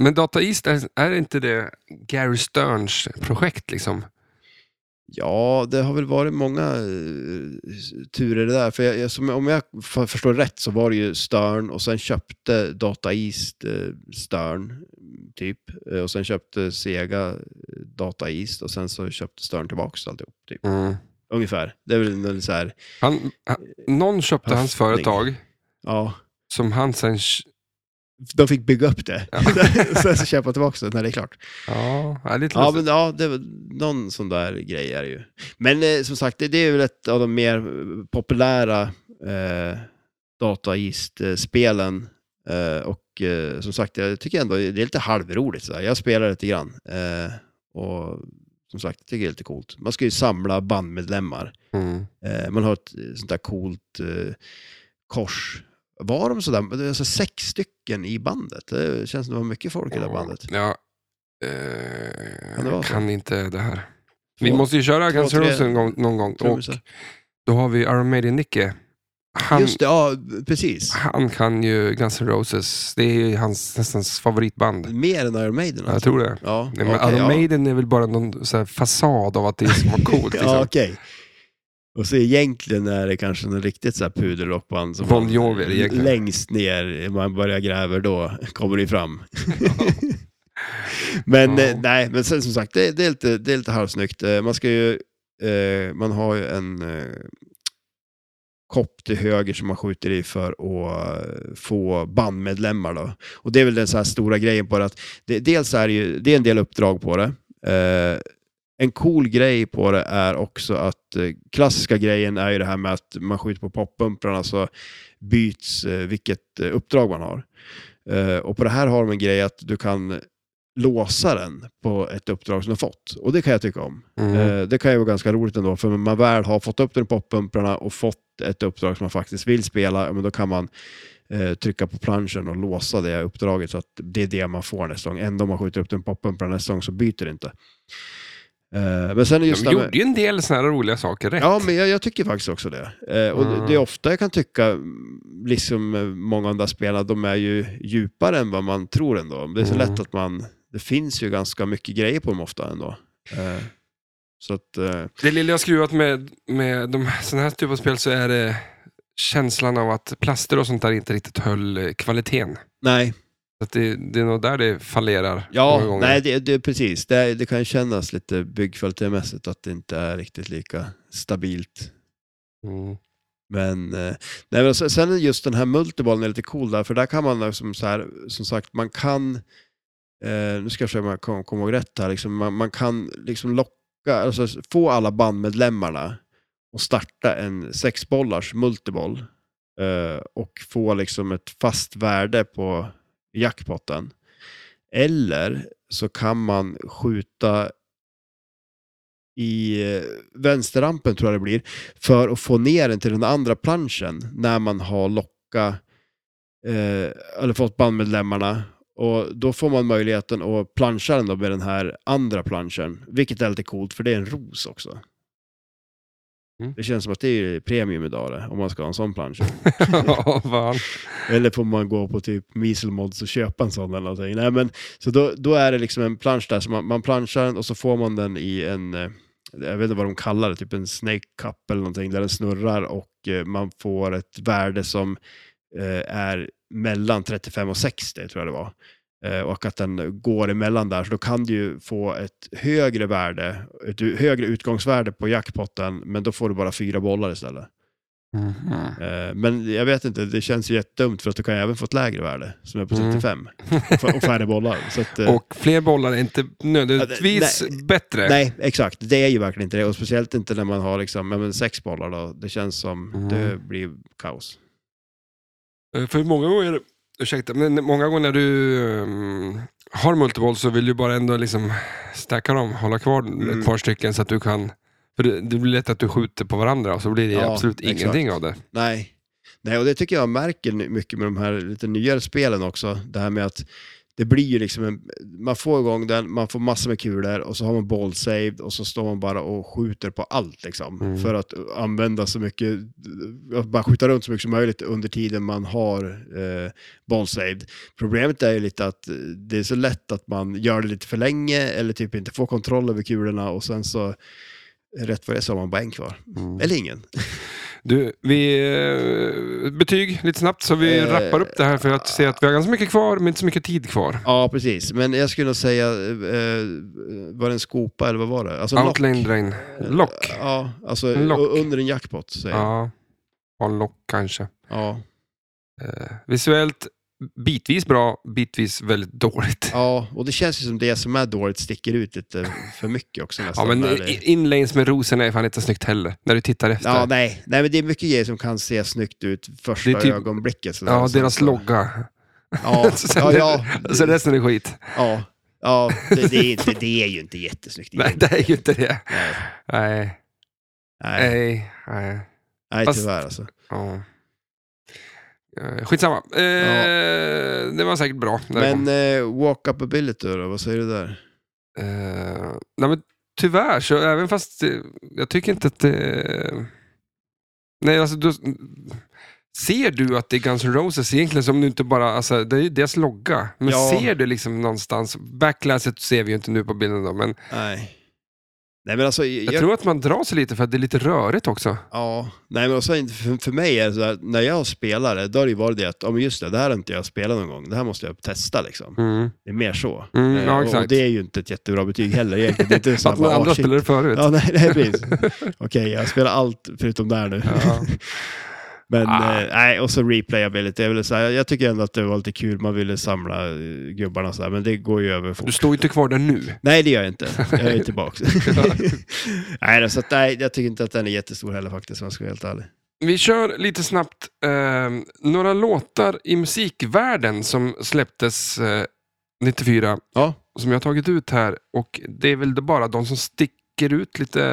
S1: Men Data East, är, är inte det Gary Sterns projekt liksom?
S2: Ja, det har väl varit många eh, turer det där. För jag, jag, som, om jag f- förstår rätt så var det ju Stern och sen köpte Data East eh, Stern, typ. Eh, Och sen köpte Sega eh, Data East och sen så köpte Stern tillbaka alltihop, typ.
S1: Mm.
S2: Ungefär. Det är väl en så här,
S1: Han, han, någon köpte hans
S2: Höftning.
S1: företag
S2: ja.
S1: som han sen... sh-
S2: De fick bygga upp det.
S1: Ja.
S2: sen så köpa tillbaka det när det är klart.
S1: Ja, ja, lite
S2: Ja,
S1: lustigt.
S2: men ja, det var någon sån där grej är det ju. Men eh, som sagt, det, det är väl ett av de mer eh, populära eh, dataist-spelen. Eh, och eh, som sagt, jag tycker ändå det är lite halvroligt. Så här. Jag spelar lite grann. Eh, och som sagt, jag tycker det är lite coolt. Man ska ju samla bandmedlemmar.
S1: mm.
S2: Eh, man har ett eh, sånt där coolt eh, kors. Var de sådär, alltså sex stycken i bandet? Det känns som det var mycket folk i det här bandet.
S1: Ja, eh,
S2: Kan det vara
S1: jag
S2: så?
S1: kan inte det här. Vi
S2: Två-
S1: måste ju köra
S2: två,
S1: Guns N'
S2: tre
S1: Roses någon gång- någon gång. Och
S2: trummisar.
S1: då har vi Iron Maiden-Nicke. Han,
S2: Just det, ja precis.
S1: han kan ju Guns N' Roses. Det är ju hans nästan hans favoritband.
S2: Mer än Iron Maiden
S1: Jag
S2: alltså?
S1: tror det.
S2: Ja,
S1: Nej, men
S2: okej,
S1: Iron
S2: ja.
S1: Maiden är väl bara någon så här fasad av att det ska vara coolt. Liksom.
S2: Ja, okej. Och så egentligen är det kanske något riktigt så här puderrockband som
S1: Bon
S2: man-
S1: Jovi är det egentligen.
S2: längst ner, man börjar gräver då kommer det fram. men
S1: Ja.
S2: eh, nej, men sen som sagt, det, det, är lite, det är lite halvsnyggt. Eh, Man ska ju, eh, man har ju en eh, kopp till höger som man skjuter i för att eh, få bandmedlemmar då. Och det är väl den så här stora grejen på det att det, dels är det ju, det är en del uppdrag på det. Eh, en cool grej på det är också att eh, klassiska grejen är ju det här med att man skjuter på poppumprarna så byts eh, vilket eh, uppdrag man har. Eh, och på det här har de en grej att du kan låsa den på ett uppdrag som du har fått. Och det kan jag tycka om.
S1: Mm.
S2: Eh, det kan ju vara ganska roligt ändå, för när man väl har fått upp den i poppumprarna och fått ett uppdrag som man faktiskt vill spela, ja, men då kan man eh, trycka på planschen och låsa det uppdraget så att det är det man får nästa gång. Ändå om man skjuter upp den i poppumprarna nästa gång så byter det inte. Eh, men sen är
S1: De
S2: just det här med-
S1: gjorde ju en del sådana här roliga saker rätt.
S2: Ja, men jag, jag tycker faktiskt också det. Eh, och
S1: Mm.
S2: det, det är ofta jag kan tycka, mm, liksom eh, många av de där spelarna, de är ju djupare än vad man tror ändå. Det är så
S1: Mm.
S2: lätt att man, det finns ju ganska mycket grejer på dem ofta ändå. Eh, så att, eh,
S1: Det lilla jag skruvat med, med de här, sån här typ av spel så är det känslan av att plaster och sånt där inte riktigt höll eh, kvaliteten.
S2: nej,
S1: Så att det, det är nog där det fallerar många
S2: ja,
S1: gånger.
S2: nej, det, det, precis. Det, det kan ju kännas lite byggkvalitetmässigt att det inte är riktigt lika stabilt.
S1: Mm.
S2: Men, eh, nej, men sen- sen är just den här multibollen är lite cool där, för där kan man liksom så här, som sagt, man kan, eh, nu ska jag försöka om jag kom- kommer ihåg rätt här, liksom, man, man kan liksom locka, alltså få alla bandmedlemmarna och starta en sexbollars multiboll eh, och få liksom ett fast värde på jackpotten. Eller så kan man skjuta i eh, vänsterrampen tror jag det blir, för att få ner den till den andra planschen när man har lockat eh, eller fått bandmedlemmarna. Och då får man möjligheten att planscha den då med den här andra planschen, vilket är lite coolt för det är en ros också.
S1: Mm.
S2: Det känns som att det är premium idag det, om man ska ha en sån plansch.
S1: Ja, fan.
S2: Eller får man gå på typ Measelmods och köpa en sån eller någonting. Nej, men, så då, då är det liksom en plansch där, så man, man planschar den och så får man den i en, eh, jag vet inte vad de kallar det, typ en snake cup eller någonting, där den snurrar och eh, man får ett värde som eh, är mellan 35 och 60 tror jag det var. Eh, och att den går emellan där, så då kan du ju få ett högre värde, ett u- högre utgångsvärde på jackpotten, men då får du bara fyra bollar istället.
S1: Mhm.
S2: Eh, Men jag vet inte, det känns ju jättedumt för att du kan ju även få ett lägre värde som är på
S1: Mm.
S2: 35 och f- och färre bollar. Så att, eh,
S1: Och fler bollar är inte nödvändigtvis
S2: Ja, det- nej.
S1: bättre.
S2: nej, exakt. Det är ju verkligen inte det. Och speciellt inte när man har liksom, ja, men sex bollar. Då. Det känns som
S1: Mm.
S2: det blir kaos.
S1: Eh, För många gånger, ursäkta, men många gånger när du ehm, har multiboll så vill du bara ändå liksom stacka dem, hålla kvar
S2: Mm.
S1: ett par stycken så att du kan för det, det blir lätt att du skjuter på varandra och så blir det
S2: Ja,
S1: absolut
S2: exakt.
S1: ingenting av det.
S2: Nej. Nej, och det tycker jag märker nu- mycket med de här lite nyare spelen också. Det här med att det blir ju liksom en, man får igång den, man får massor med kulor och så har man ball saved och så står man bara och skjuter på allt liksom.
S1: Mm.
S2: För att använda så mycket, att bara skjuta runt så mycket som möjligt under tiden man har eh, ball saved. Problemet är ju lite att eh, det är så lätt att man gör det lite för länge eller typ inte får kontroll över kulorna och sen så rätt vad det är så har man bara en kvar.
S1: Mm.
S2: Eller ingen.
S1: Du, vi, eh, betyg lite snabbt så vi
S2: Eh,
S1: rappar upp det här för att se att vi har ganska mycket kvar men inte så mycket tid kvar.
S2: Ja, precis. Men jag skulle nog säga, eh, var det en skopa eller vad var det? Alltså en
S1: Outland Drain. Lock.
S2: Ja, alltså
S1: En lock.
S2: u- under en jackpot säger jag.
S1: Ja, Ja, en lock kanske.
S2: Ja.
S1: Eh, visuellt, bitvis bra, bitvis väldigt dåligt.
S2: ja, och det känns ju som det som är dåligt sticker ut lite för mycket också
S1: Ja,
S2: nästan.
S1: men
S2: när det-
S1: i- inlanes med rosorna är fan inte snyggt heller, när du tittar efter.
S2: ja nej. nej, men det är mycket grejer som kan se snyggt ut första
S1: Det är typ-
S2: ögonblicket. Sådär,
S1: Ja,
S2: Så-
S1: deras
S2: så-
S1: logga.
S2: Ja,
S1: Sen
S2: ja,
S1: är-
S2: ja,
S1: Alltså resten är skit.
S2: ja, ja det, det, är inte, det är ju inte jättesnyggt.
S1: Nej,
S2: egentligen.
S1: det är ju inte det.
S2: nej,
S1: Nej,
S2: nej,
S1: nej, nej.
S2: nej
S1: fast-
S2: tyvärr alltså.
S1: Ja. Eh, Skitsamma. Eh, Det var säkert bra. när det kom.
S2: Men eh, walk-up ability då, vad säger du där?
S1: Eh, nej, men tyvärr, så även fast eh, jag tycker inte att det... Nej, alltså, du, ser du att det är Guns N' Roses egentligen, som nu inte bara, alltså, det är ju deras logga. Men
S2: Ja.
S1: ser du liksom någonstans, backlasset ser vi ju inte nu på bilden då, men
S2: Nej. Nej men alltså, jag,
S1: jag, tror att man drar sig lite för att det är lite rörigt också.
S2: ja, nej men också, för, för mig är det så här, när jag spelar det, då har det ju varit det att, ja men just det, det här har inte jag spelat någon gång, det här måste jag testa liksom.
S1: Mm.
S2: Det är mer så.
S1: Mm,
S2: Eh,
S1: ja,
S2: och,
S1: exakt.
S2: och det är ju inte ett jättebra betyg heller egentligen. Det är inte så här,
S1: Att några
S2: bara, ah,
S1: andra
S2: shit.
S1: spelade förut.
S2: Ja, nej, nej precis. Okej, jag spelar allt förutom där nu.
S1: Ja.
S2: Men
S1: Ah.
S2: eh, nej, och så replayability. Jag, vill säga, jag- jag tycker ändå att det var lite kul, man ville samla eh, gubbarna så här, men det går ju över fort.
S1: Du står ju inte kvar där nu.
S2: Nej, det gör jag inte. Jag är tillbaka. nej, då, så att, nej, jag tycker inte att den är jättestor heller faktiskt, om jag ska vara helt ärlig.
S1: Vi kör lite snabbt eh, några låtar i musikvärlden som släpptes eh, 94
S2: Ja.
S1: som jag har tagit ut här. Och Det är väl det bara de som sticker ut lite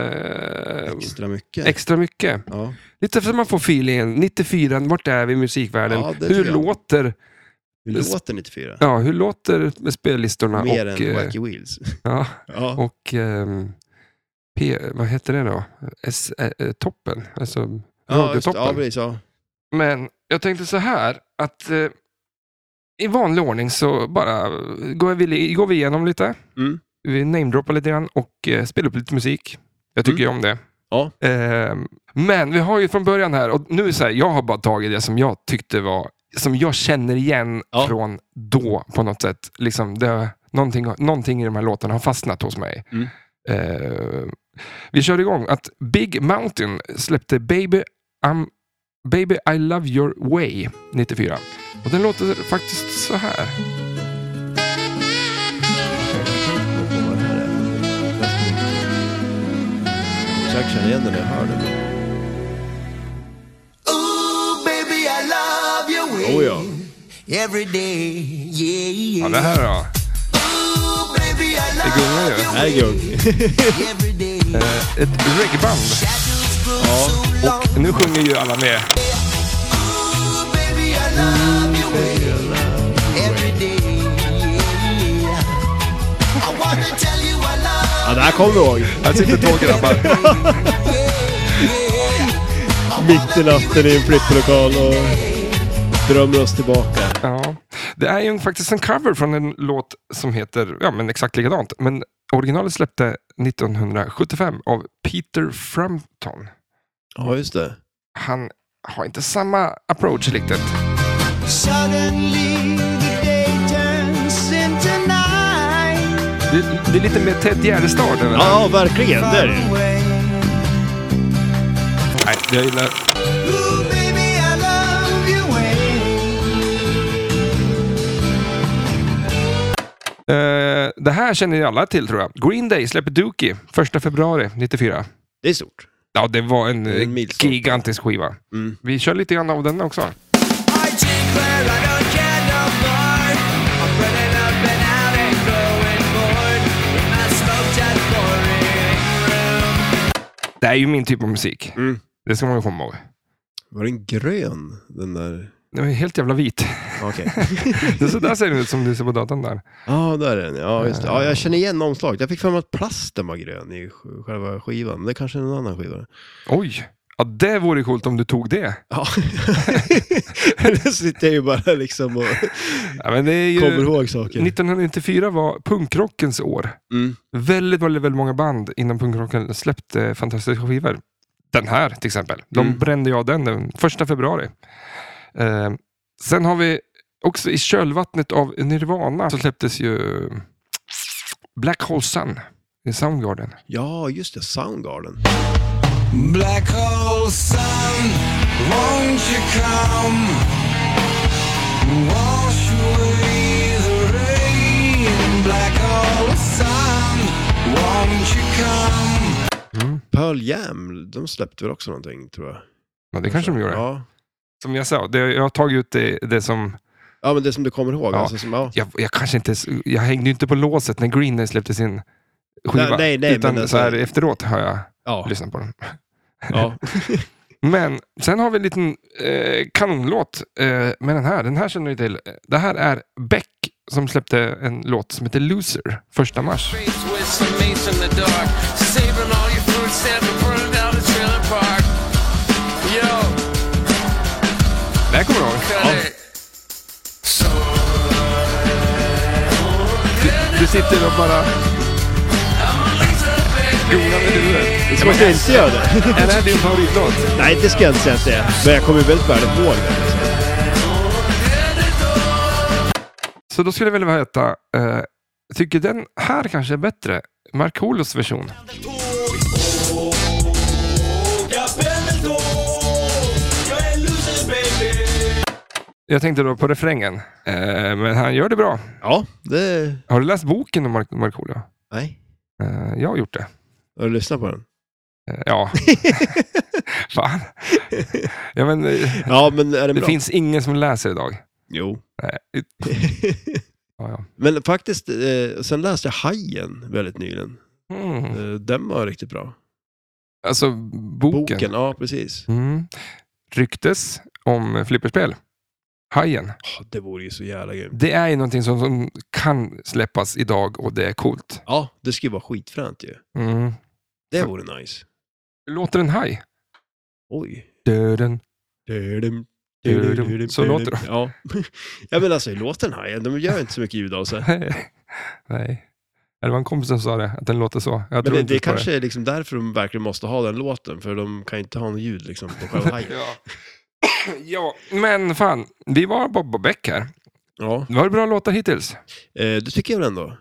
S1: eh,
S2: Extra mycket.
S1: extra mycket.
S2: ja.
S1: Lite för att man får feelingen. 94, vart är vi i musikvärlden?
S2: Ja, det
S1: hur,
S2: tycker jag.
S1: låter,
S2: Hur
S1: det-
S2: låter 94?
S1: ja, hur låter spellistorna?
S2: Mer
S1: och,
S2: än
S1: eh,
S2: Wacky Wheels.
S1: ja,
S2: Ja.
S1: och ehm, P, vad heter det då? S, eh, eh, toppen, alltså
S2: ja, just,
S1: radiotoppen.
S2: ja, precis. Ja.
S1: Men jag tänkte så här att eh, i vanlig ordning så bara eh, går vi, går vi igenom lite.
S2: Mm.
S1: Vi namedroppar lite grann och eh, spelar upp lite musik. Jag tycker ju om det.
S2: Mm. Ja.
S1: Eh, men vi har ju från början här, och nu är det så här, jag har bara tagit det som jag tyckte var, som jag känner igen
S2: Ja.
S1: från då på något sätt. Liksom det, någonting, någonting i de här låtarna har fastnat hos mig.
S2: Mm.
S1: Eh, vi kör igång att Big Mountain släppte Baby I'm Baby I Love Your Way 94. Och den låter faktiskt så här.
S2: Jag känner igen den när jag hör den.
S4: Ooh, baby, I love your way.
S2: Oh ja.
S4: Every day,
S1: Ja,
S4: yeah, yeah.
S1: det här då.
S4: Ooh, baby, I love
S1: gungar ju.
S4: your
S2: Här är
S4: way.
S2: Gung.
S4: Every day,
S1: Eh, ett reggaeband. Och nu sjunger ju alla med.
S4: Baby, I love you every day. I wanna tell you I love
S2: Ja, det här kommer du ihåg.
S1: Här sitter två grabbar.
S2: Mitt i natten i en flipplokal och drömmer oss tillbaka.
S1: Ja. Det är ju en- faktiskt en cover från en låt som heter ja, men exakt likadant. Men originalet släppte 1975 av Peter Frampton.
S2: Ja, just det.
S1: Han har inte samma approach riktigt.
S4: Suddenly the day turns into night.
S1: Det, det är lite mer Ted Gärdestad över det här.
S2: Ja, verkligen. Det är det.
S4: Away.
S1: Nej, jag gillar...
S4: Ooh, baby, I love you
S1: Eh, det här känner ju alla till tror jag. Green Day släpper Dookie 1 februari 94.
S2: Det är stort.
S1: Ja, det var en, eh,
S2: En milstolpe.
S1: gigantisk skiva.
S2: Mm.
S1: Vi kör lite grann av den också.
S4: I declare I don't care no more. I'm running up and out and growing bored in my smoked out boring room.
S1: Det här är ju min typ av musik.
S2: Mm.
S1: Det ska man ju komma ihåg.
S2: Var den grön, den där?
S1: Den är helt jävla vit.
S2: Okej.
S1: Det så där ser den ut som du ser på datorn där.
S2: Ja, där är den. Ja, just det. Ja,
S1: Eh.
S2: jag känner igen omslaget. Jag fick för mig att plasten var grön i sj- själva skivan. Men Det kanske är en annan skiva.
S1: Oj! Ja, det vore coolt om du tog det.
S2: Ja. Eller sitter jag ju bara liksom och
S1: Ja, men det är ju...
S2: kommer ihåg saker.
S1: 1994 var punkrockens år.
S2: Mm.
S1: Väldigt, väldigt, väldigt många band innan punkrocken släppte fantastiska skivor. Den här till exempel. De
S2: Mm.
S1: brände jag den den första februari. Eh, sen har vi också i kölvattnet av Nirvana så släpptes ju Black Hole Sun i Soundgarden.
S2: Ja, just det. Soundgarden.
S5: Black hole sun, won't you come? Wash away the rain. Black hole sun, won't you come?
S2: Pearl Jam, de släppte väl också någonting, tror jag.
S1: Ja, det kanske de gjorde.
S2: Ja.
S1: Som jag sa, det, jag har tagit ut det, det som...
S2: ja, men det som du kommer ihåg.
S1: Ja.
S2: Alltså, som, ja.
S1: Jag, jag kanske inte... Jag hängde ju inte på låset när Green Day släppte sin skiva.
S2: Nej, nej, nej, men
S1: utan
S2: alltså-
S1: så här efteråt har jag
S2: Ja.
S1: lyssnat på den.
S2: ja.
S1: Men sen har vi en liten eh, kanonlåt eh, med den här. Den här känner ni till. Det här är Beck som släppte en låt som heter Loser, första mars.
S6: Face with some mace in the dark. Saving all your food stamps and burning down the trailer park. Yo,
S1: Det här kommer du ihåg?
S6: cut it. So,
S1: Du sitter och bara... Googlar med huvudet.
S2: Ska jag inte göra det?
S1: Är det här din favoritlåt?
S2: Nej, det ska jag inte säga att det är. Men jag kommer väldigt väl ihåg det. Liksom.
S1: Så då skulle jag vilja veta, eh, tycker den här kanske är bättre? Markoolios version? Jag tänkte då på refrängen, eh, men han gör det bra.
S2: Ja, det...
S1: Har du läst boken om Mark- Markoolio?
S2: Nej.
S1: Eh, jag har gjort det.
S2: Har du lyssnat på den?
S1: Eh, ja. Fan. ja, men, eh,
S2: Ja, men är den
S1: det
S2: bra?
S1: finns ingen som läser idag.
S2: Jo.
S1: Nej. Ja, ja.
S2: men faktiskt, eh, sen läste jag Hajen väldigt nyligen.
S1: Mm.
S2: Eh, den var riktigt bra.
S1: Alltså, boken.
S2: Boken, ja precis.
S1: Mm. Ryktes om flipperspel. Hajen.
S2: Ja, Ah, det vore ju så jävla grymt.
S1: Det är ju någonting som, som kan släppas idag och det är coolt.
S2: Ja, det skulle vara skitfränt ju.
S1: Mm.
S2: Det vore nice.
S1: Låter en haj?
S2: Oj.
S1: Döden.
S2: Dudum,
S1: Dudum.
S2: dudum,
S1: Så
S2: dudum.
S1: låter de.
S2: Ja. ja, men alltså i låten Hajen, de gör inte så mycket ljud av sig.
S1: Nej. Det var en kompis som sa det, att den låter så. Jag
S2: Men
S1: tror
S2: det,
S1: inte
S2: det
S1: på
S2: kanske är liksom därför de verkligen måste ha den låten, för de kan ju inte ha något ljud liksom på själva hajen.
S1: Ja. ja, men fan. Vi var Bob och Beck här.
S2: Ja,
S1: Var det bra låtar hittills? Mm.
S2: eh, det tycker jag väl ändå.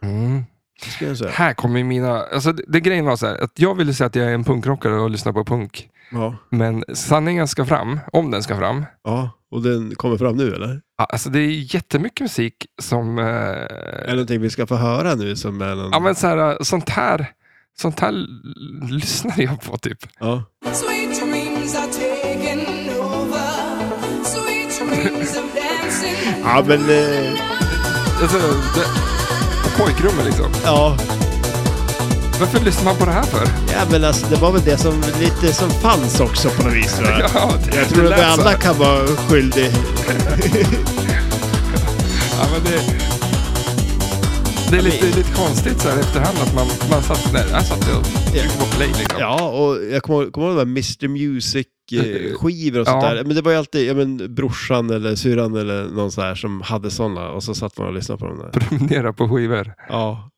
S2: Det ska jag säga.
S1: Här kommer mina... Alltså, det, det grejen var så här, att jag ville säga att jag är en punkrockare och lyssnar på punk.
S2: Ja.
S1: Men sanningen ska fram, om den ska fram.
S2: ja, och den kommer fram nu eller?
S1: Ja, Alltså det är jättemycket musik som... Eh,
S2: Är det någonting vi ska få höra nu som är någon...
S1: ja, men så här, sånt här... Sånt här l- lyssnar jag på typ.
S2: Ja.
S7: Sweet dreams are taken over. Sweet dreams of dancing.
S2: ja, men... Eh,
S1: Alltså, det, på pojkrummet liksom.
S2: ja.
S1: Varför lyssnar man på det här för?
S2: Ja, men alltså, det var väl det som lite som fanns också på något vis. Va?
S1: Ja, det-
S2: Jag tror
S1: det
S2: att vi
S1: lät så
S2: alla
S1: här.
S2: kan vara skyldig.
S1: Ja, men det, det är lite, lite konstigt så här i efterhand att man, man satt där. Jag satt och tryckte på play liksom.
S2: Ja, och jag kommer kommer ihåg de där Mr Music-skivor och sånt
S1: Ja.
S2: där. Men det var ju alltid ja, men, brorsan eller syrran eller någon sån här som hade såna och så satt man och lyssnade på dem där.
S1: Promenera på skivor.
S2: Ja,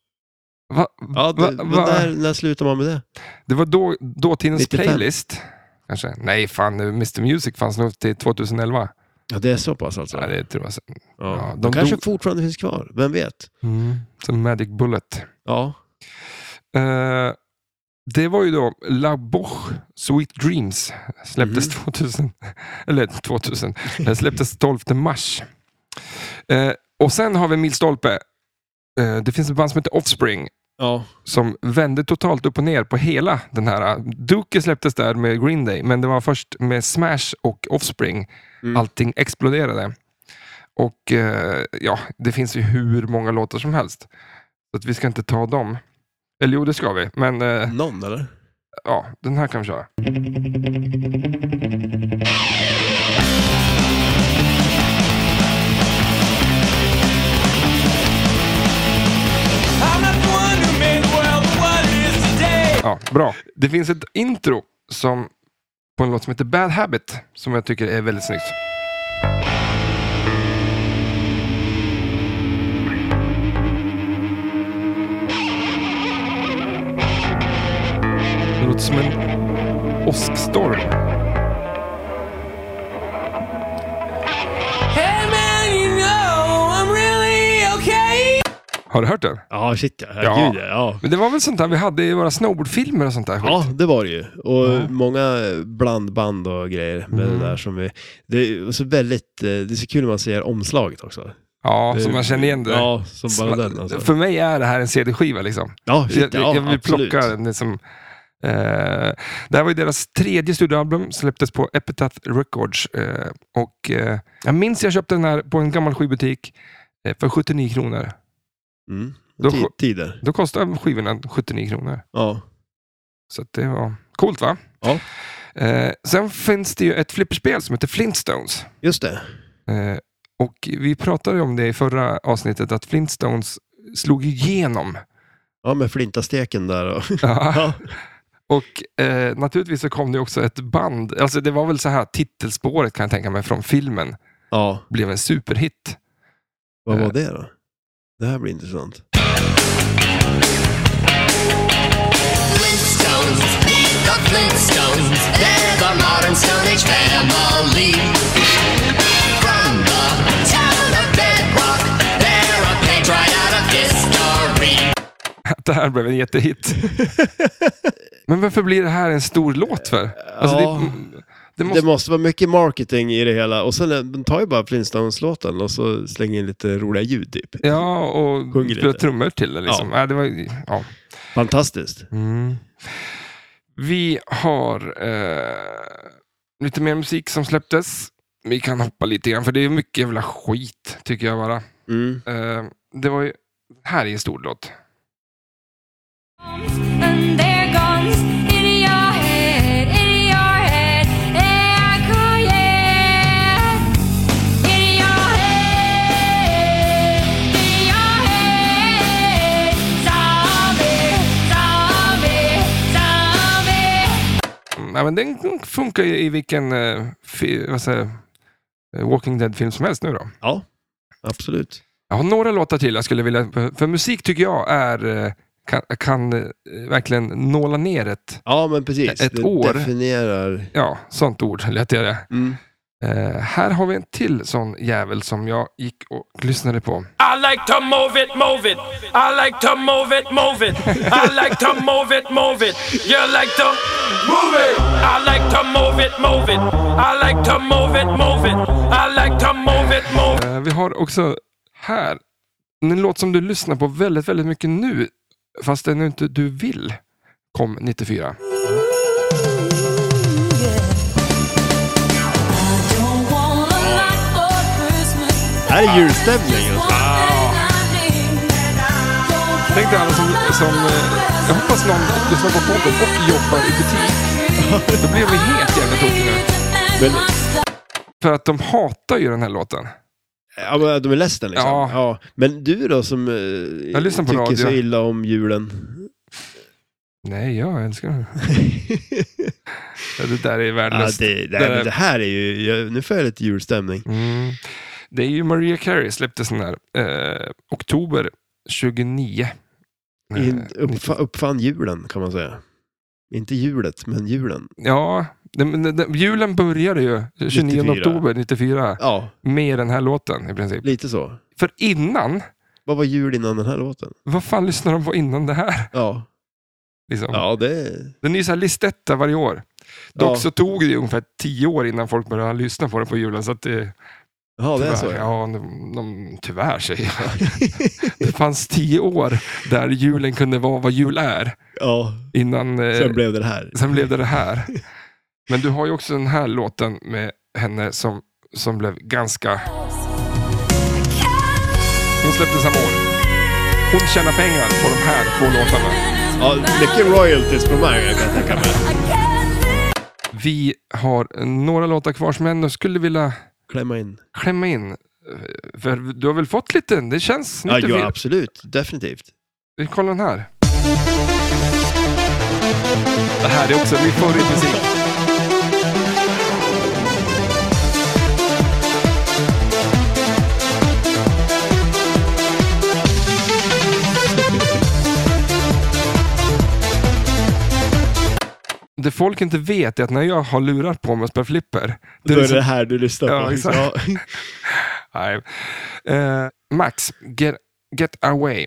S1: Va,
S2: ja det,
S1: va,
S2: men
S1: va?
S2: När, när slutar man med det?
S1: det var då, dåtidens
S2: 95.
S1: playlist. Kanske. Nej, fan. Mr Music fanns nog till 2011.
S2: Ja, det är så pass alltså?
S1: Ja, det tror jag.
S2: Ja.
S1: ja,
S2: de
S1: de
S2: kanske
S1: dog-
S2: fortfarande finns kvar, vem vet?
S1: Mm. Som Magic Bullet.
S2: Ja,
S1: Eh, det var ju då La Boche Sweet Dreams. Släpptes 2000. Eller 2000. eh, släpptes 12 mars. Eh, och sen har vi en milstolpe. Eh, det finns ett band som heter Offspring
S2: ja.
S1: som vände totalt upp och ner på hela den här. äh, Duke släpptes där med Green Day, men det var först med Smash och Offspring.
S2: Mm.
S1: Allting exploderade. Och eh, ja, det finns ju hur många låtar som helst. Så att vi ska inte ta dem. Eller jo, det ska vi. Men eh,
S2: Någon eller?
S1: ja, den här kan vi köra.
S4: I'm not the one who made the world what it is today.
S1: Ja, bra. Det finns ett intro som, på en låt som heter Bad Habit som jag tycker är väldigt snyggt. Det låter som en åskstorm.
S4: Hey man, you know I'm really okay.
S1: Har du hört den?
S2: Ja, shit ja.
S1: Ja.
S2: Ja, gud, ja. ja.
S1: Men det var väl sånt där vi hade i våra snowboardfilmer och sånt där skit?
S2: Ja, det var det ju. Och många blandband och grejer med
S1: Mm.
S2: det där som vi... Det är så väldigt... eh, Det är så kul när man ser omslaget också.
S1: Ja,
S2: Det-
S1: så man känner igen det.
S2: Ja, som
S1: Så
S2: bara
S1: man-
S2: den alltså.
S1: För mig är det här en CD-skiva liksom.
S2: Ja, shit,
S1: Jag,
S2: ja,
S1: jag vill
S2: absolut.
S1: plocka den som... Eh, det här var ju deras tredje studioalbum, släpptes på Epitaph Records. Eh, och, eh, jag minns jag köpte den här på en gammal skivbutik eh, för 79 kronor.
S2: Mm.
S1: Då-
S2: Ti- Tider.
S1: Då kostade skivorna 79 kronor.
S2: Ja.
S1: Så att det var coolt va?
S2: Ja.
S1: Eh, sen finns det ju ett flipperspel som heter Flintstones.
S2: Just det.
S1: Eh, och vi pratade ju om det i förra avsnittet, att Flintstones slog igenom.
S2: Ja, med flintasteken där och...
S1: Ja.
S2: Ja.
S1: Och eh, naturligtvis så kom det också ett band. Alltså det var väl så här titelspåret kan jag tänka mig från filmen
S2: ja.
S1: blev en superhit.
S2: Vad
S1: Eh.
S2: var det då? Det här blir intressant.
S8: Flintstones, the Flintstones, they're the modern Stone Age family. From the town of Bedrock, they're a page right out of history.
S1: Det här blev en jättehit. Men varför blir det här en stor låt för? Alltså
S2: Ja.
S1: det, det måste,
S2: Det måste vara mycket marketing i det hela. Och sen eh, de tar ju bara Flintstones-låten och så slänger in lite roliga ljud typ.
S1: Mm. ja, och
S2: Sjunger
S1: spela
S2: lite.
S1: trummor till det liksom. Ja. det var, ja.
S2: Fantastiskt.
S1: Mm. Vi har eh, lite mer musik som släpptes. Vi kan hoppa lite grann, för det är mycket jävla skit, tycker jag bara.
S2: Mm.
S1: Eh, det var ju... Här är en stor låt.
S9: And there guns in your head, in your head, echo yeah. In your head, in your head, zombie, zombie, zombie.
S1: Mm, Ja, men den funkar ju i vilken eh, fi, vad säger, jag, eh, Walking Dead-film som helst nu då.
S2: Ja, absolut.
S1: Jag har några låtar till jag skulle vilja... För musik tycker jag är eh, kan, kan eh, verkligen nåla ner ett...
S2: Ja, men precis.
S1: Ett
S2: det
S1: år.
S2: definierar...
S1: Ja, sånt ord lät jag det.
S2: Mm.
S1: Eh, här har vi en till sån jävel som jag gick och lyssnade på.
S3: I like to move it, move it. I like to move it, move it. I like to move it, move it. You like to move it. I like to move it, move it. I like to move it, move it. I like to move it, move it.
S1: Eh, vi har också här en låt som du lyssnar på väldigt, väldigt mycket nu, fast det nu inte du vill, kom 94.
S4: ah.
S2: Här är julstämning.
S9: Ah.
S1: Tänk dig alla som, som eh, jag hoppas någon lyssnar på podden och
S4: eh,
S1: jobbar i butik. Då blir vi helt jävla tokiga.
S2: Men,
S1: För att de hatar ju den här låten.
S2: ja, men de är ledsna liksom.
S1: Ja.
S2: Ja. Men du då som eh,
S1: Jag lyssnar på
S2: tycker
S1: radio.
S2: så illa om julen.
S1: Nej, jag älskar den. Ja, Det där är
S2: ja,
S1: värdelöst.
S2: det,
S1: Det
S2: nej,
S1: där-
S2: men det här är ju, jag, nu får jag lite julstämning.
S1: Mm. Det är ju Maria Carey släppte sån här. Eh, oktober 29. Eh,
S2: In, uppfa, uppfann julen kan man säga. Inte hjulet, men julen.
S1: Ja, den, den, den, julen började ju 29
S2: 94.
S1: oktober 94
S2: Ja,
S1: med den här låten i princip.
S2: lite så.
S1: För innan,
S2: Vad var jul innan den här låten?
S1: vad fan lyssnade de på innan det här?
S2: Ja,
S1: Liksom.
S2: ja det...
S1: Den är ju så här listetta varje år. Dock
S2: Ja.
S1: så tog det ju ungefär tio år innan folk började lyssna på den på julen. Så att det,
S2: Ja, det är
S1: tyvärr,
S2: så. Ja.
S1: ja, de, de, tyvärr säger jag. det fanns tio år där julen kunde vara vad jul är.
S2: ja,
S1: Innan, eh,
S2: sen blev det det här.
S1: sen blev det det här. Men du har ju också den här låten med henne som, som blev ganska... Hon släppte samma år. Hon tjänar pengar på de här två låtarna.
S2: Ja, mycket royalties på de här kan jag tänka mig.
S1: Vi har några låtar kvar som jag ändå skulle vilja
S2: Klämma in.
S1: klämma in. Eh, För du har väl fått lite? Det känns...
S2: Ja,
S1: lite
S2: ja,
S1: fel.
S2: absolut. Definitivt.
S1: Vi kollar den här. Det här är också min favoritmusik. Det folk inte vet är att när jag har lurar på mig och spelar flipper. det
S2: Då är
S1: är
S2: det
S1: liksom-
S2: det här du lyssnar på.
S1: Ja, exakt.
S2: Ja.
S1: Nej. Eh, Max, get, get away.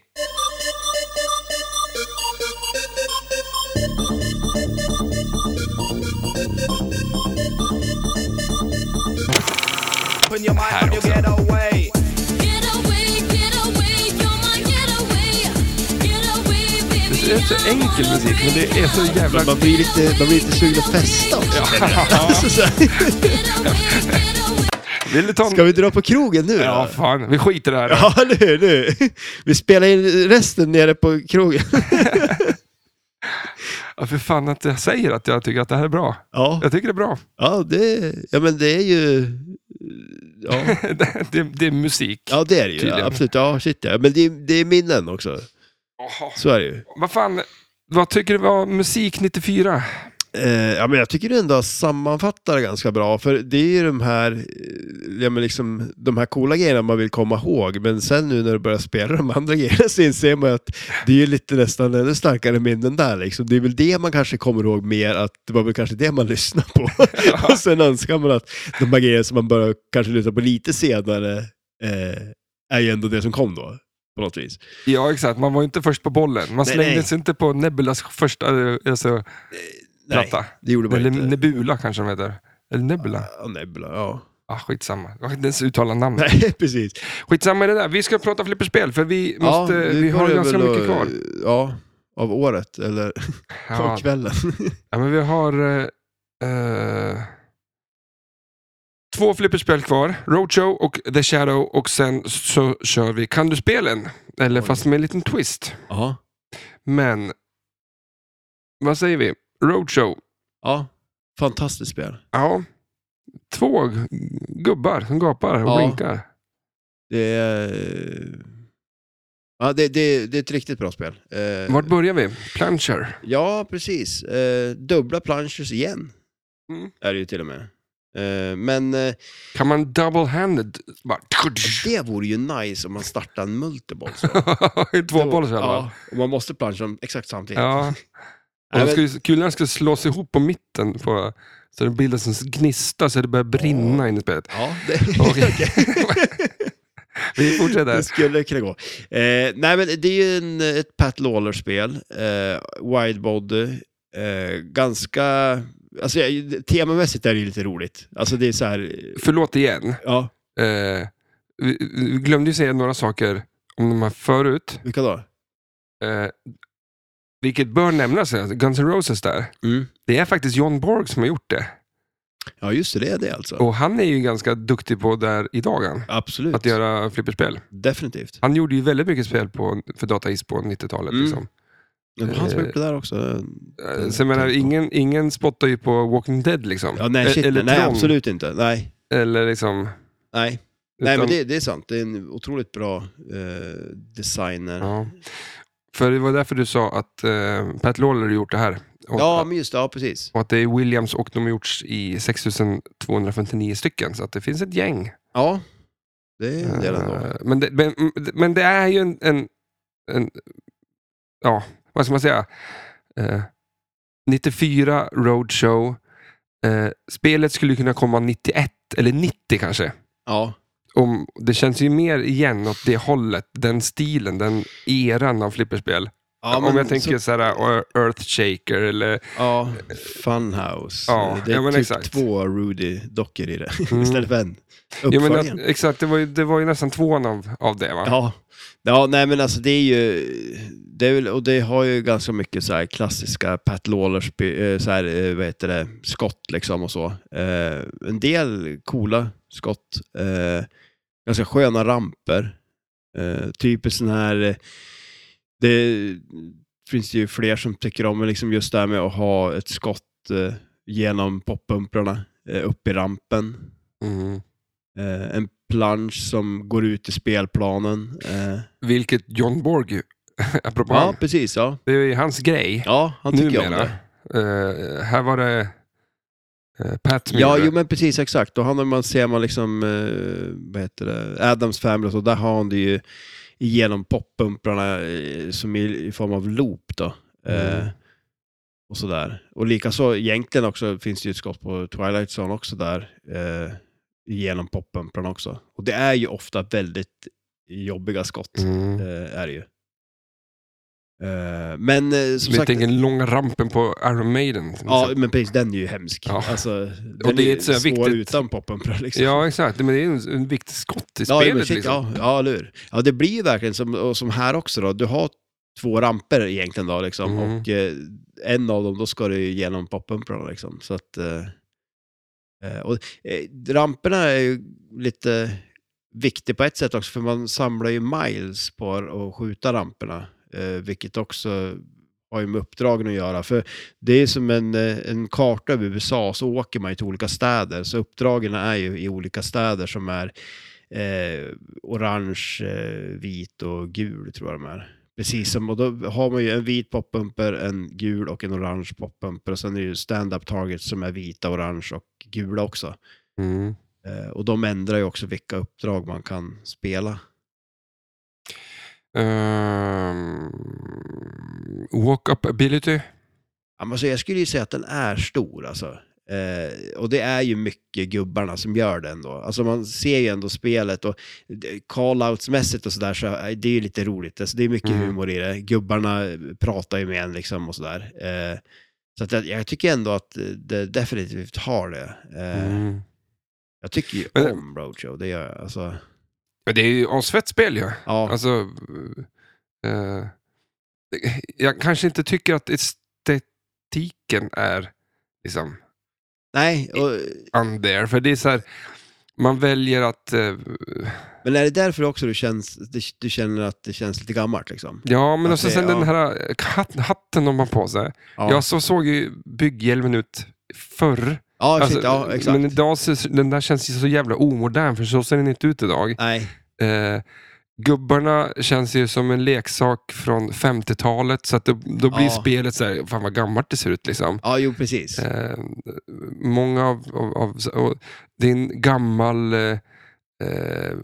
S4: Open your mind when you get away.
S1: Det är så enkel musik, men
S4: er
S1: det är så jävla...
S2: Men man blir lite, man blir lite sugen att festa också. känner jag. Alltså, så här.
S1: Vill du ta en...
S2: Ska vi dra på krogen nu
S1: Ja,
S2: då?
S1: fan. Vi skiter i det här.
S2: Ja, nu, nu. Vi spelar in resten nere på krogen.
S1: Ja, för fan att jag säger att jag tycker att det här är bra.
S2: Ja,
S1: Jag tycker det är bra.
S2: ja, det, ja men det är ju... Ja,
S1: Det, det, det är musik.
S2: ja det är det ju.
S1: Tydligen.
S2: Ja, absolut. Ja, shit ja. Men det, är- det är minnen också.
S1: Jaha.
S2: Så är det ju.
S1: Vad fan, vad tycker du var musik 94?
S2: Eh, ja, men jag tycker du ändå sammanfattar det ganska bra. För det är ju de här, eh, ja, men liksom, de här coola grejerna man vill komma ihåg. Men sen nu när du börjar spela de andra grejerna så inser man att det är ju lite nästan ännu starkare minnen där. Liksom. Det är väl det man kanske kommer ihåg mer, att det var väl kanske det man lyssnade på. och sen önskar man att de här grejerna som man börjar kanske lyssna på lite senare eh, är ju ändå det som kom då. På något vis.
S1: Ja, exakt. Man var ju inte först på bollen. Man
S2: Nej,
S1: slängde
S2: nej.
S1: sig inte på Nebulas första eh, alltså,
S2: Nej,
S1: platta.
S2: det gjorde man
S1: Eller
S2: inte.
S1: Nebula kanske de heter. Eller Nebula.
S2: Ja, Nebula, ja.
S1: Ah, skitsamma. Jag kan inte ens uttala namnet.
S2: Nej, precis.
S1: Skitsamma är det där. Vi ska prata flipperspel, för vi, måste,
S2: nu
S1: vi har
S2: börjar
S1: ganska
S2: väl
S1: mycket
S2: att-
S1: kvar.
S2: Ja, av året eller
S1: Ja,
S2: av kvällen.
S1: Ja, men vi har eh, eh, två flipperspel kvar. Roadshow och The Shadow och sen så kör vi Kan du spelen? Eller
S2: Oj.
S1: fast med en liten twist.
S2: Ja.
S1: Men vad säger vi? Roadshow.
S2: ja, fantastiskt spel.
S1: Ja. Två g- gubbar som gapar och
S2: Ja.
S1: blinkar.
S2: Det är... eh, Ja, det, det, det är ett riktigt bra spel. Eh,
S1: Vart börjar vi? Plancher.
S2: Ja, precis. Eh, dubbla planchers igen.
S1: Mm.
S2: Är det ju till och med. Eh, men eh,
S1: Kan man double-handed? Bara...
S2: det vore ju nice om man startar en multiball. så.
S1: Två bollar i alla fall.
S2: Ja, och man måste plancha dem exakt samtidigt.
S1: Ja. Och
S2: Nej,
S1: de
S2: men-
S1: skulle, kulorna skulle slås ihop på mitten på, så det bildas en gnista så det börjar brinna in i spelet.
S2: Ja, det...
S1: Okej. Vi fortsätter.
S2: Det skulle kunna gå. Eh, nej, men det är ju en, ett Pat Lawler-spel. Eh, wide body. Eh, ganska... Alltså, jag- temamässigt är det ju lite roligt. Alltså det är så här... eh,
S1: Förlåt igen.
S2: Ja,
S1: Eh, vi, vi glömde ju säga några saker om de här förut.
S2: vilka då?
S1: Eh, Mm. vilket bör nämnas, alltså, Guns N' Roses där. Det är faktiskt John Borg som har gjort det.
S2: Ja, just det, det är det alltså.
S1: Och han är ju ganska duktig på där idag, han.
S2: Absolut.
S1: Att göra flipperspel.
S2: Definitivt.
S1: Han gjorde ju väldigt mycket spel på, för dataist på 90-talet.
S2: Mm.
S1: Liksom.
S2: Det var han som gjorde det där också.
S1: Eh, Så jag menar, ingen, ingen spottar ju på Walking Dead liksom.
S2: Ja, nej,
S1: E-
S2: shit,
S1: eller
S2: nej
S1: Tron.
S2: absolut inte. Nej,
S1: Eller liksom...
S2: nej. nej men
S1: utan-
S2: det, det är sant. Det är en otroligt bra eh, designer. Ja,
S1: Ja. För det var därför du sa att eh, Pat Lawler har gjort det här. Och,
S2: men just det. Ja, precis.
S1: och att det är Williams och de har gjorts i 6259 stycken. Så att det finns ett gäng.
S2: Ja, det är en del ändå.
S1: Eh, men, det, men, men det är ju en, en, en... Ja, vad ska man säga? Eh, 94 Roadshow. Eh, spelet skulle kunna komma 91 eller 90 kanske.
S2: Ja,
S1: om, det känns ju mer igen åt det hållet, den stilen, den eran av flipperspel.
S2: ja
S1: om jag tänker
S2: så,
S1: så här eh, Earthshaker eller...
S2: ja, Funhouse.
S1: Ja,
S2: det är
S1: ja, men
S2: typ
S1: exakt.
S2: två Rudy-dockor i det
S1: Mm.
S2: istället för en.
S1: Ja, men,
S2: Uppföljaren.
S1: att, exakt, det var, ju, det var ju nästan tvåan av, av det va?
S2: Ja. ja, nej men alltså det är ju, det är väl, och det har ju ganska mycket så här klassiska Pat Lawlers, by- eh, så här, eh, vad heter det, skott liksom och så. Eh, en del coola skott, eh, ganska sköna ramper. Eh, typiskt sån här, eh, det finns ju fler som tycker om men liksom just det här med att ha ett skott eh, genom poppumprarna, eh, upp i rampen.
S1: Mm.
S2: Eh, en plansch som går ut i spelplanen. Eh,
S1: Vilket John Borg, apropå
S2: ja,
S1: han,
S2: precis. Ja,
S1: det är ju hans grej
S2: ja han tycker ju om
S1: numera.
S2: det.
S1: Eh, här var det eh, Pat som
S2: Ja,
S1: gjorde
S2: jo,
S1: det.
S2: men precis exakt. Och han, har- man ser man liksom, eh, vad heter det, Adams Family och så, där har han det ju genom poppumprarna eh, som i, i form av loop då. Eh,
S1: Mm.
S2: Och sådär. Och likaså egentligen också finns det ju ett skott på Twilight Zone också där. Eh, genom poppumprarna också. Och det är ju ofta väldigt jobbiga skott.
S1: Mm.
S2: eh, är det ju. Eh, men eh, som
S1: Vi
S2: sagt,
S1: tänker långa rampen på Iron Maiden. till
S2: ja,
S1: exempel.
S2: men precis, den är ju hemsk.
S1: Ja.
S2: Alltså, den
S1: det är
S2: ju
S1: ett så här
S2: svår
S1: viktigt-
S2: utan poppumpa liksom.
S1: ja, exakt. Men det är ju en, en viktig skott i
S2: ja,
S1: spelet.
S2: men shit,
S1: liksom.
S2: ja, ja, eller hur? Ja, det blir ju verkligen som, och som här också då. Du har två ramper egentligen då liksom.
S1: Mm.
S2: Och eh, en av dem, då ska du ju genom poppumparna liksom. Så att... Eh, eh, och, eh, ramperna är ju lite viktig på ett sätt också, för man samlar ju miles på att skjuta ramperna, eh, vilket också har ju med uppdragen att göra. För det är som en, eh, en karta över USA, så åker man ju till olika städer, så uppdragen är ju i olika städer som är eh, orange, eh, vit och gul tror jag de är. Precis som, och då har man ju en vit poppumper, en gul och en orange poppumper och sen är det ju stand-up targets som är vita, orange och gula också.
S1: Mm.
S2: Eh, Och de ändrar ju också vilka uppdrag man kan spela.
S1: Um, Walk-up Ehm, ability.
S2: Ja, men Alltså jag skulle ju säga att den är stor alltså. Eh, och det är ju mycket gubbarna som gör den då. Alltså man ser ju ändå spelet och det- call-outs-mässigt och sådär så eh, det är ju lite roligt. Alltså det är mycket
S1: Mm.
S2: humor i det. Gubbarna eh, pratar ju med en liksom och sådär. Eh, så att jag, jag tycker ändå att eh, det definitivt har det. Eh,
S1: Mm.
S2: Jag tycker ju
S1: Men-
S2: om Roadshow, det gör jag. Alltså,
S1: Ja, Det är ju asfett spel ju.
S2: ja.
S1: Alltså, eh, jag kanske inte tycker att estetiken är liksom
S2: Nej, och,
S1: on there. För det är så här, man väljer att... eh,
S2: men är det därför också du, känns, du, du känner att det känns lite gammalt liksom?
S1: ja, men
S2: Att
S1: också
S2: det-
S1: sen
S2: ja.
S1: den här hat, hatten de har på sig.
S2: Ja.
S1: Ja, så såg ju bygghjälmen ut förr.
S2: Ja,
S1: Alltså,
S2: shit, ja exakt.
S1: Men idag, ser- den där känns ju så jävla omodern, för så ser den inte ut idag.
S2: Nej,
S1: Eh, gubbarna känns ju som en leksak från 50-talet, så att då, då blir
S2: Ja.
S1: spelet så här, fan vad gammalt det ser ut liksom.
S2: ja jo precis.
S1: Eh, många av, av, av och det är en gammal eh, eh,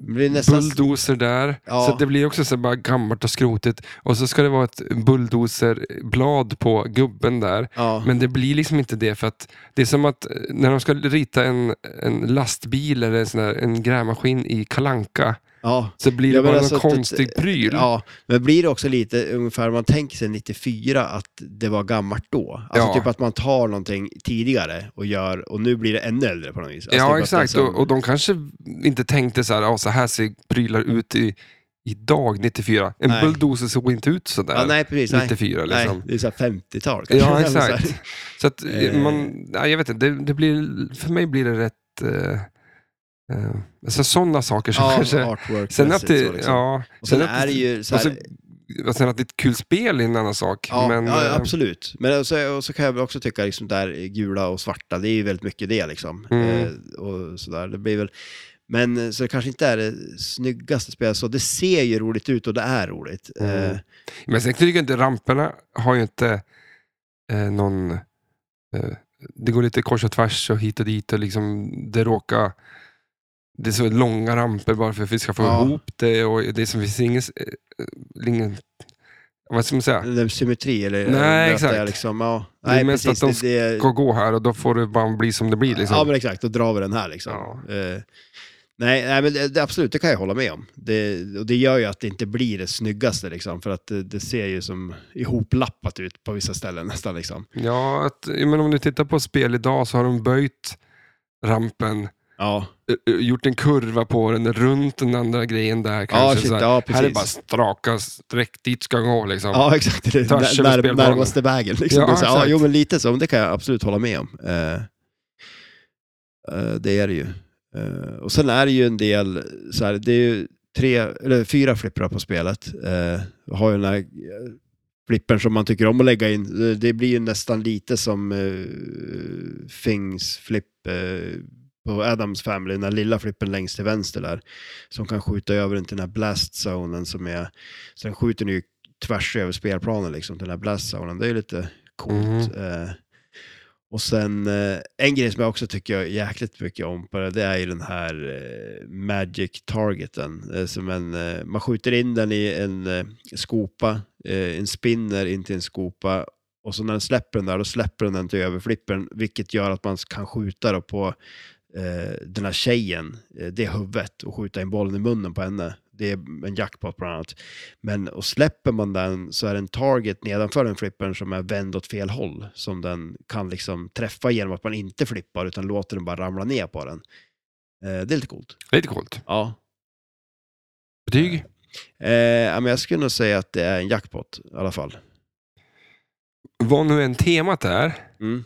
S2: Men det är nästan...
S1: bulldozer där.
S2: Ja.
S1: Så att det blir också så här bara gammalt och skrotigt. Och så ska det vara ett bulldozerblad på gubben där.
S2: ja.
S1: Men det blir liksom inte det för att det är som att eh, när de ska rita en, en lastbil eller en, sån där, en grävmaskin i Kalanka
S2: ja.
S1: så blir
S2: Ja,
S1: det
S2: men
S1: bara
S2: alltså
S1: någon
S2: att det-
S1: konstig pryl.
S2: Ja, men blir det också lite ungefär, man tänker sig 94 att det var gammalt då? Alltså
S1: Ja.
S2: typ att man tar någonting tidigare och gör, och nu blir det ännu äldre på något vis. Alltså,
S1: ja
S2: typ att
S1: exakt.
S2: liksom-
S1: Och, och de kanske inte tänkte så här, "Ja, så här ser prylar ut i idag, 94. En
S2: Nej.
S1: bulldozer såg inte ut sådär.
S2: Ja, nej, precis. Nej.
S1: 94
S2: Nej,
S1: liksom.
S2: det är så här 50-tal. kanske.
S1: Ja,
S2: Eller så här.
S1: exakt. Så att eh, man, ja, jag vet inte, det, det blir, för mig blir det rätt, eh, eh, alltså sådana saker som
S2: Ja,
S1: kanske...
S2: artwork
S1: Sen att det,
S2: så liksom.
S1: ja,
S2: Och sen
S1: sen att-
S2: är det ju så här,
S1: och och sen att det är ett kul spel är en annan sak.
S2: ja,
S1: men,
S2: ja,
S1: eh,
S2: absolut. Men och så, och så kan jag väl också tycka liksom där gula och svarta, det är ju väldigt mycket det liksom.
S1: Mm.
S2: Eh, och sådär. Det blir väl, men eh, så det kanske inte är det snyggaste spelet, så det ser ju roligt ut och det är roligt.
S1: Mm.
S2: Eh,
S1: Men sen tycker jag inte ramperna har ju inte eh, någon... Eh, det går lite kors och tvärs och hit och dit och liksom det råkar... Det är så långa ramper bara för att vi ska få
S2: Ja.
S1: ihop det och det är som finns ingen... eh, ingen vad ska man säga?
S2: den där symmetri eller
S1: Nej,
S2: eller
S1: exakt.
S2: att det är liksom, ja,
S1: Det är
S2: nej,
S1: mest
S2: precis,
S1: att de
S2: det, det,
S1: Gå, gå här och då får det bara bli som det blir. Liksom.
S2: Ja, men exakt. Då drar vi den här liksom.
S1: Ja.
S2: Eh, nej, nej, men det, det, absolut, det kan jag hålla med om. Det, och det gör ju att det inte blir det snyggaste liksom, för att det, det ser ju som ihoplappat ut på vissa ställen nästan liksom.
S1: ja, att, jag menar, om du tittar på spel idag så har de böjt rampen,
S2: Ja,
S1: eh, eh, gjort en kurva på den runt den andra grejen där. Kanske,
S2: ja, shit,
S1: så här.
S2: ja
S1: Här är
S2: precis.
S1: bara straka streck, dit ska jag gå liksom.
S2: Ja, exakt. Det är
S1: Törs över
S2: när, när,
S1: spelplanen.
S2: närmaste vägen. Liksom.
S1: Ja,
S2: Ja, så, här, ja,
S1: exakt.
S2: jo, men lite så. Men det kan jag absolut hålla med om. Eh, eh, det är det ju. Eh, och sen är det ju en del, så här, det är ju tre, eller fyra flipprar på spelet. Eh, jag har ju den här eh, flippern som man tycker om att lägga in. Eh, Det blir ju nästan lite som eh, Fings flipp eh, på Adams Family, den här lilla flippen längst till vänster där. Som kan skjuta över den till den här blast-zonen som är, så den skjuter den ju tvärs över spelplanen, liksom, den här blast-zonen. Det är ju lite coolt. Eh, och sen eh, en grej som jag också tycker jag jäkligt mycket om på det, det är ju den här eh, Magic Targeten. Eh, som en, eh, man skjuter in den i en eh, skopa, eh, en spinner in till en skopa och så när den släpper den där, då släpper den den till överflippen, vilket gör att man kan skjuta då på eh, den här tjejen, eh, det huvudet, och skjuta in bollen i munnen på henne. Det är en jackpot bland annat. Men och släpper man den så är det en target nedanför den flippern som är vänd åt fel håll som den kan liksom träffa genom att man inte flippar utan låter den bara ramla ner på den. Eh, det är lite coolt.
S1: Lite coolt.
S2: Ja.
S1: Betyg?
S2: Eh, ja, men jag skulle nog säga att det är en jackpot i alla fall.
S1: Vad nu än temat är,
S2: Mm.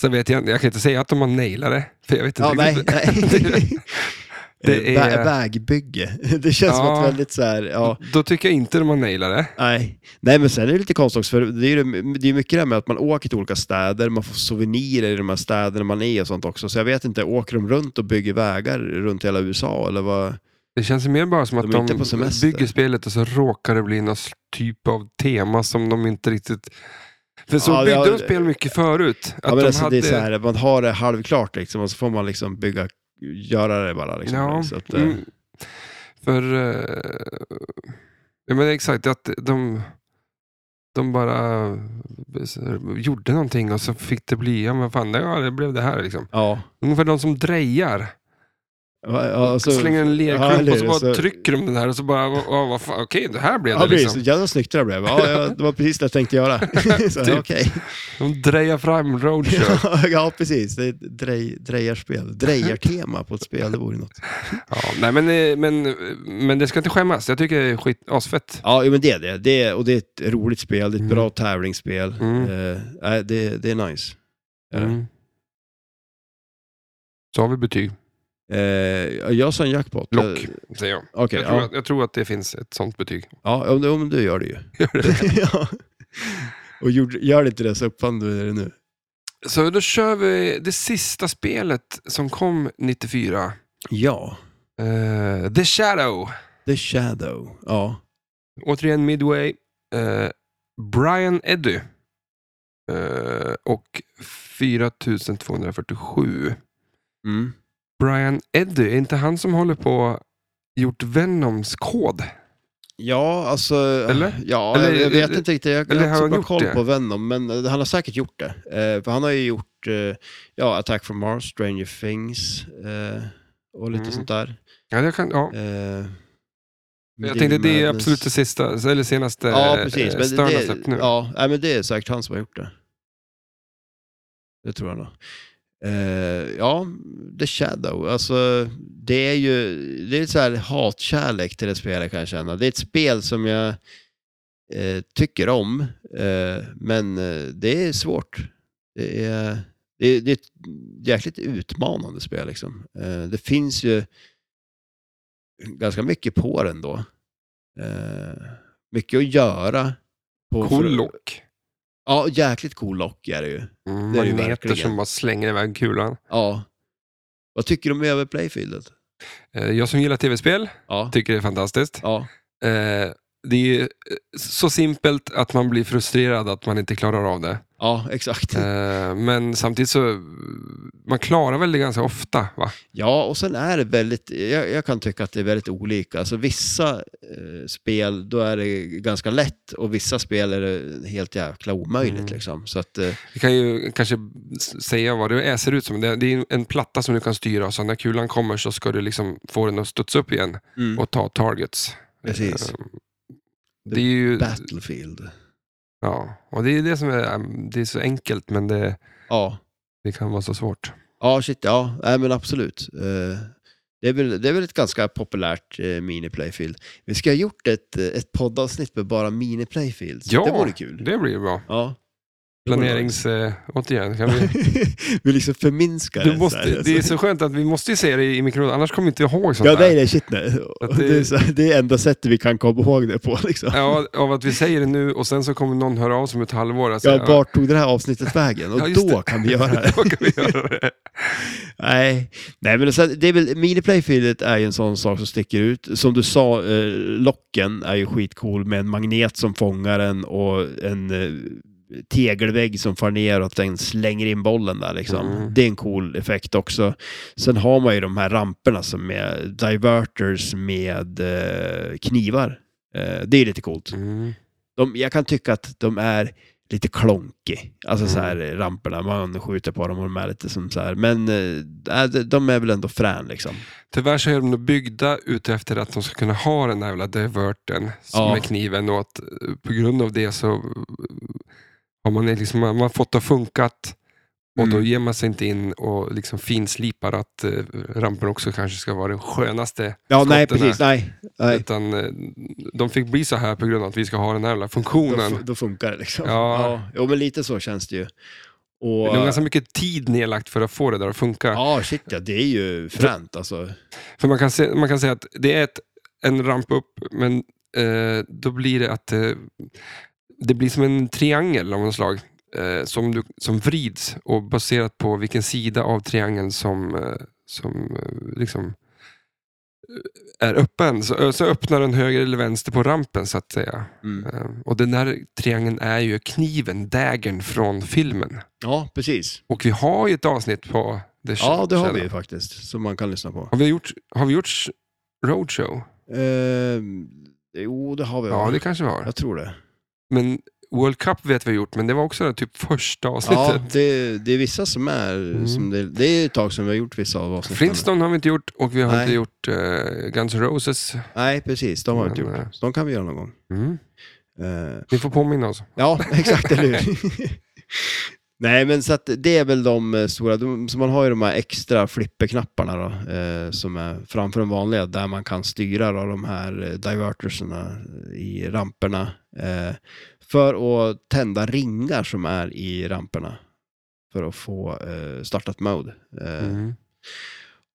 S1: så vet jag Jag kan inte säga att de har nailat det. För jag vet inte
S2: Ja, nej.
S1: riktigt.
S2: nej.
S1: Det
S2: Det
S1: är-
S2: Vägbygge. Det känns som
S1: Ja.
S2: ett väldigt så här, ja.
S1: Då tycker jag inte de har nailat det.
S2: Nej. Nej, men sen är det lite konstigt också, för det är ju det är ju mycket det här med att man åker till olika städer, man får souvenirer i de här städerna man är i och sånt också. Så jag vet inte, åker de runt och bygger vägar runt hela USA eller vad?
S1: Det känns ju mer bara som att
S2: är
S1: de,
S2: inte på semester.
S1: bygger spelet och så råkar det bli någon typ av tema som de inte riktigt... För så
S2: Ja, det
S1: byggde
S2: har-
S1: de spel mycket förut. Att
S2: Ja, men
S1: de
S2: alltså,
S1: hade...
S2: det är så här, man har det halvklart liksom och så får man liksom bygga, göra det bara. Liksom.
S1: Ja,
S2: Så att, eh,
S1: mm. För... eh, ja, men exakt, att de, de bara eh, gjorde någonting och så fick det bli, ja men fan, ja, det blev det här liksom.
S2: ja.
S1: Ungefär de som drejar.
S2: Ja, ja, så-
S1: slänger en
S2: Ja,
S1: lerklump
S2: eller
S1: och så
S2: hur?
S1: bara trycker de den här och så bara, oh, vad fan, okej, det här blev
S2: Ja,
S1: det
S2: precis.
S1: liksom.
S2: Jävla snyggt det där blev. Ja, ja, det var precis det jag tänkte göra. Så,
S1: Typ.
S2: okej.
S1: De drejar fram roadshow.
S2: ja, precis. Det är ett drej, drejarspel. Drejartema på ett spel, det vore ju något.
S1: ja, nej, men, eh, men, men det ska inte skämmas. Jag tycker det är skit, asfett.
S2: Ja, jo, men det är det. det är, och det är ett roligt spel. Det är ett
S1: Mm.
S2: bra tävlingsspel.
S1: Mm.
S2: Eh, nej, det, det är nice. Är det?
S1: Mm. Så har vi betyg.
S2: Eh, jag sa en jackpot.
S1: Lock,
S2: Eh,
S1: säger jag.
S2: Okej,
S1: jag, tror
S2: ja.
S1: att, jag tror att det finns ett sånt betyg.
S2: ja. om, du- om du gör det ju. ja. Och gjorde, gör det inte det så uppfann du det nu.
S1: Så då kör vi det sista spelet som kom 94.
S2: Ja.
S1: Eh, The Shadow.
S2: The Shadow. Ja.
S1: Återigen Midway. Eh, Brian Eddy. Eh, och 4247.
S2: Mm.
S1: Brian Eddy, är inte han som håller på gjort Venoms kod?
S2: Ja, alltså...
S1: Eller?
S2: Ja,
S1: Eller-
S2: jag, jag vet inte riktigt. Jag,
S1: eller
S2: jag
S1: har
S2: har
S1: han
S2: inte så bra
S1: gjort
S2: koll
S1: det?
S2: på Venom, men eh, han har säkert gjort det. Eh, för han har ju gjort eh, ja, Attack from Mars, Stranger Things eh, och lite
S1: Mm.
S2: sånt där.
S1: Ja, jag, kan, ja.
S2: Eh,
S1: jag
S2: Middle
S1: tänkte det är
S2: Madness.
S1: absolut det sista, eller senaste
S2: Ja,
S1: eh,
S2: precis.
S1: eh,
S2: Men
S1: Stern har
S2: det,
S1: släppt nu.
S2: det, ja, nej, men det är säkert han som har gjort det. Det tror jag nog. Eh, ja, The Shadow. Alltså, det är ju det är så här hatkärlek till det spelet kan jag känna. Det är ett spel som jag eh, tycker om, eh, men eh, det är svårt. Det är, det, är, det är ett jäkligt utmanande spel. Liksom. Eh, det finns ju ganska mycket på den då. Eh, mycket att göra. På
S1: Cool lock.
S2: Ja, jäkligt cool lock är det ju.
S1: Mm,
S2: det är det ju
S1: magneter
S2: verkligen.
S1: som bara slänger iväg kulan.
S2: Ja. Vad tycker du om över playfieldet?
S1: Eh, Jag som gillar tv-spel
S2: Ja.
S1: tycker det är fantastiskt.
S2: ja.
S1: Eh, Det är ju eh, så simpelt att man blir frustrerad att man inte klarar av det.
S2: Ja, exakt.
S1: Eh, Men samtidigt så, eh, man klarar väl det ganska ofta va?
S2: Ja, och sen är det väldigt, jag, jag kan tycka att det är väldigt olika. Alltså vissa eh, spel, då är det ganska lätt och vissa spel är det helt jäkla omöjligt
S1: Mm.
S2: liksom. Så att, eh,
S1: Vi kan ju kanske s- säga vad det är, ser ut som. Det det är en platta som du kan styra och så när kulan kommer så ska du liksom få den att studsa upp igen
S2: mm.
S1: och ta targets.
S2: Precis.
S1: Eh, Det är ju,
S2: Battlefield.
S1: ja, och det är det som är, ehm, det är så enkelt men det,
S2: Ja,
S1: det kan vara så svårt.
S2: ja shit, ja, nej, men absolut. Eh, det, är väl, det är väl ett ganska populärt eh, mini-playfield. Vi ska ha gjort ett, eh, ett poddavsnitt med bara mini-playfields.
S1: Ja,
S2: det vore kul.
S1: Det blir bra.
S2: Ja.
S1: Planerings... Eh, återigen, kan vi...
S2: vi liksom förminskar
S1: Du
S2: det så här,
S1: måste, det är
S2: alltså.
S1: så skönt att vi måste ju se det i mikron, annars kommer inte vi ihåg sånt
S2: Ja, nej,
S1: där.
S2: nej, shit nej.
S1: Att det-
S2: Det, är så, här- det är enda sättet vi kan komma ihåg det på. Liksom.
S1: Ja, av att vi säger det nu och sen så kommer någon höra av sig om ett halvår. och säga,
S2: Ja, vart tog det här avsnittet vägen? Och
S1: Ja, just
S2: då
S1: det.
S2: kan vi göra det.
S1: Då kan vi göra det.
S2: Nej, Nej men så, det är väl, miniplayfieldet är ju en sån sak som sticker ut. Som du sa, eh, locken är ju skitcool med en magnet som fångar den och en eh, tegelvägg som far ner och att den slänger in bollen där liksom.
S1: Mm.
S2: Det är en cool effekt också. Sen har man ju de här ramperna som är diverters med eh, knivar. Eh, det är lite coolt.
S1: Mm.
S2: de, jag kan tycka att de är lite klonky. Alltså
S1: Mm.
S2: så här eh, ramperna, man skjuter på dem och de är lite som så här. Men eh, äh, de- de är väl ändå frän liksom.
S1: Tyvärr så är de nog byggda ute efter att de ska kunna ha den där jävla diverten som
S2: Ja.
S1: är kniven och att eh, på grund av det så eh, har man, är liksom, man har fått det att funkat och då
S2: Mm.
S1: ger man sig inte in och liksom finslipar att eh, rampen också kanske ska vara den skönaste.
S2: Ja,
S1: skotten
S2: nej
S1: är.
S2: precis, nej. nej.
S1: Utan eh, de fick bli så här på grund av att vi ska ha den här jävla
S2: Då,
S1: funktionen.
S2: fu- då funkar det liksom.
S1: Ja.
S2: Jo, men lite så känns det ju.
S1: Det
S2: Och,
S1: är nog ganska mycket tid nedlagt för att få det där att funka.
S2: ja, shit ja, det är ju fränt alltså.
S1: För man kan, se, man kan säga att det är ett, en ramp upp, men eh, då blir det att eh, det blir som en triangel av något slag. Eh, som, du, som vrids och baserat på vilken sida av triangeln som, eh, som eh, liksom eh, är öppen. Så, så öppnar den höger eller vänster på rampen så att säga.
S2: Mm.
S1: Eh, och den där triangeln är ju kniven, dagen från filmen.
S2: Ja, precis.
S1: Och vi har ju ett avsnitt på The
S2: Ja, det har
S1: Shadow.
S2: vi ju faktiskt, som man kan lyssna på.
S1: Har vi gjort, har vi gjort sh- roadshow?
S2: Ehm, jo, det har vi.
S1: Ja,
S2: va?
S1: det kanske vi har.
S2: Mm. Jag tror det.
S1: Men World Cup vet vi har gjort, men det var också typ första avsnittet.
S2: Ja, det, det är vissa som är...
S1: Mm.
S2: Som det, det är ett tag sedan vi har gjort vissa av avsnitten.
S1: Flintstone har vi inte gjort och vi har
S2: Nej.
S1: inte gjort eh, Guns N' Roses.
S2: Nej, precis. De har vi inte
S1: Men, eh,
S2: gjort. Så de kan vi göra någon gång.
S1: Mm.
S2: Eh,
S1: Ni får påminna oss.
S2: ja, exakt, eller hur? Nej, men så att det är väl de eh, stora. De, så man har ju de här extra flipperknapparna då, eh, som är framför de vanliga, där man kan styra då, de här eh, diverterserna i ramperna. Eh, för att tända ringar som är i ramperna. För att få eh, startat mode. Eh,
S1: Mm.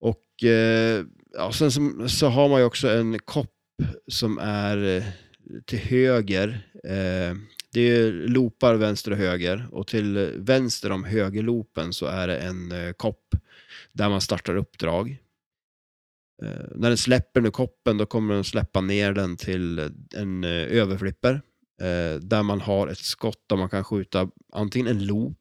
S2: Och eh, ja, sen som, så har man ju också en kopp som är eh, till höger. Eh, det är loopar vänster och höger och till vänster om högerloopen så är det en eh, kopp där man startar uppdrag. Eh, när den släpper nu koppen då kommer den släppa ner den till en eh, överflipper eh, där man har ett skott där man kan skjuta antingen en loop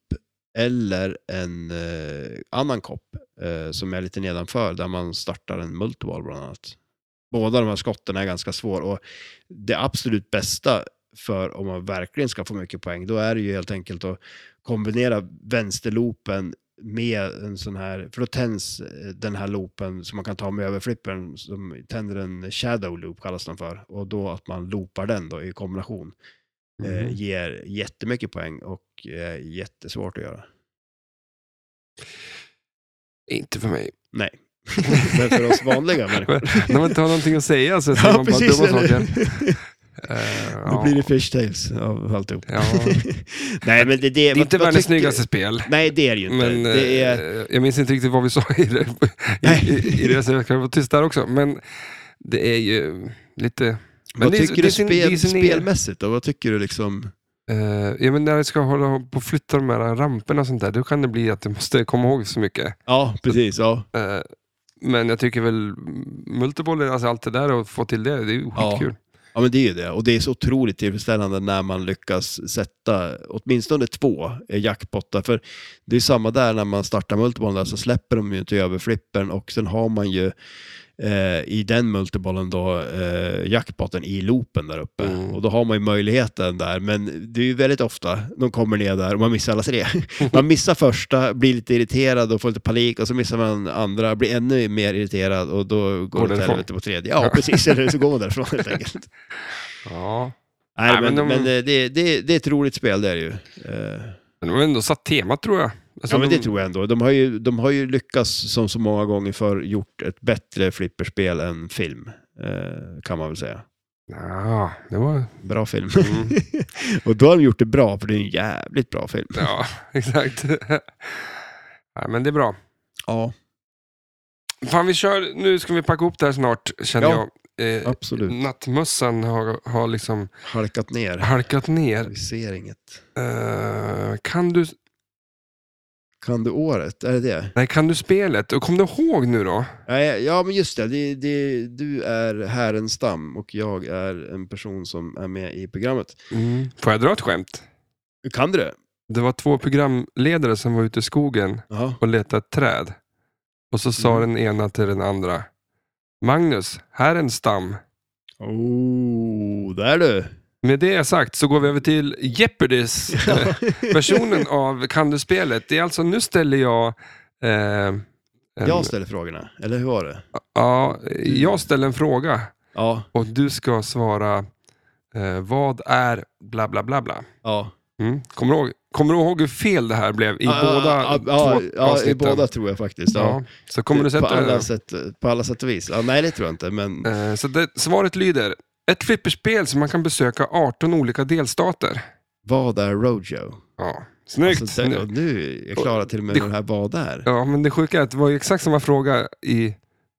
S2: eller en eh, annan kopp eh, som är lite nedanför där man startar en multiball bland annat. Båda de här skotten är ganska svåra och det absolut bästa för om man verkligen ska få mycket poäng då är det ju helt enkelt att kombinera vänsterloopen med en sån här, för då tänds eh, den här loopen som man kan ta med överflippen som tänder en shadow loop kallas den för och då att man loopar den då i kombination
S1: Mm.
S2: eh, ger jättemycket poäng och är jättesvårt att göra.
S1: Inte för mig.
S2: Nej. Men för oss vanliga människor.
S1: När man inte har någonting att säga så säger man bara dumma saker. Eh,
S2: Då
S1: ja.
S2: blir det fish tales av alltihop.
S1: Ja.
S2: Nej, men det, det,
S1: Det är inte världens snyggaste spel.
S2: Nej, det är det ju inte.
S1: Men,
S2: det är,
S1: eh, Jag minns inte riktigt vad vi sa i det. I, i, i det så jag kan vara tyst där också. Men det är ju lite... Men
S2: vad
S1: det är-
S2: tycker
S1: det
S2: du
S1: är sin- det är
S2: spel,
S1: sin egen-
S2: spelmässigt då? Vad tycker du liksom?
S1: Eh, ja, men när jag ska hålla på och flytta de här ramperna och sånt där, då kan det bli att jag måste komma ihåg så mycket.
S2: Ja, precis. Ja.
S1: Eh, men jag tycker väl multiboller, alltså allt det där och få till det, det är ju
S2: Ja.
S1: skitkul.
S2: ja, men det är ju det. Och det är så otroligt tillfredsställande när man lyckas sätta åtminstone två eh, jackpottar. För det är samma där när man startar multibollen, där, så släpper de ju inte över flippen och sen har man ju eh, i den multibollen då eh, jackpotten i loopen där uppe.
S1: Mm.
S2: Och då har man ju möjligheten där, men det är ju väldigt ofta de kommer ner där och man missar alla tre. man missar första, blir lite irriterad och får lite panik och så missar man andra, blir ännu mer irriterad och då går det åt
S1: därifrån.
S2: helvete på tredje. Ja, precis. Eller så går man därifrån helt enkelt.
S1: Ja.
S2: Nej,
S1: Nej,
S2: men,
S1: men de-
S2: men det, det, det, det är ett roligt spel, det är det ju. Eh,
S1: Men de har ändå satt temat tror jag. Alltså,
S2: ja, men
S1: de,
S2: det tror jag ändå. De har ju, de har ju lyckats, som så många gånger förr, gjort ett bättre flipperspel än film. eh, Kan man väl säga.
S1: Ja, det var...
S2: Bra film.
S1: Mm.
S2: och då har de gjort det bra, för det är en jävligt bra film.
S1: Ja, exakt. ja, men det är bra.
S2: Ja,
S1: Fan, vi kör. Nu ska vi packa upp det här snart, känner
S2: Ja,
S1: jag. Eh,
S2: absolut.
S1: nattmössan har, har liksom
S2: Halkat ner.
S1: halkat ner.
S2: Vi ser inget.
S1: Eh, kan, du,
S2: Kan du året? Är det det?
S1: nej, kan du spelet? Och kom du ihåg nu då?
S2: Nej, Ja, men just det. det, det du är herrenstam och jag är en person som är med i programmet.
S1: Mm. Får jag dra ett skämt?
S2: Kan du det?
S1: Det var två programledare som var ute i skogen
S2: Ja.
S1: och letade ett träd. Och så sa
S2: Mm.
S1: den ena till den andra. Magnus, här är en stam.
S2: Oh, där du!
S1: Med det sagt så går vi över till Jeopardys. versionen av Kan du-spelet. Det är alltså, nu ställer jag... Eh, en,
S2: Jag ställer frågorna, eller hur var det?
S1: ja, jag ställer en fråga
S2: Ja,
S1: och du ska svara eh, vad är bla bla bla bla.
S2: ja. Ah,
S1: Mm. Kommer, du ihåg, kommer du ihåg hur fel det här blev i
S2: Ja,
S1: båda
S2: ja,
S1: två
S2: ja, ja, i
S1: avsnitten?
S2: båda tror jag faktiskt. Ja.
S1: Ja, så kommer du
S2: på,
S1: sätta
S2: alla
S1: det.
S2: sätt, på alla sätt och vis. Ja, nej, det tror jag inte, men
S1: Eh, så det, svaret lyder. Ett flipperspel som man kan besöka 18 olika delstater.
S2: vad är Rojo?
S1: Ja. Snyggt!
S2: Alltså, där, och nu är jag klara till och med
S1: Det-
S2: med den här vad är.
S1: ja, men det sjuka är att det var ju exakt samma fråga i...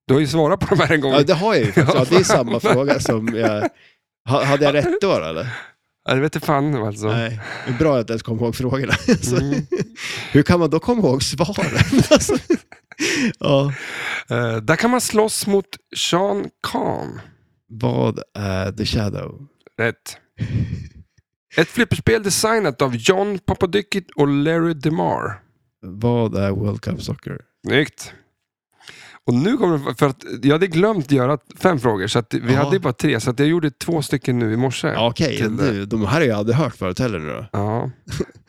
S1: Du har ju svarat på de här en gång.
S2: Ja, det har jag ju faktiskt. Ja, det är samma fråga som jag... Ha- Hade jag rätt då eller?
S1: Ja, det vete fan alltså.
S2: Nej, det är bra att jag inte ens kom ihåg frågorna. Alltså,
S1: Mm.
S2: Hur kan man då komma ihåg svaren? Alltså, ja.
S1: Eh, där kan man slåss mot Sean Khan.
S2: Vad är The Shadow?
S1: Rätt. Ett flipperspel designat av John Papaducki och Larry DeMar.
S2: Vad är World Cup Soccer?
S1: Snyggt. Och nu kommer det- för att jag hade glömt göra fem frågor, så att vi
S2: Ja.
S1: hade ju bara tre, så att jag gjorde två stycken nu i morse.
S2: Ja, Okej,
S1: till det.
S2: nu, de här har jag aldrig hört förut heller. Nu då.
S1: Ja.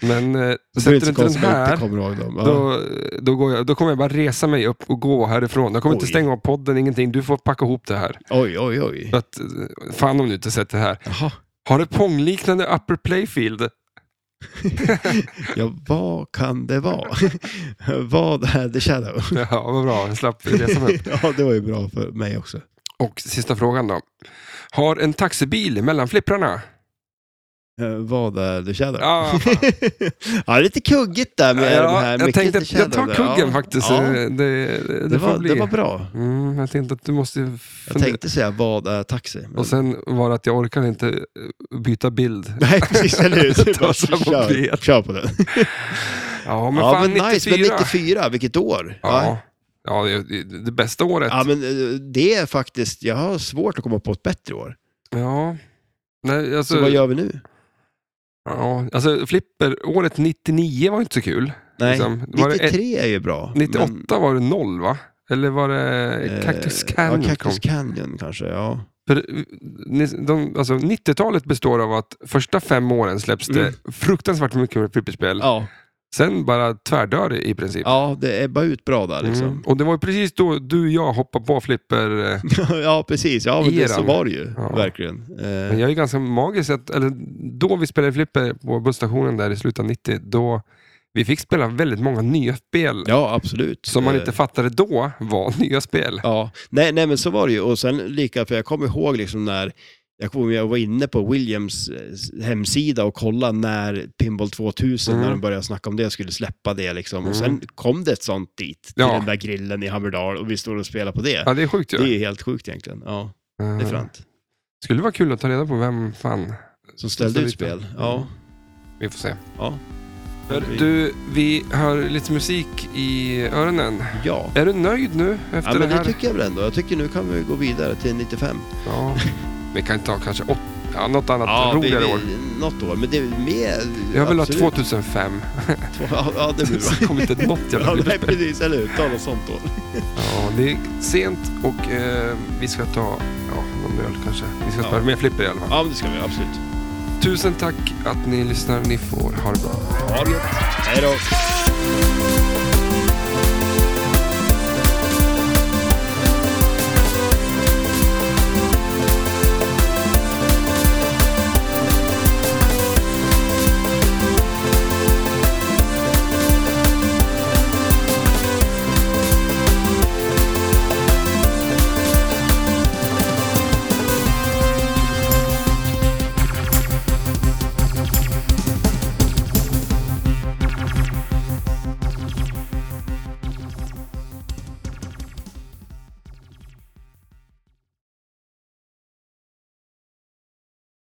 S1: Men eh,
S2: Så
S1: sätter
S2: det är
S1: du inte
S2: inte så
S1: den
S2: konstigt att jag
S1: här,
S2: inte kommer ihåg dem. Ja.
S1: då, då, går jag, då kommer jag bara resa mig upp och gå härifrån. Jag kommer inte
S2: Oj.
S1: stänga av podden, ingenting. Du får packa ihop det här.
S2: Oj, oj, oj.
S1: För att, eh, fan om du inte sett det här.
S2: Jaha.
S1: Har ett pongliknande upper playfield.
S2: Ja, vad kan det vara? vad är The Shadow?
S1: Ja, vad bra. Jag slapp resa mig upp.
S2: ja, det var ju bra för mig också.
S1: Och sista frågan då. Har en taxibil mellan flipprarna?
S2: Eh, vad är The Shadow?
S1: Ja, fan.
S2: ja, det är lite kuggigt där med den här.
S1: jag
S2: mycket
S1: tänkte
S2: The
S1: att jag tar
S2: Shadow där.
S1: kuggen
S2: ja.
S1: faktiskt. eh,
S2: Ja,
S1: Det, det,
S2: det,
S1: får
S2: var,
S1: bli.
S2: det var bra.
S1: Mm, jag tänkte att du måste
S2: Jag
S1: fundera.
S2: tänkte säga vad är taxi? Men...
S1: Och sen var det att jag orkar inte eh, byta bild.
S2: Nej, precis. Eller hur? Så
S1: Ta
S2: bara,
S1: samma
S2: kör,
S1: ben.
S2: kör på den.
S1: Ja, men
S2: Men ja,
S1: fan
S2: men
S1: 94.
S2: nice. Men 94, vilket år.
S1: Ja, ja det, det, det bästa året.
S2: Ja, men eh, det är faktiskt, jag har svårt att komma på ett bättre år.
S1: Ja. Nej,
S2: Så,
S1: alltså,
S2: vad gör vi nu?
S1: ja, alltså, flipper, året 99 var ju inte så kul.
S2: Nej,
S1: liksom. Var det
S2: 93 är ju bra.
S1: 98
S2: men,
S1: var det noll va? Eller var det
S2: eh,
S1: Cactus Canyon?
S2: Ja,
S1: kom?
S2: Cactus Canyon kanske, ja.
S1: För, eh, ni- de, alltså, 90-talet består av att första fem åren släpps det fruktansvärt mycket flipperspel.
S2: Mm. Ja,
S1: Sen bara tvärdör det i princip.
S2: ja det ebbar ut bra där liksom.
S1: Mm. Och det var ju precis då du och jag hoppade på flipper. eh,
S2: ja, precis. Ja, men det,
S1: Eran.
S2: så var det ju,
S1: Ja.
S2: verkligen. Eh,
S1: Men jag är ganska magisk att, eller då vi spelade flipper på busstationen där i slutet av 90, då vi fick spela väldigt många nya spel
S2: Ja, absolut.
S1: som man
S2: Eh,
S1: inte fattade då var nya spel.
S2: Ja, nej, nej men så var det ju. Och sen lika, för jag kommer ihåg liksom när jag, kommer ihåg jag var inne på Williams eh, hemsida och kollade när Pinball 2000,
S1: Mm.
S2: när de började snacka om det, skulle släppa det. Liksom. Och
S1: Mm.
S2: sen kom det ett sånt dit, till
S1: Ja.
S2: den där grillen i Hammerdal och vi står och spelar på det.
S1: Ja, det är sjukt ju.
S2: Det är ju helt sjukt egentligen. Ja, det är
S1: Eh,
S2: fränt.
S1: skulle vara kul att ta reda på vem fan
S2: Som ställde ut spel. Ja,
S1: Vi får se.
S2: ja.
S1: Du, vi hör lite musik i öronen.
S2: ja.
S1: Är du nöjd nu efter
S2: Ja, men
S1: det
S2: det
S1: här?
S2: tycker jag väl ändå. Jag tycker nu kan vi gå vidare till 95.
S1: Ja. Vi kan ta kanske åt... ja, något annat
S2: vi,
S1: roligare år.
S2: vi, något år. Men det är mer...
S1: Jag vill
S2: absolut.
S1: ha 2005.
S2: Två- Ja, ja, det blir bra.
S1: Det kommer inte något jävla
S2: Ja, nej,
S1: nytt.
S2: precis. Eller hur? Ta något sånt då.
S1: Ja, det är sent och eh, vi ska ta ja, någon öl kanske. Vi ska
S2: Ja.
S1: spela mer flipper i alla fall.
S2: Ja, men det ska vi absolut.
S1: Tusen tack att ni lyssnar. Ni får ha det bra.
S2: Ha det gött. Hej då.